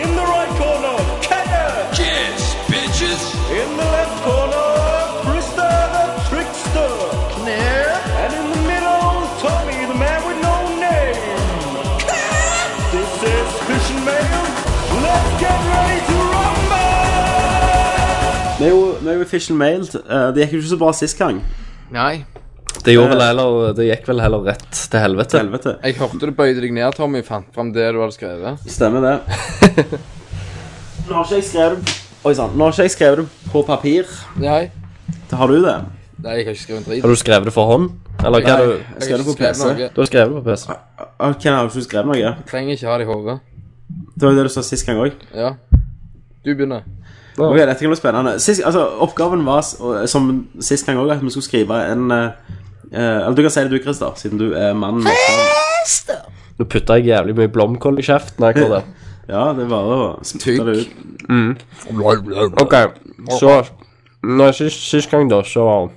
Speaker 5: In the right corner, Kenneth. Yes, bitches. In the left corner, Krista the trickster. Claire. And in the middle, Tommy, the man with no name. this is Fish and Mail. Let's get ready to rumble!
Speaker 6: Vi er jo, vi er jo i Fission Mail. Eh, Det gikk jo ikke så bra sist gang.
Speaker 7: Nei.
Speaker 8: Det, gjorde vel heller, det gikk vel heller rett Eh. til helvete.
Speaker 6: Helvete.
Speaker 7: Jeg hørte du bøyde deg ned, Tommy. Fant fram det du hadde skrevet.
Speaker 6: Stemmer det. Nå har ikke jeg skrevet det Oi sann. Nå har ikke jeg skrevet det på papir.
Speaker 7: Nei.
Speaker 6: Har du det?
Speaker 7: Nei, jeg har ikke skrevet en drit.
Speaker 8: Har du skrevet det for hånd? Eller hva
Speaker 7: Nei,
Speaker 8: har du
Speaker 7: jeg har
Speaker 6: skrev
Speaker 7: ikke
Speaker 6: det på
Speaker 7: skrevet
Speaker 6: PC.
Speaker 7: noe.
Speaker 8: Du har skrevet det på PC?
Speaker 6: Ah, Ken, har du ikke skrevet noe?
Speaker 7: Trenger ikke ha det i hodet.
Speaker 6: Det var jo det du sa sist gang òg.
Speaker 7: Ja. Du begynner.
Speaker 6: Ok, dette kan bli spennende. Sist, altså, oppgaven var, s- og- som sist gang òg, at vi skulle skrive en eh, eh, Eller du kan si det du, Christer, siden du er mannen. med oppgaven.
Speaker 8: Nå putta jeg jævlig mye blomkål i kjeften. Jeg gjorde det.
Speaker 6: Ja, det er bare å spytte
Speaker 7: Tykk.
Speaker 6: det ut.
Speaker 8: Ok, så Når jeg sist, sist gang da, så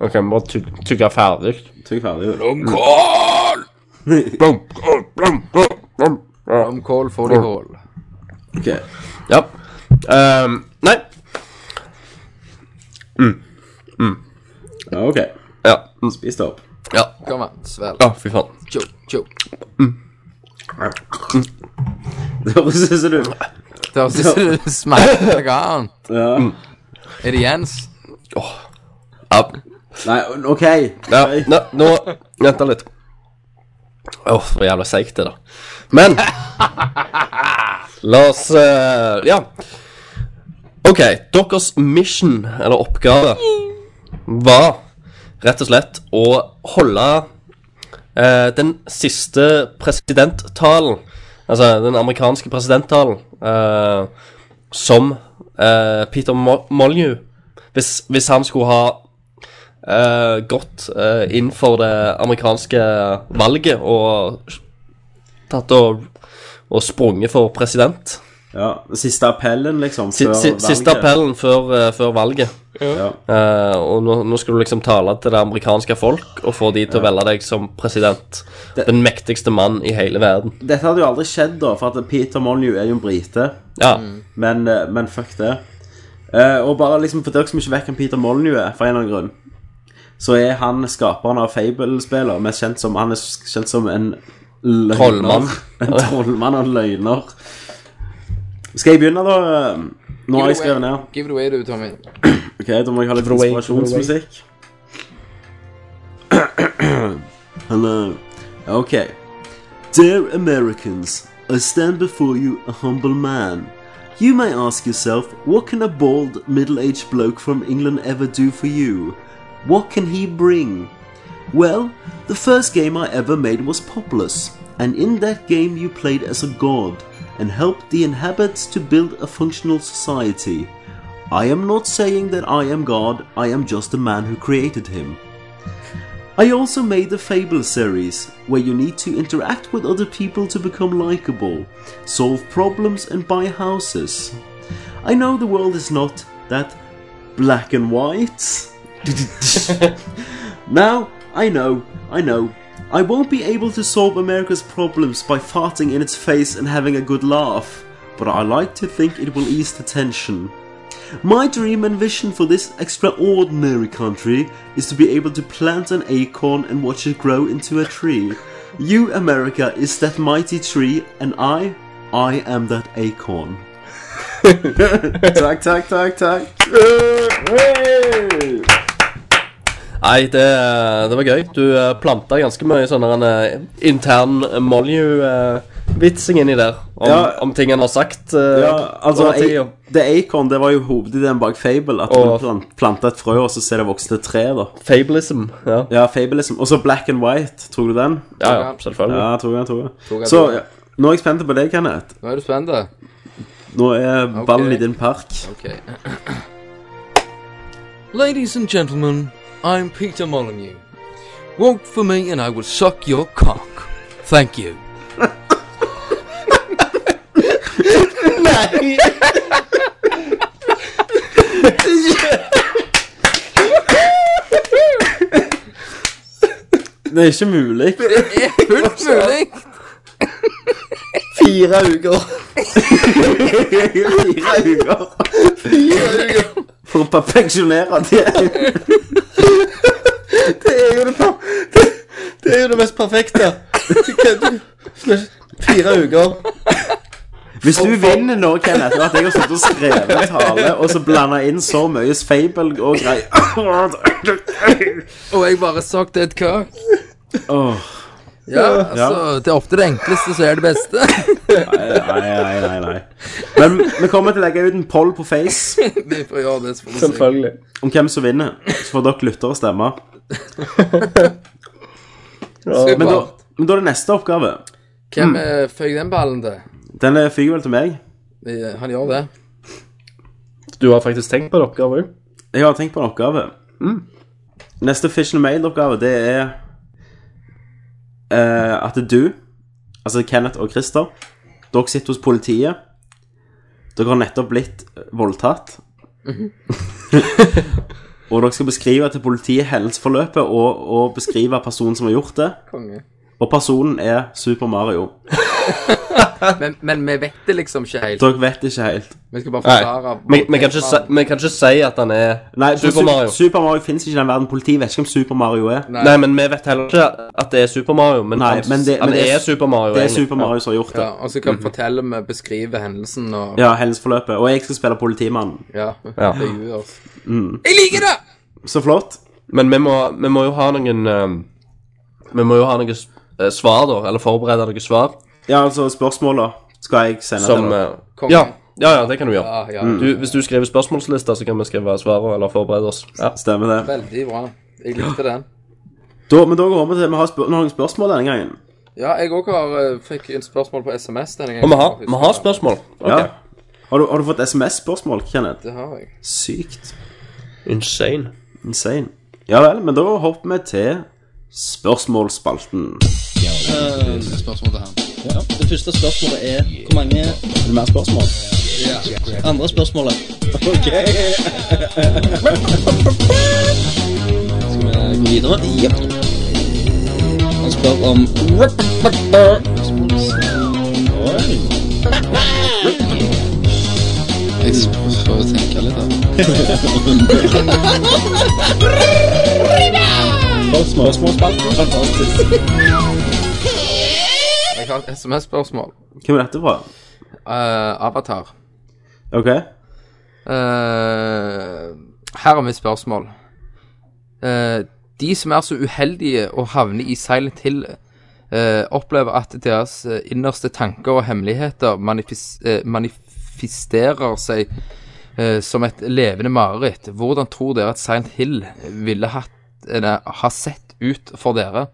Speaker 8: Ok, vi må ty tygge ferdig
Speaker 6: Tykk ferdig. ut.
Speaker 7: Blomkål!
Speaker 8: blom, blom, blom, blom, blom. Ja.
Speaker 7: Blomkål får de hål.
Speaker 6: Ok.
Speaker 8: Ja Ehm, Nei,
Speaker 6: Ja, ok.
Speaker 8: ja
Speaker 6: Spis det opp.
Speaker 8: Ja,
Speaker 7: Kom an, svelg.
Speaker 8: ja fy faen
Speaker 7: Tjo, tjo.
Speaker 6: Det høres ut som du
Speaker 7: Det høres ut som du smakte noe annet.
Speaker 6: Ja.
Speaker 7: Er det Jens?
Speaker 8: Ja,
Speaker 6: Nei, OK.
Speaker 8: ja
Speaker 6: Nei.
Speaker 8: nå, nå Vent litt Åh, hvor jævla seikt det da Men La oss, eh, ja Ok, deres mission, eller oppgave Var rett og slett å holde eh, den siste presidenttalen, altså den amerikanske presidenttalen, eh, som eh, Peter Mo- Molyneux hvis, hvis han skulle ha eh, gått eh, inn for det amerikanske valget og tatt og, og sprunget for president.
Speaker 6: Ja, Siste appellen, liksom.
Speaker 8: Si-
Speaker 6: før
Speaker 8: si- Siste
Speaker 6: valget.
Speaker 8: appellen før, eh, før valget.
Speaker 6: Ja.
Speaker 8: Eh, og nå, nå skal du liksom tale til det amerikanske folk og få de til å velge deg som president. Den mektigste mann i hele verden.
Speaker 6: Dette hadde jo aldri skjedd, da, for at Peter Molyneux er jo en brite.
Speaker 8: Ja,
Speaker 6: Men, eh, men fuck det. Eh, og bare liksom for dere som ikke vet hvem Peter Molyneux er, for en eller annen grunn, så er han skaperen av Fable-spiller, mest kjent som Han er s- kjent som en løgner.
Speaker 8: Trollmann.
Speaker 6: En trollmann og en løgner. Skal jeg begynne, da? Nå har jeg skrevet ned.
Speaker 7: Give it away, du, Tommy.
Speaker 6: Ok, Da må jeg ha litt
Speaker 8: away,
Speaker 6: inspirasjonsmusikk. Hello. Okay. eh, Dear Americans, I stand before you a humble man. You may ask yourself, what can a bald, middle aged bloke from England ever do for you? What can he bring? Well, the first game I ever made was Populous, and in that game you played as a god and helped the inhabitants to build a functional society. I am not saying that I am God, I am just a man who created him. I also made the Fable series, where you need to interact with other people to become likable, solve problems, and buy houses. I know the world is not that black and white. now, I know, I know. I won't be able to solve America's problems by farting in its face and having a good laugh, but I like to think it will ease the tension. My dream and vision for this extraordinary country is to be able to plant an acorn and watch it grow into a tree. You, America, is that mighty tree, and I, I am that acorn. takk, takk, takk, takk.
Speaker 8: Nei, det, det var gøy. Du eh, planta ganske mye sånn der en eh, intern Molyu-vitsing inni der. Om,
Speaker 6: Ja.
Speaker 8: om ting han har sagt. eh,
Speaker 6: Ja, altså,
Speaker 8: over tida.
Speaker 6: a- The Acorn det var jo hovedideen bak Fable. At
Speaker 8: Og-
Speaker 6: du plant, planta et frø, og så ser det vokse til et tre. da
Speaker 8: Fablism. Ja.
Speaker 6: Ja, Fable liksom. Og så Black and White. Tror du den?
Speaker 8: ja, ja, selvfølgelig.
Speaker 6: Ja, jeg tror jeg. Tror jeg.
Speaker 7: Tror jeg,
Speaker 6: så
Speaker 7: tror jeg.
Speaker 6: ja, nå er jeg spent på deg, Kenneth.
Speaker 7: Nå er du spent. da.
Speaker 6: Nå er ballen
Speaker 7: Ok.
Speaker 6: i din park.
Speaker 7: Okay. Ladies and gentlemen, I'm Peter Molyneux. Walk for me and I will suck your cock. Thank you.
Speaker 6: Det er ikke mulig.
Speaker 7: Fullt mulig!
Speaker 8: Fire uker.
Speaker 6: Fire uker. For å perfeksjonere det.
Speaker 8: Det er jo det, per- det, det, er jo det mest perfekte. Du kødder. Fire uker.
Speaker 6: Hvis du vinner nå, Kenneth, og at jeg har stått og skrevet tale, og så blanda inn så mye fable og greier
Speaker 7: Og jeg bare sucked et cock.
Speaker 6: Åh,
Speaker 7: Ja, altså, det er ofte det enkleste som er det beste.
Speaker 6: Nei, nei, nei. nei Men vi kommer til å legge ut en poll på Face
Speaker 7: Vi får gjøre det, så får vi se.
Speaker 8: Selvfølgelig.
Speaker 6: om hvem som vinner. Så får dere lyttere stemme.
Speaker 7: Skal vi
Speaker 6: Men da,
Speaker 7: bare-
Speaker 6: men da er det neste oppgave.
Speaker 8: Mm.
Speaker 7: Hvem eh, føyer den ballen til?
Speaker 6: Den eh, fyker vel til meg.
Speaker 7: Eh, Han gjør det.
Speaker 8: Du har faktisk tenkt på det oppgaven òg?
Speaker 6: Jeg har tenkt på en oppgave.
Speaker 8: Mm.
Speaker 6: Neste Fish and Mail-oppgave, det er eh, at du, altså Kenneth og Christer, dere sitter hos politiet. Dere har nettopp blitt voldtatt.
Speaker 8: Mm-hmm.
Speaker 6: og dere skal beskrive til politiet hendelsesforløpet og, og beskrive personen som har gjort det.
Speaker 7: Konge.
Speaker 6: Og personen er Super Mario.
Speaker 7: Men, men vi vet det liksom ikke helt.
Speaker 6: Dere vet ikke helt.
Speaker 7: Vi skal bare forklare
Speaker 8: Vi vi kan, ikke si- vi kan ikke si at han er
Speaker 6: Nei, for
Speaker 8: Super Mario.
Speaker 6: Super Mario finnes ikke i den verden. Politiet vet ikke hvem Super Mario er.
Speaker 7: Nei.
Speaker 8: Nei, men vi vet heller ikke at det er Super Mario. Men,
Speaker 6: Nei,
Speaker 8: han,
Speaker 6: men det-
Speaker 8: han
Speaker 6: men det er-
Speaker 8: er Super Mario.
Speaker 6: Det er
Speaker 8: egentlig.
Speaker 6: Super Mario som har gjort det.
Speaker 7: Ja, og så kan vi
Speaker 8: Mm.
Speaker 7: fortelle vi beskriver hendelsen og
Speaker 6: Ja, hendelsesforløpet. Og jeg skal spille politimannen.
Speaker 7: Ja.
Speaker 8: Ja. Mm.
Speaker 7: Det gjør oss. Jeg liker det!
Speaker 6: Så flott.
Speaker 8: Men vi må, vi må jo ha noen eh, Vi må jo ha noen s- eh, svar, da. Eller forberede noen svar
Speaker 6: Ja, altså, spørsmåla skal jeg sende
Speaker 8: som
Speaker 6: til deg.
Speaker 8: eh,
Speaker 7: Konge.
Speaker 8: ja, ja, ja, det kan du gjøre.
Speaker 7: Ja, ja.
Speaker 8: Du, hvis du skriver spørsmålslista, så kan vi skrive svarene eller forberede oss. Ja.
Speaker 6: Stemmer det.
Speaker 7: Veldig bra. Jeg likte den.
Speaker 6: Da, men da går vi til Vi har spør noen spørsmål denne gangen.
Speaker 7: Ja, jeg òg har eh, fikk en spørsmål på SMS denne gangen.
Speaker 8: Og vi har, vi har spørsmål. Ok.
Speaker 6: Ja. Har, du, har du fått SMS-spørsmål, Kenneth?
Speaker 7: Det har jeg.
Speaker 6: Sykt.
Speaker 8: Insane.
Speaker 6: Insane. Ja vel, men da hopper vi til spørsmålsspalten.
Speaker 9: Det første spørsmålet er hvor mange
Speaker 6: Er det mer spørsmål?
Speaker 9: andre spørsmålet? Ok. Skal vi gå videre? Jepp. Han spør om Oi. Jeg får tenke litt, da.
Speaker 6: Spørsmålsspalten. Fantastisk.
Speaker 7: Jeg har et SMS-spørsmål.
Speaker 6: Hvem er dette fra?
Speaker 7: Eh, Avatar.
Speaker 6: OK.
Speaker 7: Eh, her er mitt spørsmål. Eh, de som er så uheldige å havne i Silent Hill, eh, opplever at deres eh, innerste tanker og hemmeligheter manifis eh, manifesterer seg eh, som et levende mareritt. Hvordan tror dere at Silent Hill ville hatt, eller, eh, ha sett ut for dere.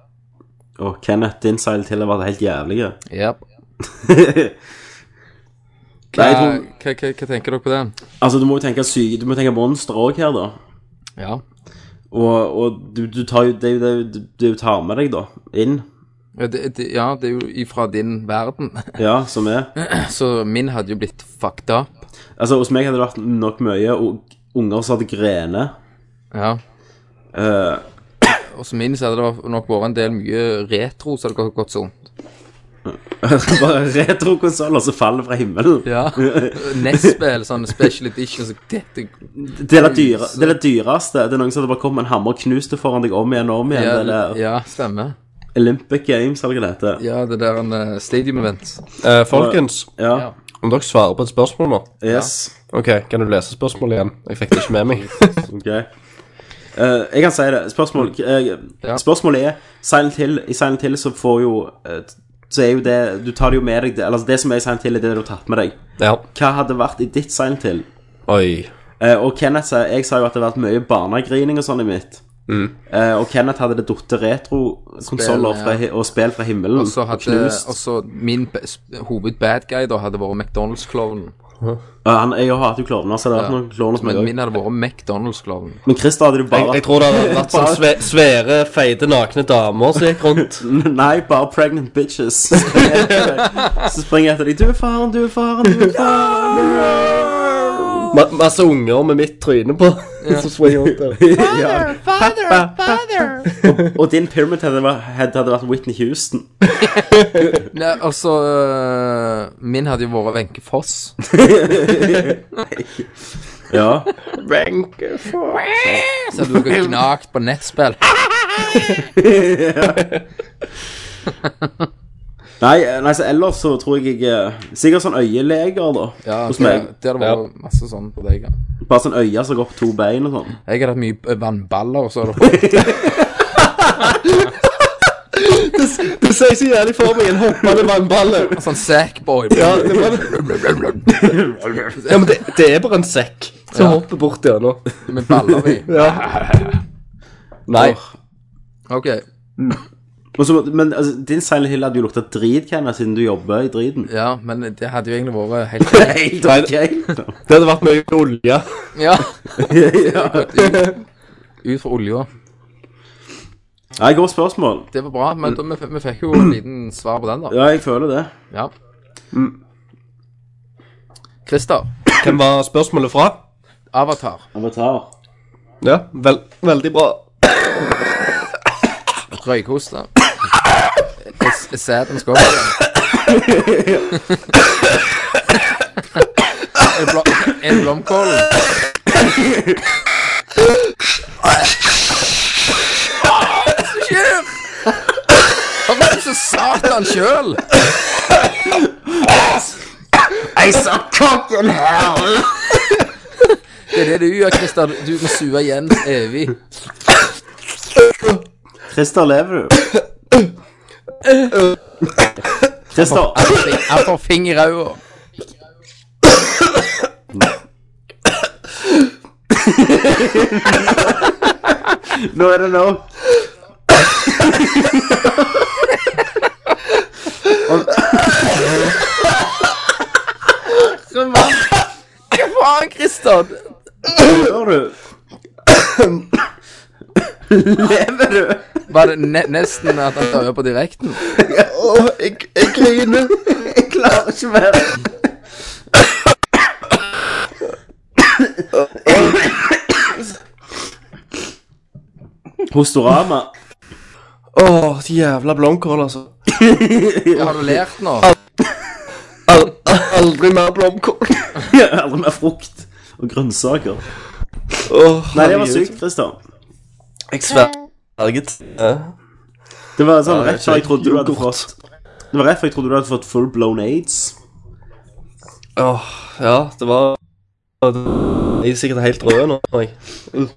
Speaker 6: Og Kenneth, din seil til har vært helt jævlig. ja.
Speaker 7: Yep. Hva,
Speaker 6: Nei, jeg tror,
Speaker 7: hva, hva, hva tenker dere på det?
Speaker 6: altså, du må jo tenke syke, du må tenke monster òg her, da.
Speaker 7: Ja.
Speaker 6: Og, og du, du tar jo det, er jo det du, du tar med deg, da, inn.
Speaker 7: Ja, det, det, ja, det er jo ifra din verden.
Speaker 6: Ja, som er.
Speaker 7: Så min hadde jo blitt fucked up.
Speaker 6: Altså, hos meg hadde det vært nok mye og unger som hadde grener.
Speaker 7: Ja.
Speaker 6: Eh,
Speaker 7: Og så min så hadde det nok vært en del mye retro som hadde gått- gått sånn.
Speaker 6: bare retrokonsoller som faller fra himmelen.
Speaker 7: Ja. Nettspill, sånn special edition, så dette
Speaker 6: Det er det, dyre, det er det dyreste. Det er noen som hadde bare kommet med en hammer og knust det foran deg om igjen og om igjen.
Speaker 7: Ja,
Speaker 6: det er
Speaker 7: ja stemmer.
Speaker 6: Olympic Games, eller hva det heter.
Speaker 7: Ja, det der en eh, stadium event.
Speaker 8: Eh, folkens,
Speaker 6: Ja.
Speaker 7: Ja.
Speaker 8: om dere svarer på et spørsmål nå
Speaker 6: Yes.
Speaker 8: OK, kan du lese spørsmålet igjen? Jeg fikk det ikke med meg.
Speaker 6: Ok. Eh, jeg kan si det. Spørsmål, eh,
Speaker 7: Mm. Ja.
Speaker 6: spørsmålet er Silent Hill, I Silent Hill så får jo eh, Så er jo det Du tar det jo med deg. det- Eller altså, det som er i Silent Hill, er det du har tatt med deg.
Speaker 8: Ja.
Speaker 6: Hva hadde vært i ditt Silent Hill?
Speaker 8: Oi.
Speaker 6: Eh, og Kenneth sa Jeg sa jo at det har vært mye barnegrining og sånn i mitt.
Speaker 7: Mm.
Speaker 6: Eh, og Kenneth hadde det datt retrokonsoller
Speaker 7: Spill,
Speaker 6: fra
Speaker 7: ja.
Speaker 6: hi- og spill fra himmelen.
Speaker 7: Og så hadde
Speaker 6: knust.
Speaker 7: Og så min be- s- hovedbad guy da hadde vært McDonald's-klovnen.
Speaker 6: Ja, han, jeg hater jo klovner, så det har vært noen klovner som jeg
Speaker 7: Men
Speaker 6: òg.
Speaker 7: min hadde vært McDonald's-klovnen.
Speaker 6: Men Christer hadde du
Speaker 8: Jeg,
Speaker 6: bare
Speaker 8: jeg tror det hadde vært sånn sve, svære, feite, nakne damer som gikk rundt.
Speaker 6: Nei, bare pregnant bitches. Så springer jeg etter deg. Så springer jeg etter deg. Du er faren, du er faren, du er faren.
Speaker 8: Ma masse unger med mitt tryne på. som springer rundt der.
Speaker 6: Father, father, father. Og, og din pyramid head hadde, vært- head hadde vært Whitney Houston.
Speaker 7: Nei, altså øh, Min hadde jo vært Wenche Foss.
Speaker 6: Ja.
Speaker 7: Så hadde dere gnagt på nettspill.
Speaker 6: Nei, nei, så ellers så tror jeg jeg eh, Sikkert sånn øyeleger, da.
Speaker 7: Ja,
Speaker 6: hos
Speaker 7: det,
Speaker 6: meg.
Speaker 7: det hadde vært masse sånn på deg. ja.
Speaker 6: Bare sånn øye som går på to bein og sånn.
Speaker 7: Jeg hadde hatt mye øh, vannballer, og så hadde dere
Speaker 8: Du ser så jævlig for meg en hoppende vannballe.
Speaker 7: sånn sackboy.
Speaker 8: Ja, det, var, ja, men det, det er bare en sekk som hopper bort gjennom.
Speaker 7: Med baller i.
Speaker 8: Ja. Nei.
Speaker 7: OK.
Speaker 6: Men, så, men altså, din Silent Hill hadde jo lukta drit, Kenneth, siden du jobber i driten.
Speaker 7: Ja, men det hadde jo egentlig vært helt
Speaker 6: Helt ok.
Speaker 8: Det hadde vært mye olje.
Speaker 7: Ja.
Speaker 6: ja.
Speaker 7: Ut fra olja.
Speaker 6: Nei, godt spørsmål.
Speaker 7: Det var bra, men da, vi, f- vi fikk jo en liten svar på den, da.
Speaker 6: Ja, jeg føler det.
Speaker 7: Ja. Christer.
Speaker 8: Hvem var spørsmålet fra?
Speaker 7: Avatar.
Speaker 6: Avatar.
Speaker 8: Ja, vel, veldig bra.
Speaker 7: Røykoste. Jeg- jeg ser den skal Jeg blom, en blomkål. Hva var det som satan sjøl?
Speaker 6: Jeg sa kokken her!
Speaker 7: Det er det du gjør, Christer. Du må sue igjen evig.
Speaker 6: Christer, lever du? Christer,
Speaker 7: Jeg får finger i øya.
Speaker 6: nå er det nok.
Speaker 7: Hva faen, Christer?
Speaker 6: Hva gjør du? lever du?
Speaker 7: Var det ne nesten at han døde på direkten?
Speaker 6: Jeg griner. Jeg klarer ikke mer. Hostorama.
Speaker 8: Å, jævla blomkål, altså.
Speaker 7: Har du lært nå?
Speaker 8: Al aldri mer blomkål.
Speaker 6: Aldri mer frukt og grønnsaker.
Speaker 8: Åh,
Speaker 6: Nei, det var sykt, Christer.
Speaker 8: Jeg sverget.
Speaker 6: Det var sånn rett
Speaker 8: det er
Speaker 6: før jeg trodde du hadde
Speaker 8: yoghurt.
Speaker 6: fått Det var rett før jeg trodde du hadde fått full blown aids.
Speaker 8: Åh, ja, det var Jeg er sikkert helt rød nå. Jeg.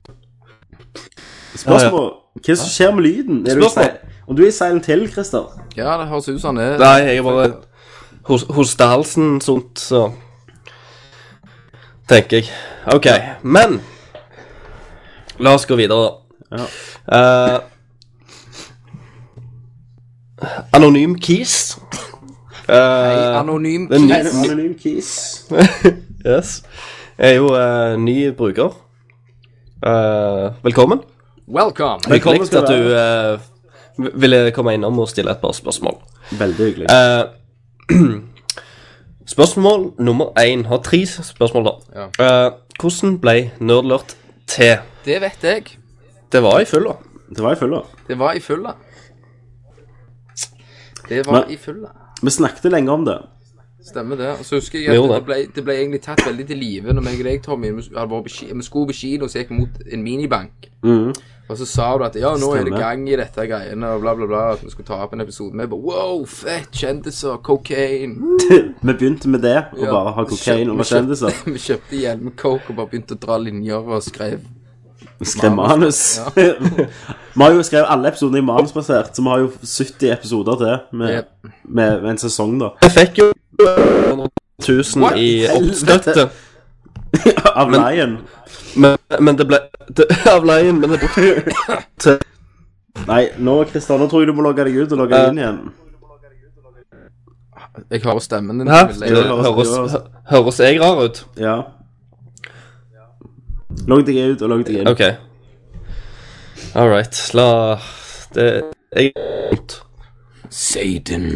Speaker 6: Spørsmål Hva som skjer med lyden? Er du i
Speaker 8: Spørsmål.
Speaker 6: si- Om du er i Silent Hill, Christer?
Speaker 7: Ja, det høres ut som han er
Speaker 8: Nei, jeg er bare hos, hostehalsen sånt, så Tenker jeg. OK. Men la oss gå videre, da. Eh, Anonym Keys. Eh,
Speaker 7: Anonym
Speaker 8: det er ny,
Speaker 6: Anonym Keys.
Speaker 8: yes. Er jo eh, ny bruker. Eh, velkommen.
Speaker 7: Welcome!
Speaker 8: Hyggelig
Speaker 6: skal
Speaker 8: at
Speaker 6: du
Speaker 8: du eh, v- ville komme innom og stille et par spørsmål.
Speaker 6: Veldig hyggelig.
Speaker 8: Eh, spørsmål nummer én. Har tre spørsmål, da. Eh, hvordan ble Nerdlurt til?
Speaker 7: Det vet jeg.
Speaker 8: Det var i fylla.
Speaker 6: Det var i full, da.
Speaker 7: Det var i fylla. Det var
Speaker 6: Men-
Speaker 7: i fylla.
Speaker 6: Vi snakket lenge om det.
Speaker 7: Stemmer det. Og så husker
Speaker 8: Vi
Speaker 7: jeg at
Speaker 8: gjorde
Speaker 7: det
Speaker 8: det.
Speaker 7: ble, det ble egentlig tatt veldig til live når meg og deg, Tommy, vi hadde vært på ki- vi skulle på kino, så gikk vi mot en minibank.
Speaker 8: Mm.
Speaker 7: Og så sa du at ja, nå er det
Speaker 6: Stemmer.
Speaker 7: gang i dette greiene, og bla, bla, bla, at vi skulle ta opp en episode. Vi bare wow, fett, kjendiser, cocaine.
Speaker 6: Vi begynte med det, å
Speaker 7: Ja.
Speaker 6: bare ha kokain
Speaker 7: Vi
Speaker 6: over
Speaker 7: kjøpte-
Speaker 6: kjendiser.
Speaker 7: Vi kjøpte igjen med coke og bare begynte å dra linjer og skrev.
Speaker 6: Skrev manus. Vi har jo skrevet alle episodene i manusbasert, så vi har jo 70 episoder til med, med, med en sesong, da.
Speaker 8: Jeg fikk jo 100 000 i oppstøtte,
Speaker 6: Av Lion.
Speaker 8: men, men det ble det, Av leien, men det brukte
Speaker 6: Nei, nå, Christian, nå tror jeg du må logge deg ut og logge deg inn igjen.
Speaker 7: Jeg hører stemmen din.
Speaker 8: Hæ?
Speaker 7: Vil
Speaker 8: Det
Speaker 7: jeg-
Speaker 8: Høres, hø- høres jeg rar ut?
Speaker 6: Ja. Logg deg ut og logg deg inn.
Speaker 8: OK. All right. La Det Jeg er vondt.
Speaker 7: Satan.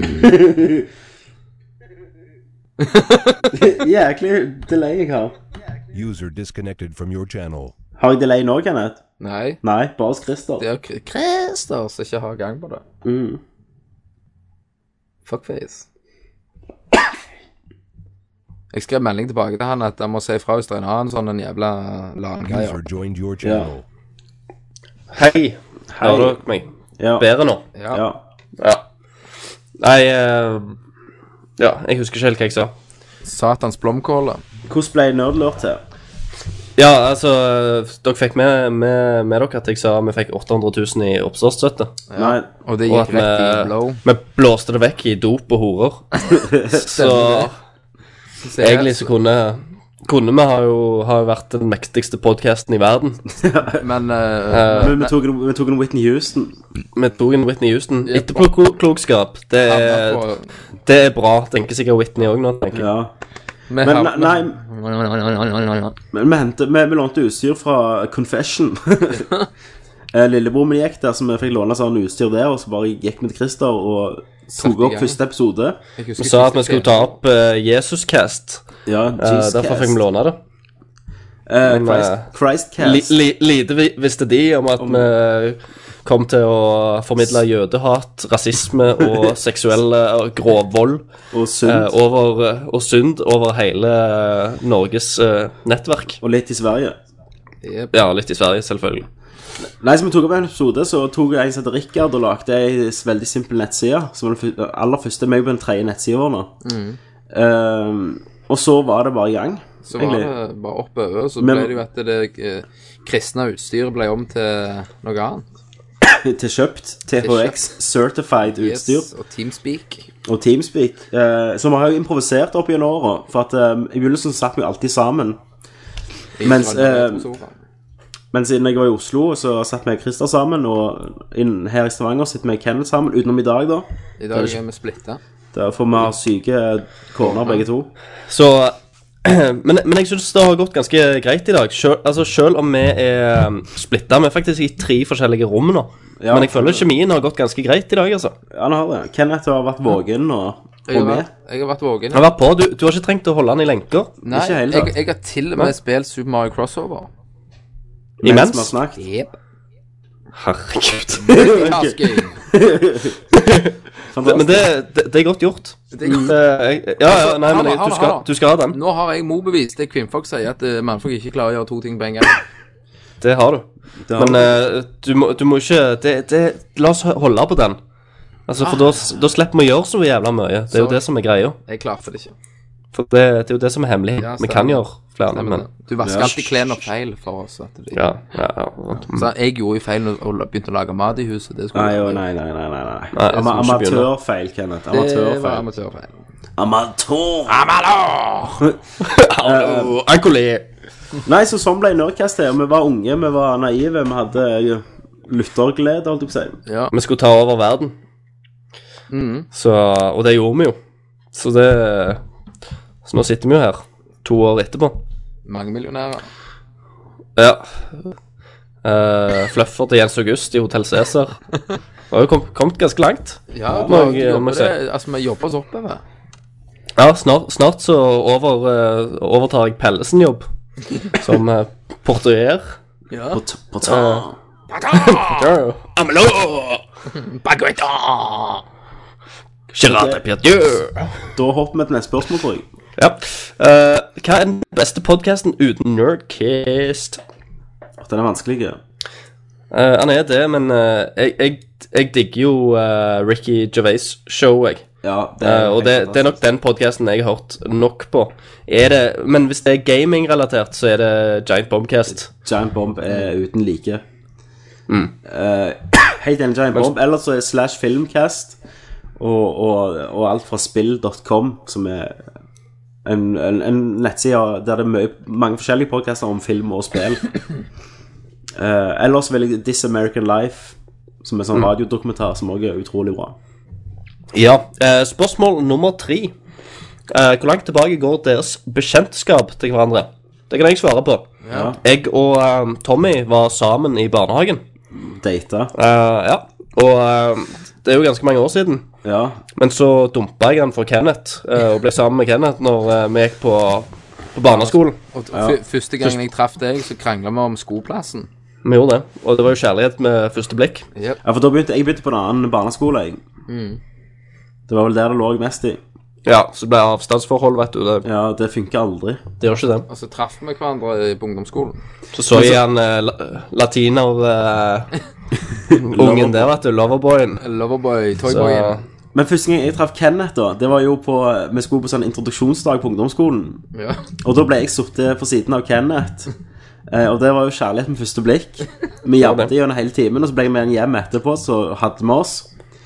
Speaker 6: Jæklig delay jeg har.
Speaker 10: User disconnected from your channel.
Speaker 6: Har jeg delay nå, Kenneth?
Speaker 7: Nei,
Speaker 6: Nei, bare hos Christer.
Speaker 7: det er Kr- Christer som ikke har gang på det.
Speaker 6: Mm.
Speaker 7: Fuckface. Jeg skrev melding tilbake til han at han må si ifra hvis det er en annen sånn en jævla langreie.
Speaker 10: User joined your channel.
Speaker 8: Hei. Hører dere meg?
Speaker 6: Ja.
Speaker 8: Bedre nå?
Speaker 7: Ja.
Speaker 6: ja.
Speaker 8: Ja. Nei eh, Ja, jeg husker ikke helt hva jeg sa.
Speaker 7: Satans blomkåle.
Speaker 6: Hvordan ble Nerdlord til?
Speaker 8: Ja, altså eh, Dere fikk med, med, med dere at jeg sa vi fikk 800 000 i oppstartsstøtte.
Speaker 6: Nei,
Speaker 7: Og det
Speaker 8: Og
Speaker 7: gikk
Speaker 8: at
Speaker 7: rett i blow.
Speaker 8: vi, vi blåste det vekk i dop og horer. Så
Speaker 7: Så jeg-
Speaker 8: egentlig så kunne kunne vi har jo, har jo vært den mektigste podkasten i verden.
Speaker 7: Men eh,
Speaker 6: men vi tok, en- vi tok en Whitney Houston.
Speaker 8: Vi tok en Whitney Houston. Etterpåklokskap, det,
Speaker 7: han
Speaker 8: er-
Speaker 7: var på-
Speaker 8: det er bra. Tenker sikkert Whitney òg nå. tenker jeg.
Speaker 6: Ja.
Speaker 7: vi
Speaker 6: Men
Speaker 7: havna-
Speaker 6: nei, men vi, hentet, vi, vi lånte utstyr fra Confession. Eh, Lillebror min gikk der, så vi fikk låne sånn utstyr der, og så bare gikk vi til Christer og
Speaker 7: Satt i
Speaker 6: tok opp
Speaker 7: gang.
Speaker 6: første episode.
Speaker 7: Jeg husker
Speaker 8: Vi sa at vi
Speaker 7: ikke-
Speaker 8: skulle ta opp eh, Jesus-cast.
Speaker 6: Ja,
Speaker 8: Eh, derfor fikk vi låne det.
Speaker 6: Eh,
Speaker 8: men,
Speaker 6: Christ,
Speaker 8: eh, Li,
Speaker 6: Christcast.
Speaker 8: li, lite vi- visste de om at vi eh, kom til å formidle jødehat, rasisme og seksuell eh, grov vold
Speaker 6: og Sund.
Speaker 8: eh, over, eh, og synd over hele eh, Norges eh, nettverk.
Speaker 6: og litt i Sverige.
Speaker 7: Jep.
Speaker 8: Ja, litt i Sverige, selvfølgelig.
Speaker 6: Nei, så vi tok opp en episode, så tok jeg en som heter Rikard og lagde ei veldig simpel nettside. Som var den fyr- aller første. Vi er jo på den tredje nettsida vår nå. Eh, og så var det bare i gang.
Speaker 7: Så var
Speaker 6: egentlig.
Speaker 7: det bare oppover, så
Speaker 6: Men-
Speaker 7: ble det jo at det eh, kristne utstyret ble om til noe annet.
Speaker 6: Til kjøpt THX Certified
Speaker 7: Yes,
Speaker 6: utstyr.
Speaker 7: og Teamspeak.
Speaker 6: og Teamspeak, eh, som har jo improvisert opp gjennom åra. For at eh, i begynnelsen satt vi alltid sammen. Mens, eh, Men siden jeg var i Oslo, så satt vi og Christer sammen. Og inn, her i Stavanger sitter vi og Kenneth sammen, utenom i dag, da.
Speaker 7: I dag er vi splitta.
Speaker 6: Derfor vi har syke corner, begge to.
Speaker 8: Så men, men jeg syns det har gått ganske greit i dag. Sjøl, altså, selv om vi er splitta Vi er faktisk i tre forskjellige rom nå.
Speaker 6: Ja.
Speaker 8: men jeg føler kjemien har gått ganske greit i dag, altså.
Speaker 6: Han har det. Kenneth har vært våken og,
Speaker 7: Jeg, har
Speaker 6: og med.
Speaker 7: vært- jeg har vært våken.
Speaker 8: Jeg har vært på. Du, du har ikke trengt å holde han i lenker
Speaker 7: Nei,
Speaker 6: Ikke hele
Speaker 7: jeg,
Speaker 6: tatt.
Speaker 7: jeg har til og med spilt Super Mario Crossover.
Speaker 6: Mens
Speaker 8: imens?
Speaker 6: vi har snakket.
Speaker 7: Yep.
Speaker 8: Herregud.
Speaker 7: Tasking.
Speaker 8: Det- Men det, det, det er godt gjort.
Speaker 7: Det er godt.
Speaker 8: Det, jeg- ja, ja, nei, men jeg, du, skal, du skal ha den.
Speaker 7: Nå har jeg Mo-bevis. Det kvinnfolk sier at eh, mannfolk ikke klarer å gjøre to ting på en gang.
Speaker 8: Det har du.
Speaker 6: Det har
Speaker 8: Men
Speaker 6: vi.
Speaker 8: eh, du, må, du må ikke det, det, La oss holde på den. Altså, For da s- da slipper vi å gjøre så jævla mye. Det er jo
Speaker 7: Sorry.
Speaker 8: det som er greia.
Speaker 7: Jeg klarte det ikke.
Speaker 8: For det, det er jo det som er hemmelig.
Speaker 7: Ja,
Speaker 8: vi
Speaker 7: stemmer.
Speaker 8: kan gjøre flere,
Speaker 7: Men,
Speaker 8: men
Speaker 7: du vasker
Speaker 6: Ja.
Speaker 7: alltid klærne feil for oss. Vet du.
Speaker 8: Ja, ja, ja.
Speaker 7: Så jeg gjorde jo feil og og begynte å lage mat i huset. Det, skulle
Speaker 6: Nei,
Speaker 7: jeg-
Speaker 6: å, nei, nei, nei. nei, nei.
Speaker 8: Nei, jeg
Speaker 6: Ama
Speaker 8: skal ikke begynne.
Speaker 6: amatørfeil, Kenneth.
Speaker 7: det var
Speaker 6: Amatørfeil.
Speaker 7: amatørfeil.
Speaker 6: Amatør!
Speaker 8: Hallo, Ankoli.
Speaker 6: Nei, så sånn ble Nerdcast til. Vi var unge, vi var naive, vi hadde lytterglede, holdt jeg på å si.
Speaker 7: Ja.
Speaker 8: Vi skulle ta over verden.
Speaker 7: Mm.
Speaker 8: Så, og det gjorde vi jo. Så det Så nå sitter vi jo her, to år etterpå.
Speaker 7: Mange millionærer.
Speaker 8: Ja. Eh, fluffer til Jens August i Hotell Cæsar. Vi har jo kom, kommet ganske langt.
Speaker 7: Ja, vi,
Speaker 8: Mange,
Speaker 7: jobber
Speaker 8: må jeg si.
Speaker 7: det, altså, vi jobber oss oppover.
Speaker 8: Ja, snart, snart så over, eh, overtar jeg Pellesen-jobb som eh, portier.
Speaker 6: På, t på ta.
Speaker 8: Ja. Charade Piadieu.
Speaker 6: Da hopper vi til neste spørsmål, tror jeg.
Speaker 8: Ja. Eh, hva er den beste podkasten uten Nerdcast?
Speaker 6: Åh, Den er vanskelig. ja.
Speaker 8: Eh, han er det, men eh, jeg, jeg, jeg digger jo eh, Ricky Gervais-show, jeg.
Speaker 6: Ja, det
Speaker 8: Eh, og det, det er nok den podkasten jeg har hørt nok på. Er det, men hvis det er gaming-relatert, så er det Giant Bombcast.
Speaker 6: Giant Bomb er uten like.
Speaker 8: Mm.
Speaker 6: Eh, helt enig, Giant Bomb. Ellers så er Slash Filmcast og, og, og alt fra spill.com, som er en, en, en nettside der det er mye, mange forskjellige podcaster om film og spill. Eh, ellers vil jeg This American Life, som er
Speaker 8: Mm.
Speaker 6: sånn radiodokumentar som også er utrolig bra.
Speaker 8: Ja. eh, spørsmål nummer tre. Eh, hvor langt tilbake går deres bekjentskap til hverandre? Det kan jeg svare på. Jeg og eh, Tommy var sammen i barnehagen.
Speaker 6: Data.
Speaker 8: Eh, ja. Og eh, det er jo ganske mange år siden.
Speaker 6: Ja.
Speaker 8: Men så dumpa jeg han for Kenneth, eh, og ble sammen med Kenneth når eh, vi gikk på, på barneskolen.
Speaker 7: Og fy- Første gangen jeg traff deg, så krangla vi om skoplassen.
Speaker 8: Vi gjorde det, og det var jo kjærlighet med første blikk.
Speaker 6: ja, for da begynte jeg begynte på en annen barneskole. Jeg. Det var vel der det lå mest i.
Speaker 8: Ja, så det ble avstandsforhold, vet du. Det,
Speaker 6: Ja, det funker aldri.
Speaker 8: det gjør ikke det.
Speaker 7: Og så traff vi hverandre på ungdomsskolen.
Speaker 8: Så så jeg han eh, la- latiner... eh, ungen der, vet du. Loverboyen.
Speaker 7: Loverboy,
Speaker 8: Så,
Speaker 7: Toyboy.
Speaker 6: Men første gang jeg traff Kenneth, da Det var jo på Vi skulle på sånn introduksjonsdag på ungdomsskolen.
Speaker 7: Ja.
Speaker 6: Og da ble jeg sittet på siden av Kenneth. Eh, og det var jo kjærlighet med første blikk. Vi jabbet gjennom hele timen, og så ble jeg med han hjem etterpå, så hadde vi oss.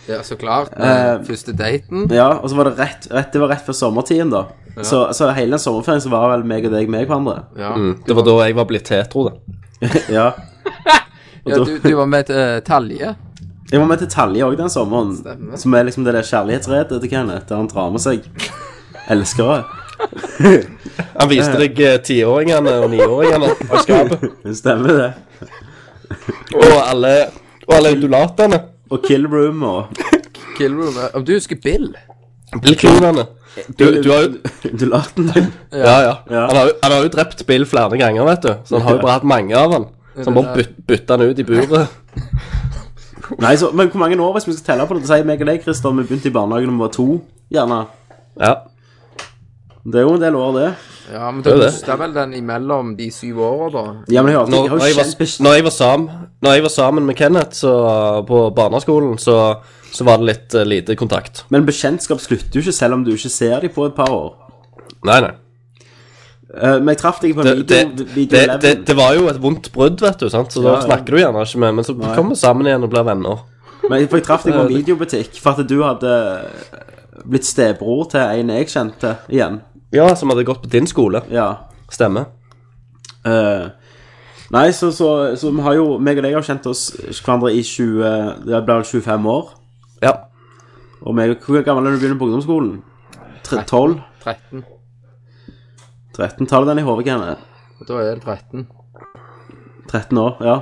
Speaker 7: ja, så klart.
Speaker 6: Eh,
Speaker 7: første daten.
Speaker 6: Ja, Og så var det rett, rett Det var rett før sommertiden, da. Så, så hele den sommerferien så var vel meg og deg med hverandre.
Speaker 7: Ja.
Speaker 8: Det var da jeg var blitt hetero, da.
Speaker 6: Ja.
Speaker 7: ja du, du var med til eh, Talje.
Speaker 6: Jeg var med til Talje òg den sommeren, som er liksom det der kjærlighetsredet til Kenneth, der han drar med seg elskere.
Speaker 8: Han viste deg eh, tiåringene og niåringene av skapet.
Speaker 6: Stemmer det.
Speaker 8: Og alle, og alle undulatene.
Speaker 6: Og Kill Room og
Speaker 7: Killroom. eh, Om du husker Bill?
Speaker 8: Bilklonene. Du, du har jo
Speaker 6: undulaten din.
Speaker 8: Ja, ja.
Speaker 6: Ja.
Speaker 8: Han, har, jo- han har jo drept Bill flere ganger, vet du. Så han har jo bare hatt mange av han. Så han bare byt, bytta han ut i buret.
Speaker 6: Nei, så, men hvor mange år, hvis vi skal telle på det, så sier meg og deg, Christer, vi begynte i barnehagen da vi var to, gjerne.
Speaker 8: Ja.
Speaker 6: Det er jo en del år, det.
Speaker 7: Ja, men
Speaker 8: er
Speaker 7: da
Speaker 8: det.
Speaker 7: kosta vel den imellom de syv åra, da.
Speaker 6: Ja, men jeg har alltid,
Speaker 8: Når,
Speaker 6: jeg har
Speaker 8: når, jeg
Speaker 6: jo
Speaker 8: var,
Speaker 6: kjent bes-
Speaker 8: når, jeg var sam, når jeg var sammen med Kenneth så, på barneskolen, så, så var det litt eh, lite kontakt.
Speaker 6: Men bekjentskap slutter jo ikke selv om du ikke ser dem på et par år.
Speaker 8: Nei, nei.
Speaker 6: Eh, men jeg traff deg på en
Speaker 8: Det, det,
Speaker 6: video, video
Speaker 8: det, det,
Speaker 6: 11.
Speaker 8: det var jo et vondt brudd, vet du, sant? så da
Speaker 6: Ja, ja.
Speaker 8: snakker du gjerne ikke med Men så kommer vi sammen igjen og blir venner.
Speaker 6: Men jeg, for jeg traff deg på en
Speaker 8: Det-
Speaker 6: videobutikk for at du hadde blitt stebror til en jeg kjente igjen.
Speaker 8: Ja, Som hadde gått på din skole.
Speaker 6: Ja.
Speaker 8: Stemmer.
Speaker 6: Eh, nei, så, så, så vi har jo, meg og deg har kjent oss hverandre i 20, det ble vel 25 år.
Speaker 8: Ja.
Speaker 6: Og meg, hvor gammel er du begynner på ungdomsskolen? Tre- 12?
Speaker 7: 13.
Speaker 6: 13 tar du den i hodet, Kenneth.
Speaker 7: Og da er det 13.
Speaker 6: 13 år, ja.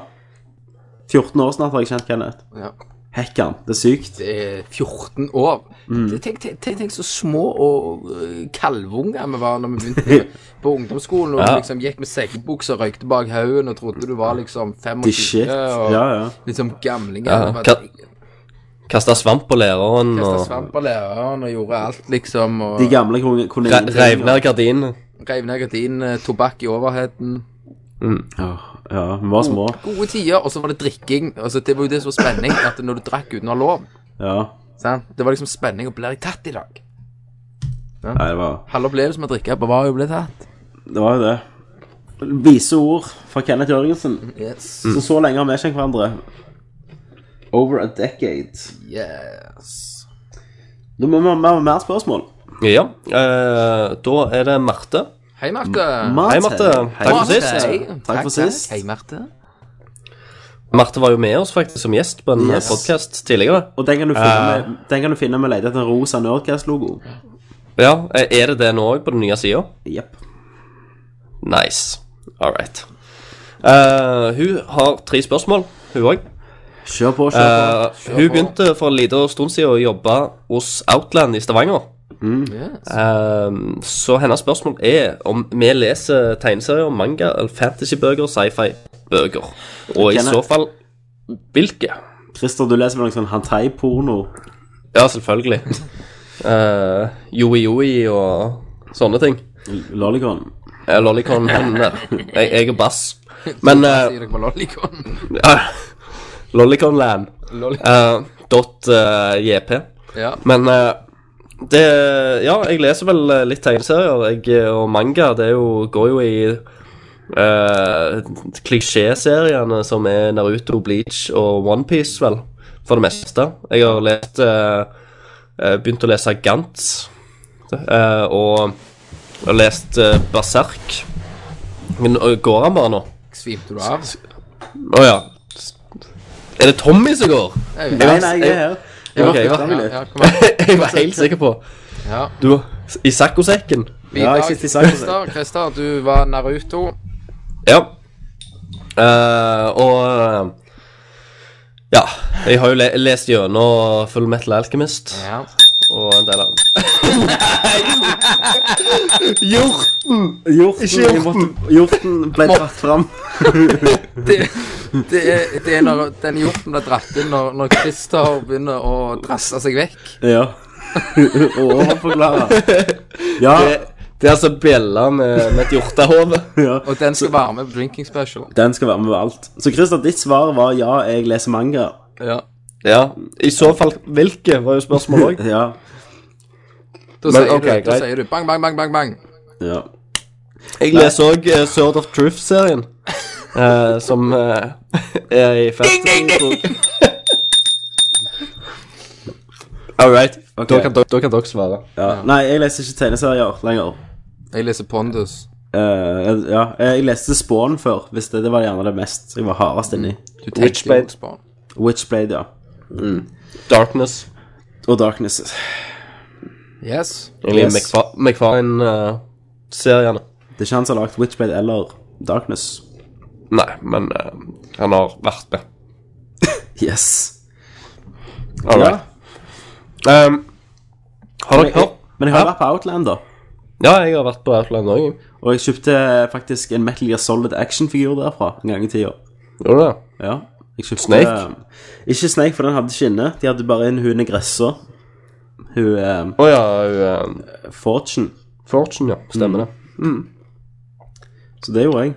Speaker 6: 14 år snart har jeg kjent Kenneth.
Speaker 7: Ja.
Speaker 6: Hekkan, det er sykt.
Speaker 7: Det er 14 år. Det- Tenk, tenk, tenk, tenk så små og eh, kalvunger vi var når vi begynte på ungdomsskolen. Og
Speaker 8: Ja.
Speaker 7: liksom gikk med sekkebuks og røykte bak haugen og trodde du var liksom
Speaker 6: The
Speaker 7: 25.
Speaker 6: shit.
Speaker 7: Og
Speaker 6: Ja, ja.
Speaker 7: liksom gamlinger.
Speaker 8: Ja,
Speaker 7: Ja.
Speaker 8: ka- Kasta svamp på læreren
Speaker 7: Kasta
Speaker 8: og
Speaker 7: svamp av læreren og gjorde alt, liksom. Og
Speaker 6: De gamle kon- kunne
Speaker 8: re- reiv ned gardinene.
Speaker 7: reiv ned gardinene, eh, tobakk i overheaden.
Speaker 6: Ja, ja, vi var små.
Speaker 7: Gode tider. Og så var det drikking. Altså, det var jo det som var spenning, at når du drakk uten å ha lov.
Speaker 6: Ja.
Speaker 7: Sant? Det var liksom spenning å bli tatt i dag.
Speaker 6: Nei, det var
Speaker 7: Halve opplevelsen med å drikke på var jo å bli tatt.
Speaker 6: det. Var jo det. Vise ord fra Kenneth Jørgensen.
Speaker 7: Yes.
Speaker 6: Så
Speaker 8: Mm.
Speaker 6: så lenge har vi kjent hverandre. Over a decade.
Speaker 7: Yes.
Speaker 6: Da må vi ha mer- mer spørsmål.
Speaker 8: Ja. eh, da er det Marte.
Speaker 7: Hei, Marte.
Speaker 8: Hei, Marte. Takk for
Speaker 7: Marte,
Speaker 8: sist.
Speaker 7: hei.
Speaker 6: Takk for sist.
Speaker 7: Hei, Marte.
Speaker 8: Marte var jo med oss faktisk som gjest på en
Speaker 6: Yes.
Speaker 8: podkast tidligere.
Speaker 6: Og den kan du
Speaker 8: Eh.
Speaker 6: finne med, den kan du finne med å lete etter en rosa Nerdcast-logo.
Speaker 8: Ja, eh, Er det det nå òg, på den nye sida?
Speaker 6: Jepp.
Speaker 8: Nice. All right. Eh, hun har tre spørsmål, hun òg.
Speaker 6: Kjør på, kjør
Speaker 8: Eh.
Speaker 6: på.
Speaker 8: hun begynte for en liten stund siden å jobbe hos Outland i Stavanger. Eh, så hennes spørsmål er om vi leser tegneserier, manga, eller fantasybøker, sci-fi-bøker. Og i
Speaker 6: Kenneth.
Speaker 8: så fall hvilke?
Speaker 6: Christer, du leser vel noe sånn hantai-porno?
Speaker 8: Ja, selvfølgelig. Eh, Yoi-yoi og sånne ting.
Speaker 6: Lollicon?
Speaker 8: Eh, Lollicon han der. Jeg, jeg er bass. Men eh,
Speaker 7: Sier dere på Lollicon?
Speaker 8: ja, Lolliconland.
Speaker 7: Lollicon.
Speaker 8: eh, Dot eh, JP.
Speaker 7: Ja.
Speaker 8: Men eh, det Ja, jeg leser vel eh, litt tegneserier jeg, eh, og manga. Det er jo, går jo i eh, klisjéseriene som er Naruto, Bleach og Onepiece, vel. For det meste. Jeg har lest eh, eh, Begynt å lese Gantz. eh, og jeg har lest eh, Berserk. Men eh, går han bare nå?
Speaker 7: Svimte du av?
Speaker 8: Å ja. Er det Tommy som går?
Speaker 7: Jeg
Speaker 6: Nei,
Speaker 7: vet.
Speaker 6: nei, jeg er her. Jeg
Speaker 8: Ok,
Speaker 6: okay,
Speaker 8: ja.
Speaker 6: var
Speaker 7: Ja,
Speaker 6: ja,
Speaker 7: ja, kom an.
Speaker 8: jeg var helt sikker på
Speaker 7: Ja.
Speaker 8: Du I saccosekken?
Speaker 6: Ja, jeg sitter i saken.
Speaker 7: Christer, Christer, du var Naruto.
Speaker 8: Ja. Eh, og eh, Ja. Jeg har jo le lest gjennom Full Metal Alchemist
Speaker 7: Ja.
Speaker 8: og en del av Hjort!
Speaker 6: Hjorten,
Speaker 8: Mm. Ikke hjorten.
Speaker 6: jeg måtte- hjorten ble dratt fram.
Speaker 7: Det, det, er, det er når den hjorten blir dratt inn når, når Christer begynner å drasse seg vekk.
Speaker 6: Ja. Overforklare. Ja,
Speaker 8: Det, det er altså bjella med, med et hjortehode.
Speaker 6: ja.
Speaker 7: Og den skal være med på drinking special.
Speaker 6: Den skal være med på alt. Så Christer, ditt svar var ja, jeg leser manga.
Speaker 7: Ja.
Speaker 8: Ja. I så fall hvilke, var jo spørsmålet òg.
Speaker 6: Ja.
Speaker 7: Da,
Speaker 8: Men,
Speaker 7: sier,
Speaker 8: ok,
Speaker 7: du, da
Speaker 8: greit.
Speaker 7: sier du bang, bang, bang, bang. bang.
Speaker 6: ja.
Speaker 8: Jeg leser òg uh, Sword of Truth-serien. eh, som eh, er i fantasy. All right. Da, kan dere, da kan dere svare.
Speaker 6: ja. Nei, jeg leser ikke tegneserier lenger.
Speaker 7: Jeg leser Pondus.
Speaker 6: Eh, ja, jeg leste Spawn før, hvis det, det var gjerne det mest jeg var hardest inni.
Speaker 7: Du tenker
Speaker 8: Witchblade.
Speaker 7: jo på barn.
Speaker 6: Witchblade, ja.
Speaker 8: Darkness.
Speaker 6: Og Darkness.
Speaker 7: Yes.
Speaker 8: Egentlig
Speaker 6: Yes.
Speaker 8: McFa- McFarlane-seriene.
Speaker 6: Det er ikke han som har lagd Witchblade eller Darkness.
Speaker 8: Nei, men eh, han har vært med.
Speaker 6: Yes.
Speaker 8: All
Speaker 6: Ja.
Speaker 8: right. Ehm, har
Speaker 6: Men
Speaker 8: dere
Speaker 6: jeg,
Speaker 8: hørt?
Speaker 6: men jeg har
Speaker 8: Ja.
Speaker 6: vært på Outland, da.
Speaker 8: Ja, jeg har vært på Outland òg.
Speaker 6: Og jeg kjøpte faktisk en Metal Gear Solid actionfigur derfra en gang i tida.
Speaker 8: Gjorde du det?
Speaker 6: Ja. Jeg kjøpte, eh,
Speaker 8: Snake?
Speaker 6: Ikke Snake, for den hadde ikke inne. De hadde bare inn hun negressa. Hun eh,
Speaker 8: Å ja. hun, eh,
Speaker 6: Fortune.
Speaker 8: Fortune, ja.
Speaker 6: Mm.
Speaker 8: Stemmer det.
Speaker 6: Så det gjorde jeg.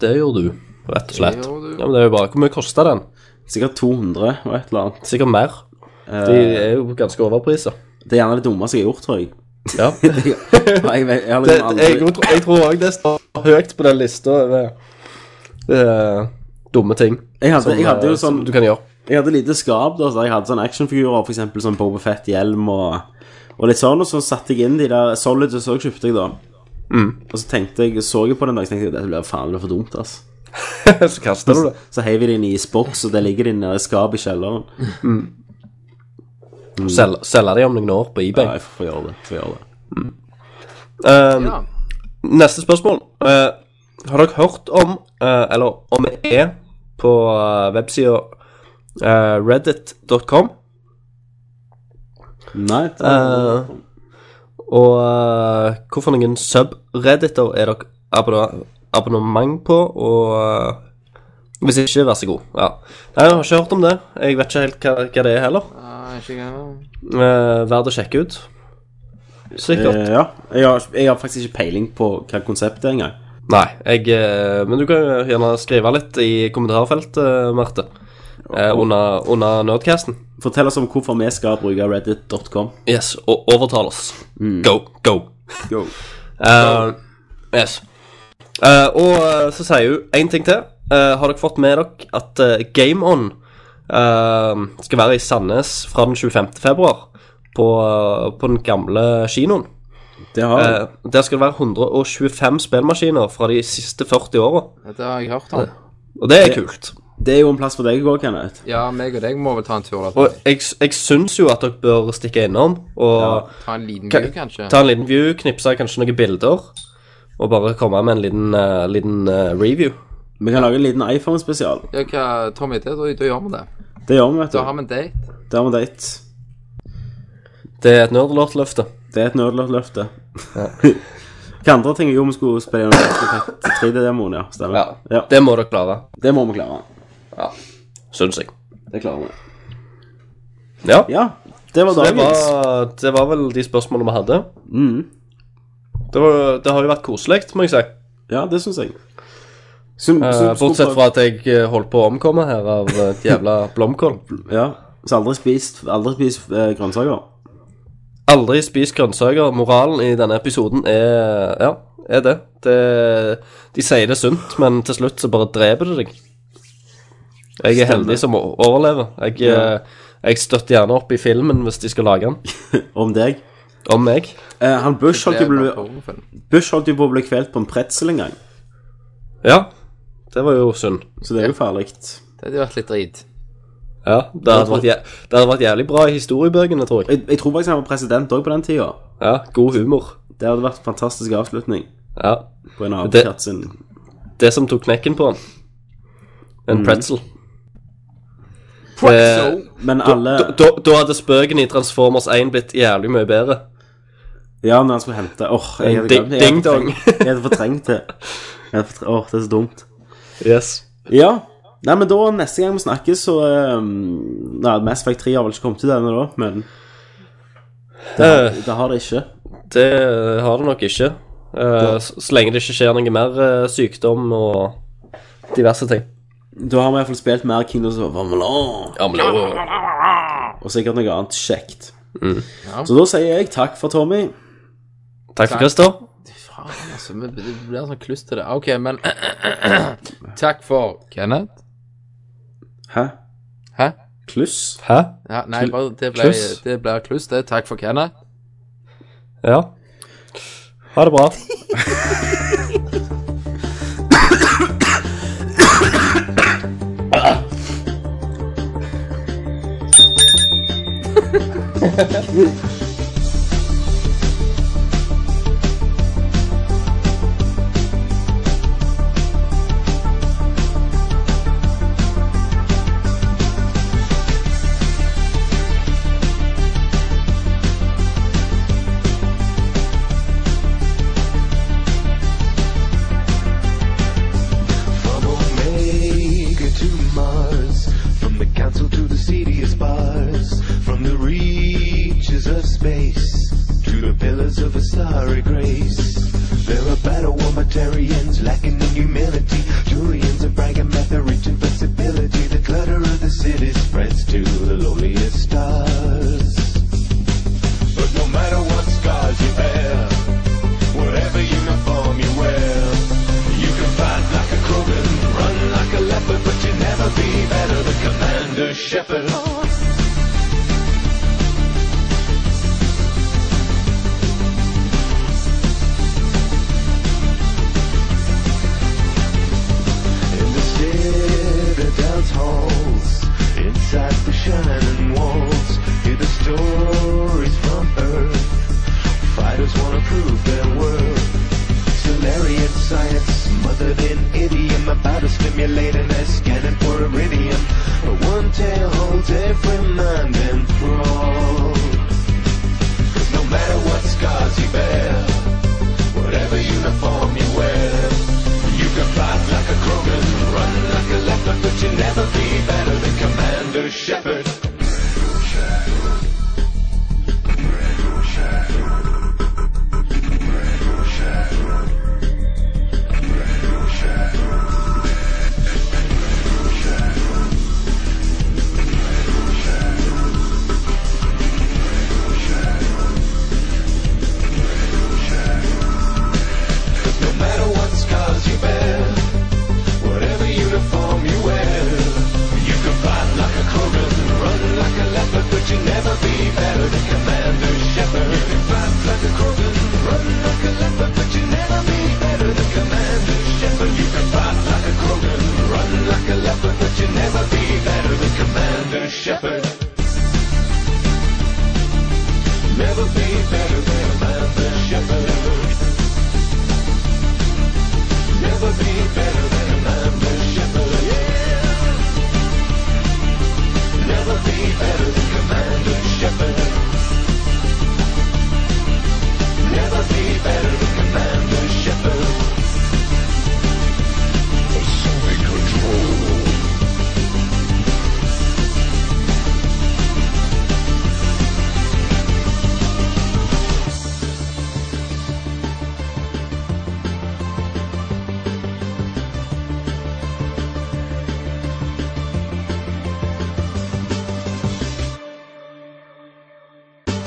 Speaker 8: Det gjorde du, rett og slett.
Speaker 7: Det gjorde du.
Speaker 8: Ja, men det er jo bra. Hvor mye kosta den?
Speaker 6: Sikkert 200 og et eller annet.
Speaker 8: Sikkert mer.
Speaker 6: Eh.
Speaker 8: De er jo ganske overprisa.
Speaker 6: Det er gjerne det dummeste jeg har gjort, tror jeg.
Speaker 8: Ja. det,
Speaker 6: jeg, jeg, vet- jeg har liksom
Speaker 8: jeg,
Speaker 6: aldri
Speaker 8: tror- jeg tror òg det står høyt på den lista over eh, dumme ting
Speaker 6: jeg hadde, jeg hadde jo
Speaker 8: eh,
Speaker 6: sånn
Speaker 8: som du kan gjøre.
Speaker 6: Jeg hadde lite skap, da, så jeg hadde sånne actionfigurer, for eksempel sånn Boba Fett-hjelm og, og litt sånn, og så satte jeg inn de der Solid og så kjøpte jeg da.
Speaker 8: Mm.
Speaker 6: Og så tenkte jeg, så jeg på den dag, så tenkte jeg, dette blir faen det blir for dumt, ass.
Speaker 8: Så kaster du det.
Speaker 6: Så heiv jeg de inn i isboks, og der ligger de nede i skap i kjelleren.
Speaker 8: Sel- Selge de om noen år på eBay.
Speaker 6: Ja, jeg får gjøre det, jeg får gjøre det.
Speaker 8: Eh, Neste spørsmål. Eh, har dere hørt om, eh, eller om vi er, på uh, websida eh, reddit.com?
Speaker 6: Nei, det,
Speaker 8: Eh, og uh, hvorfor noen subredditor er dere abonn abonnement på, og eh, hvis ikke, vær så god. Ja. Nei, jeg har ikke hørt om det. Jeg vet ikke helt hva, hva det er heller.
Speaker 7: Nei, ikke engang.
Speaker 8: Uh, Verd å sjekke ut. Sikkert.
Speaker 6: eh, ja. Jeg har, jeg har faktisk ikke peiling på hva konseptet er engang.
Speaker 8: Nei, jeg, eh, men du kan jo gjerne skrive litt i kommentarfeltet, Marte. Eh, under, under Nerdcasten.
Speaker 6: Fortell oss om hvorfor vi skal bruke reddit.com.
Speaker 8: Yes, og overtal oss. Go, go.
Speaker 6: Go.
Speaker 8: Eh, yes. Eh, og eh, så sier hun én ting til. Eh, har dere fått med dere at eh, Game On eh, skal være i Sandnes fra den 25. februar? På, eh, på den gamle kinoen.
Speaker 6: Det har jeg.
Speaker 8: Eh, der skal det være 125 spillmaskiner fra de siste 40 åra.
Speaker 7: Dette har jeg hørt om.
Speaker 8: Og det er kult.
Speaker 6: Det er jo en plass for deg å gå, Kenneth.
Speaker 7: Ja, meg og deg må vel ta en tur der.
Speaker 8: Og jeg, jeg syns jo at dere bør stikke innom og
Speaker 7: ta en liten
Speaker 8: Ka-
Speaker 7: by, kanskje.
Speaker 8: ta en liten view, knipse kanskje noen bilder, og bare komme med en liten, eh, liten eh, review.
Speaker 6: Vi kan lage en liten iPhone-spesial.
Speaker 7: Ja, hva, Tommy, det, da, da gjør vi det.
Speaker 6: Det gjør vi, vet
Speaker 7: Da har
Speaker 6: du.
Speaker 7: vi en date.
Speaker 6: Det har vi date.
Speaker 8: Det er et nerdelortløfte.
Speaker 6: Det er et nødlørt løfte. Hva andre ting? Jo, vi skulle spille gjennom 3D-demoen, ja. Stemmer. Ja.
Speaker 8: Det må dere klare,
Speaker 6: Det må vi klare.
Speaker 8: syns jeg.
Speaker 6: Det klarer vi.
Speaker 8: Ja.
Speaker 6: Ja, det var
Speaker 8: Så det,
Speaker 6: dagens.
Speaker 8: var, det var vel de spørsmålene vi hadde.
Speaker 6: Mm.
Speaker 8: Det, var, det har jo vært koselig, må jeg si.
Speaker 6: Ja, det syns jeg. Sum-
Speaker 8: Eh,
Speaker 6: sum-
Speaker 8: bortsett fra at jeg eh, holdt på å omkomme her av eh, et jævla blomkål.
Speaker 6: Ja. Så aldri spist, aldri spist eh, grønnsaker.
Speaker 8: Aldri spis grønnsaker. Moralen i denne episoden er ja, er det. det. De sier det er sunt, men til slutt så bare dreper det deg. Jeg er heldig som o- overlever. Jeg, eh, jeg støtter gjerne opp i filmen hvis de skal lage den.
Speaker 6: Om deg.
Speaker 8: Om meg.
Speaker 6: Eh, han Bush holdt,
Speaker 7: Det
Speaker 6: jo
Speaker 7: er
Speaker 6: ble,
Speaker 7: bare pornofilm.
Speaker 6: Bush holdt jo på å bli kvelt på en pretzel en gang,
Speaker 8: Ja, det var jo synd.
Speaker 6: så det er jo farlig.
Speaker 7: Det hadde vært litt drit.
Speaker 8: Ja, det hadde vært, jæ- det hadde vært jævlig bra i historiebøkene, tror jeg.
Speaker 6: Jeg, jeg tror faktisk han var president òg på den tida.
Speaker 8: Ja, God humor.
Speaker 6: Det hadde vært en fantastisk avslutning
Speaker 8: Ja.
Speaker 6: på en
Speaker 8: Det-
Speaker 6: apekatt sin
Speaker 8: Det som tok knekken på han. En pretzel.
Speaker 7: Pretzel.
Speaker 8: Det-
Speaker 6: Men alle
Speaker 8: Da, da, da hadde spøken i Transformers 1 blitt jævlig mye bedre.
Speaker 6: Ja, når han skulle hente Åh, jeg hadde
Speaker 8: Ding-
Speaker 6: glemt det. Jeg hadde
Speaker 8: ding-dong.
Speaker 6: fortrengt- Jeg hadde fortrengt det. Jeg hadde fortrengt- Åh, det er så dumt.
Speaker 8: Yes.
Speaker 6: Ja. Nei, men da, neste gang vi snakkes, så um, Nei, Mass Effect 3 har vel ikke kommet ut ennå, da, men
Speaker 8: Eh,
Speaker 6: det har det ikke.
Speaker 8: det har det nok ikke. Eh, s- så lenge det ikke skjer noe mer eh, sykdom og diverse ting.
Speaker 6: Da har vi iallfall spilt mer Kingdoms of Amalon, og sikkert noe annet kjekt.
Speaker 8: Mm.
Speaker 6: Så da sier jeg takk for Tommy.
Speaker 8: Takk for Christer.
Speaker 7: Faen, altså. men Det blir en sånn kluss til det. OK, men Takk for Kenneth.
Speaker 6: Hæ?
Speaker 7: Hæ?
Speaker 6: Kluss?
Speaker 8: Hæ?
Speaker 7: Ja, nei, bare, det ble,
Speaker 8: Kluss?
Speaker 7: det ble kluss, det. Takk for Kenneth.
Speaker 8: Ja. Ha det bra.
Speaker 5: From Omega to Mars, from the council to the seediest bars, from the reaches of space to the pillars of a starry grace. There are battle womatarians lacking in humility, Turians and bragging about their reach and flexibility. The clutter of the city spreads to the lowliest stars. But no matter what scars you bear, whatever uniform you wear, you can fight like a Krogan, run like a leopard, but you never be better than Commander Shepard. In the citadel's halls, inside the shining walls, hear the stories from Earth. Fighters wanna prove their worth. Solarian science, smothered in idiom, about to stimulate and they're scanning for iridium. But one tale holds every mind,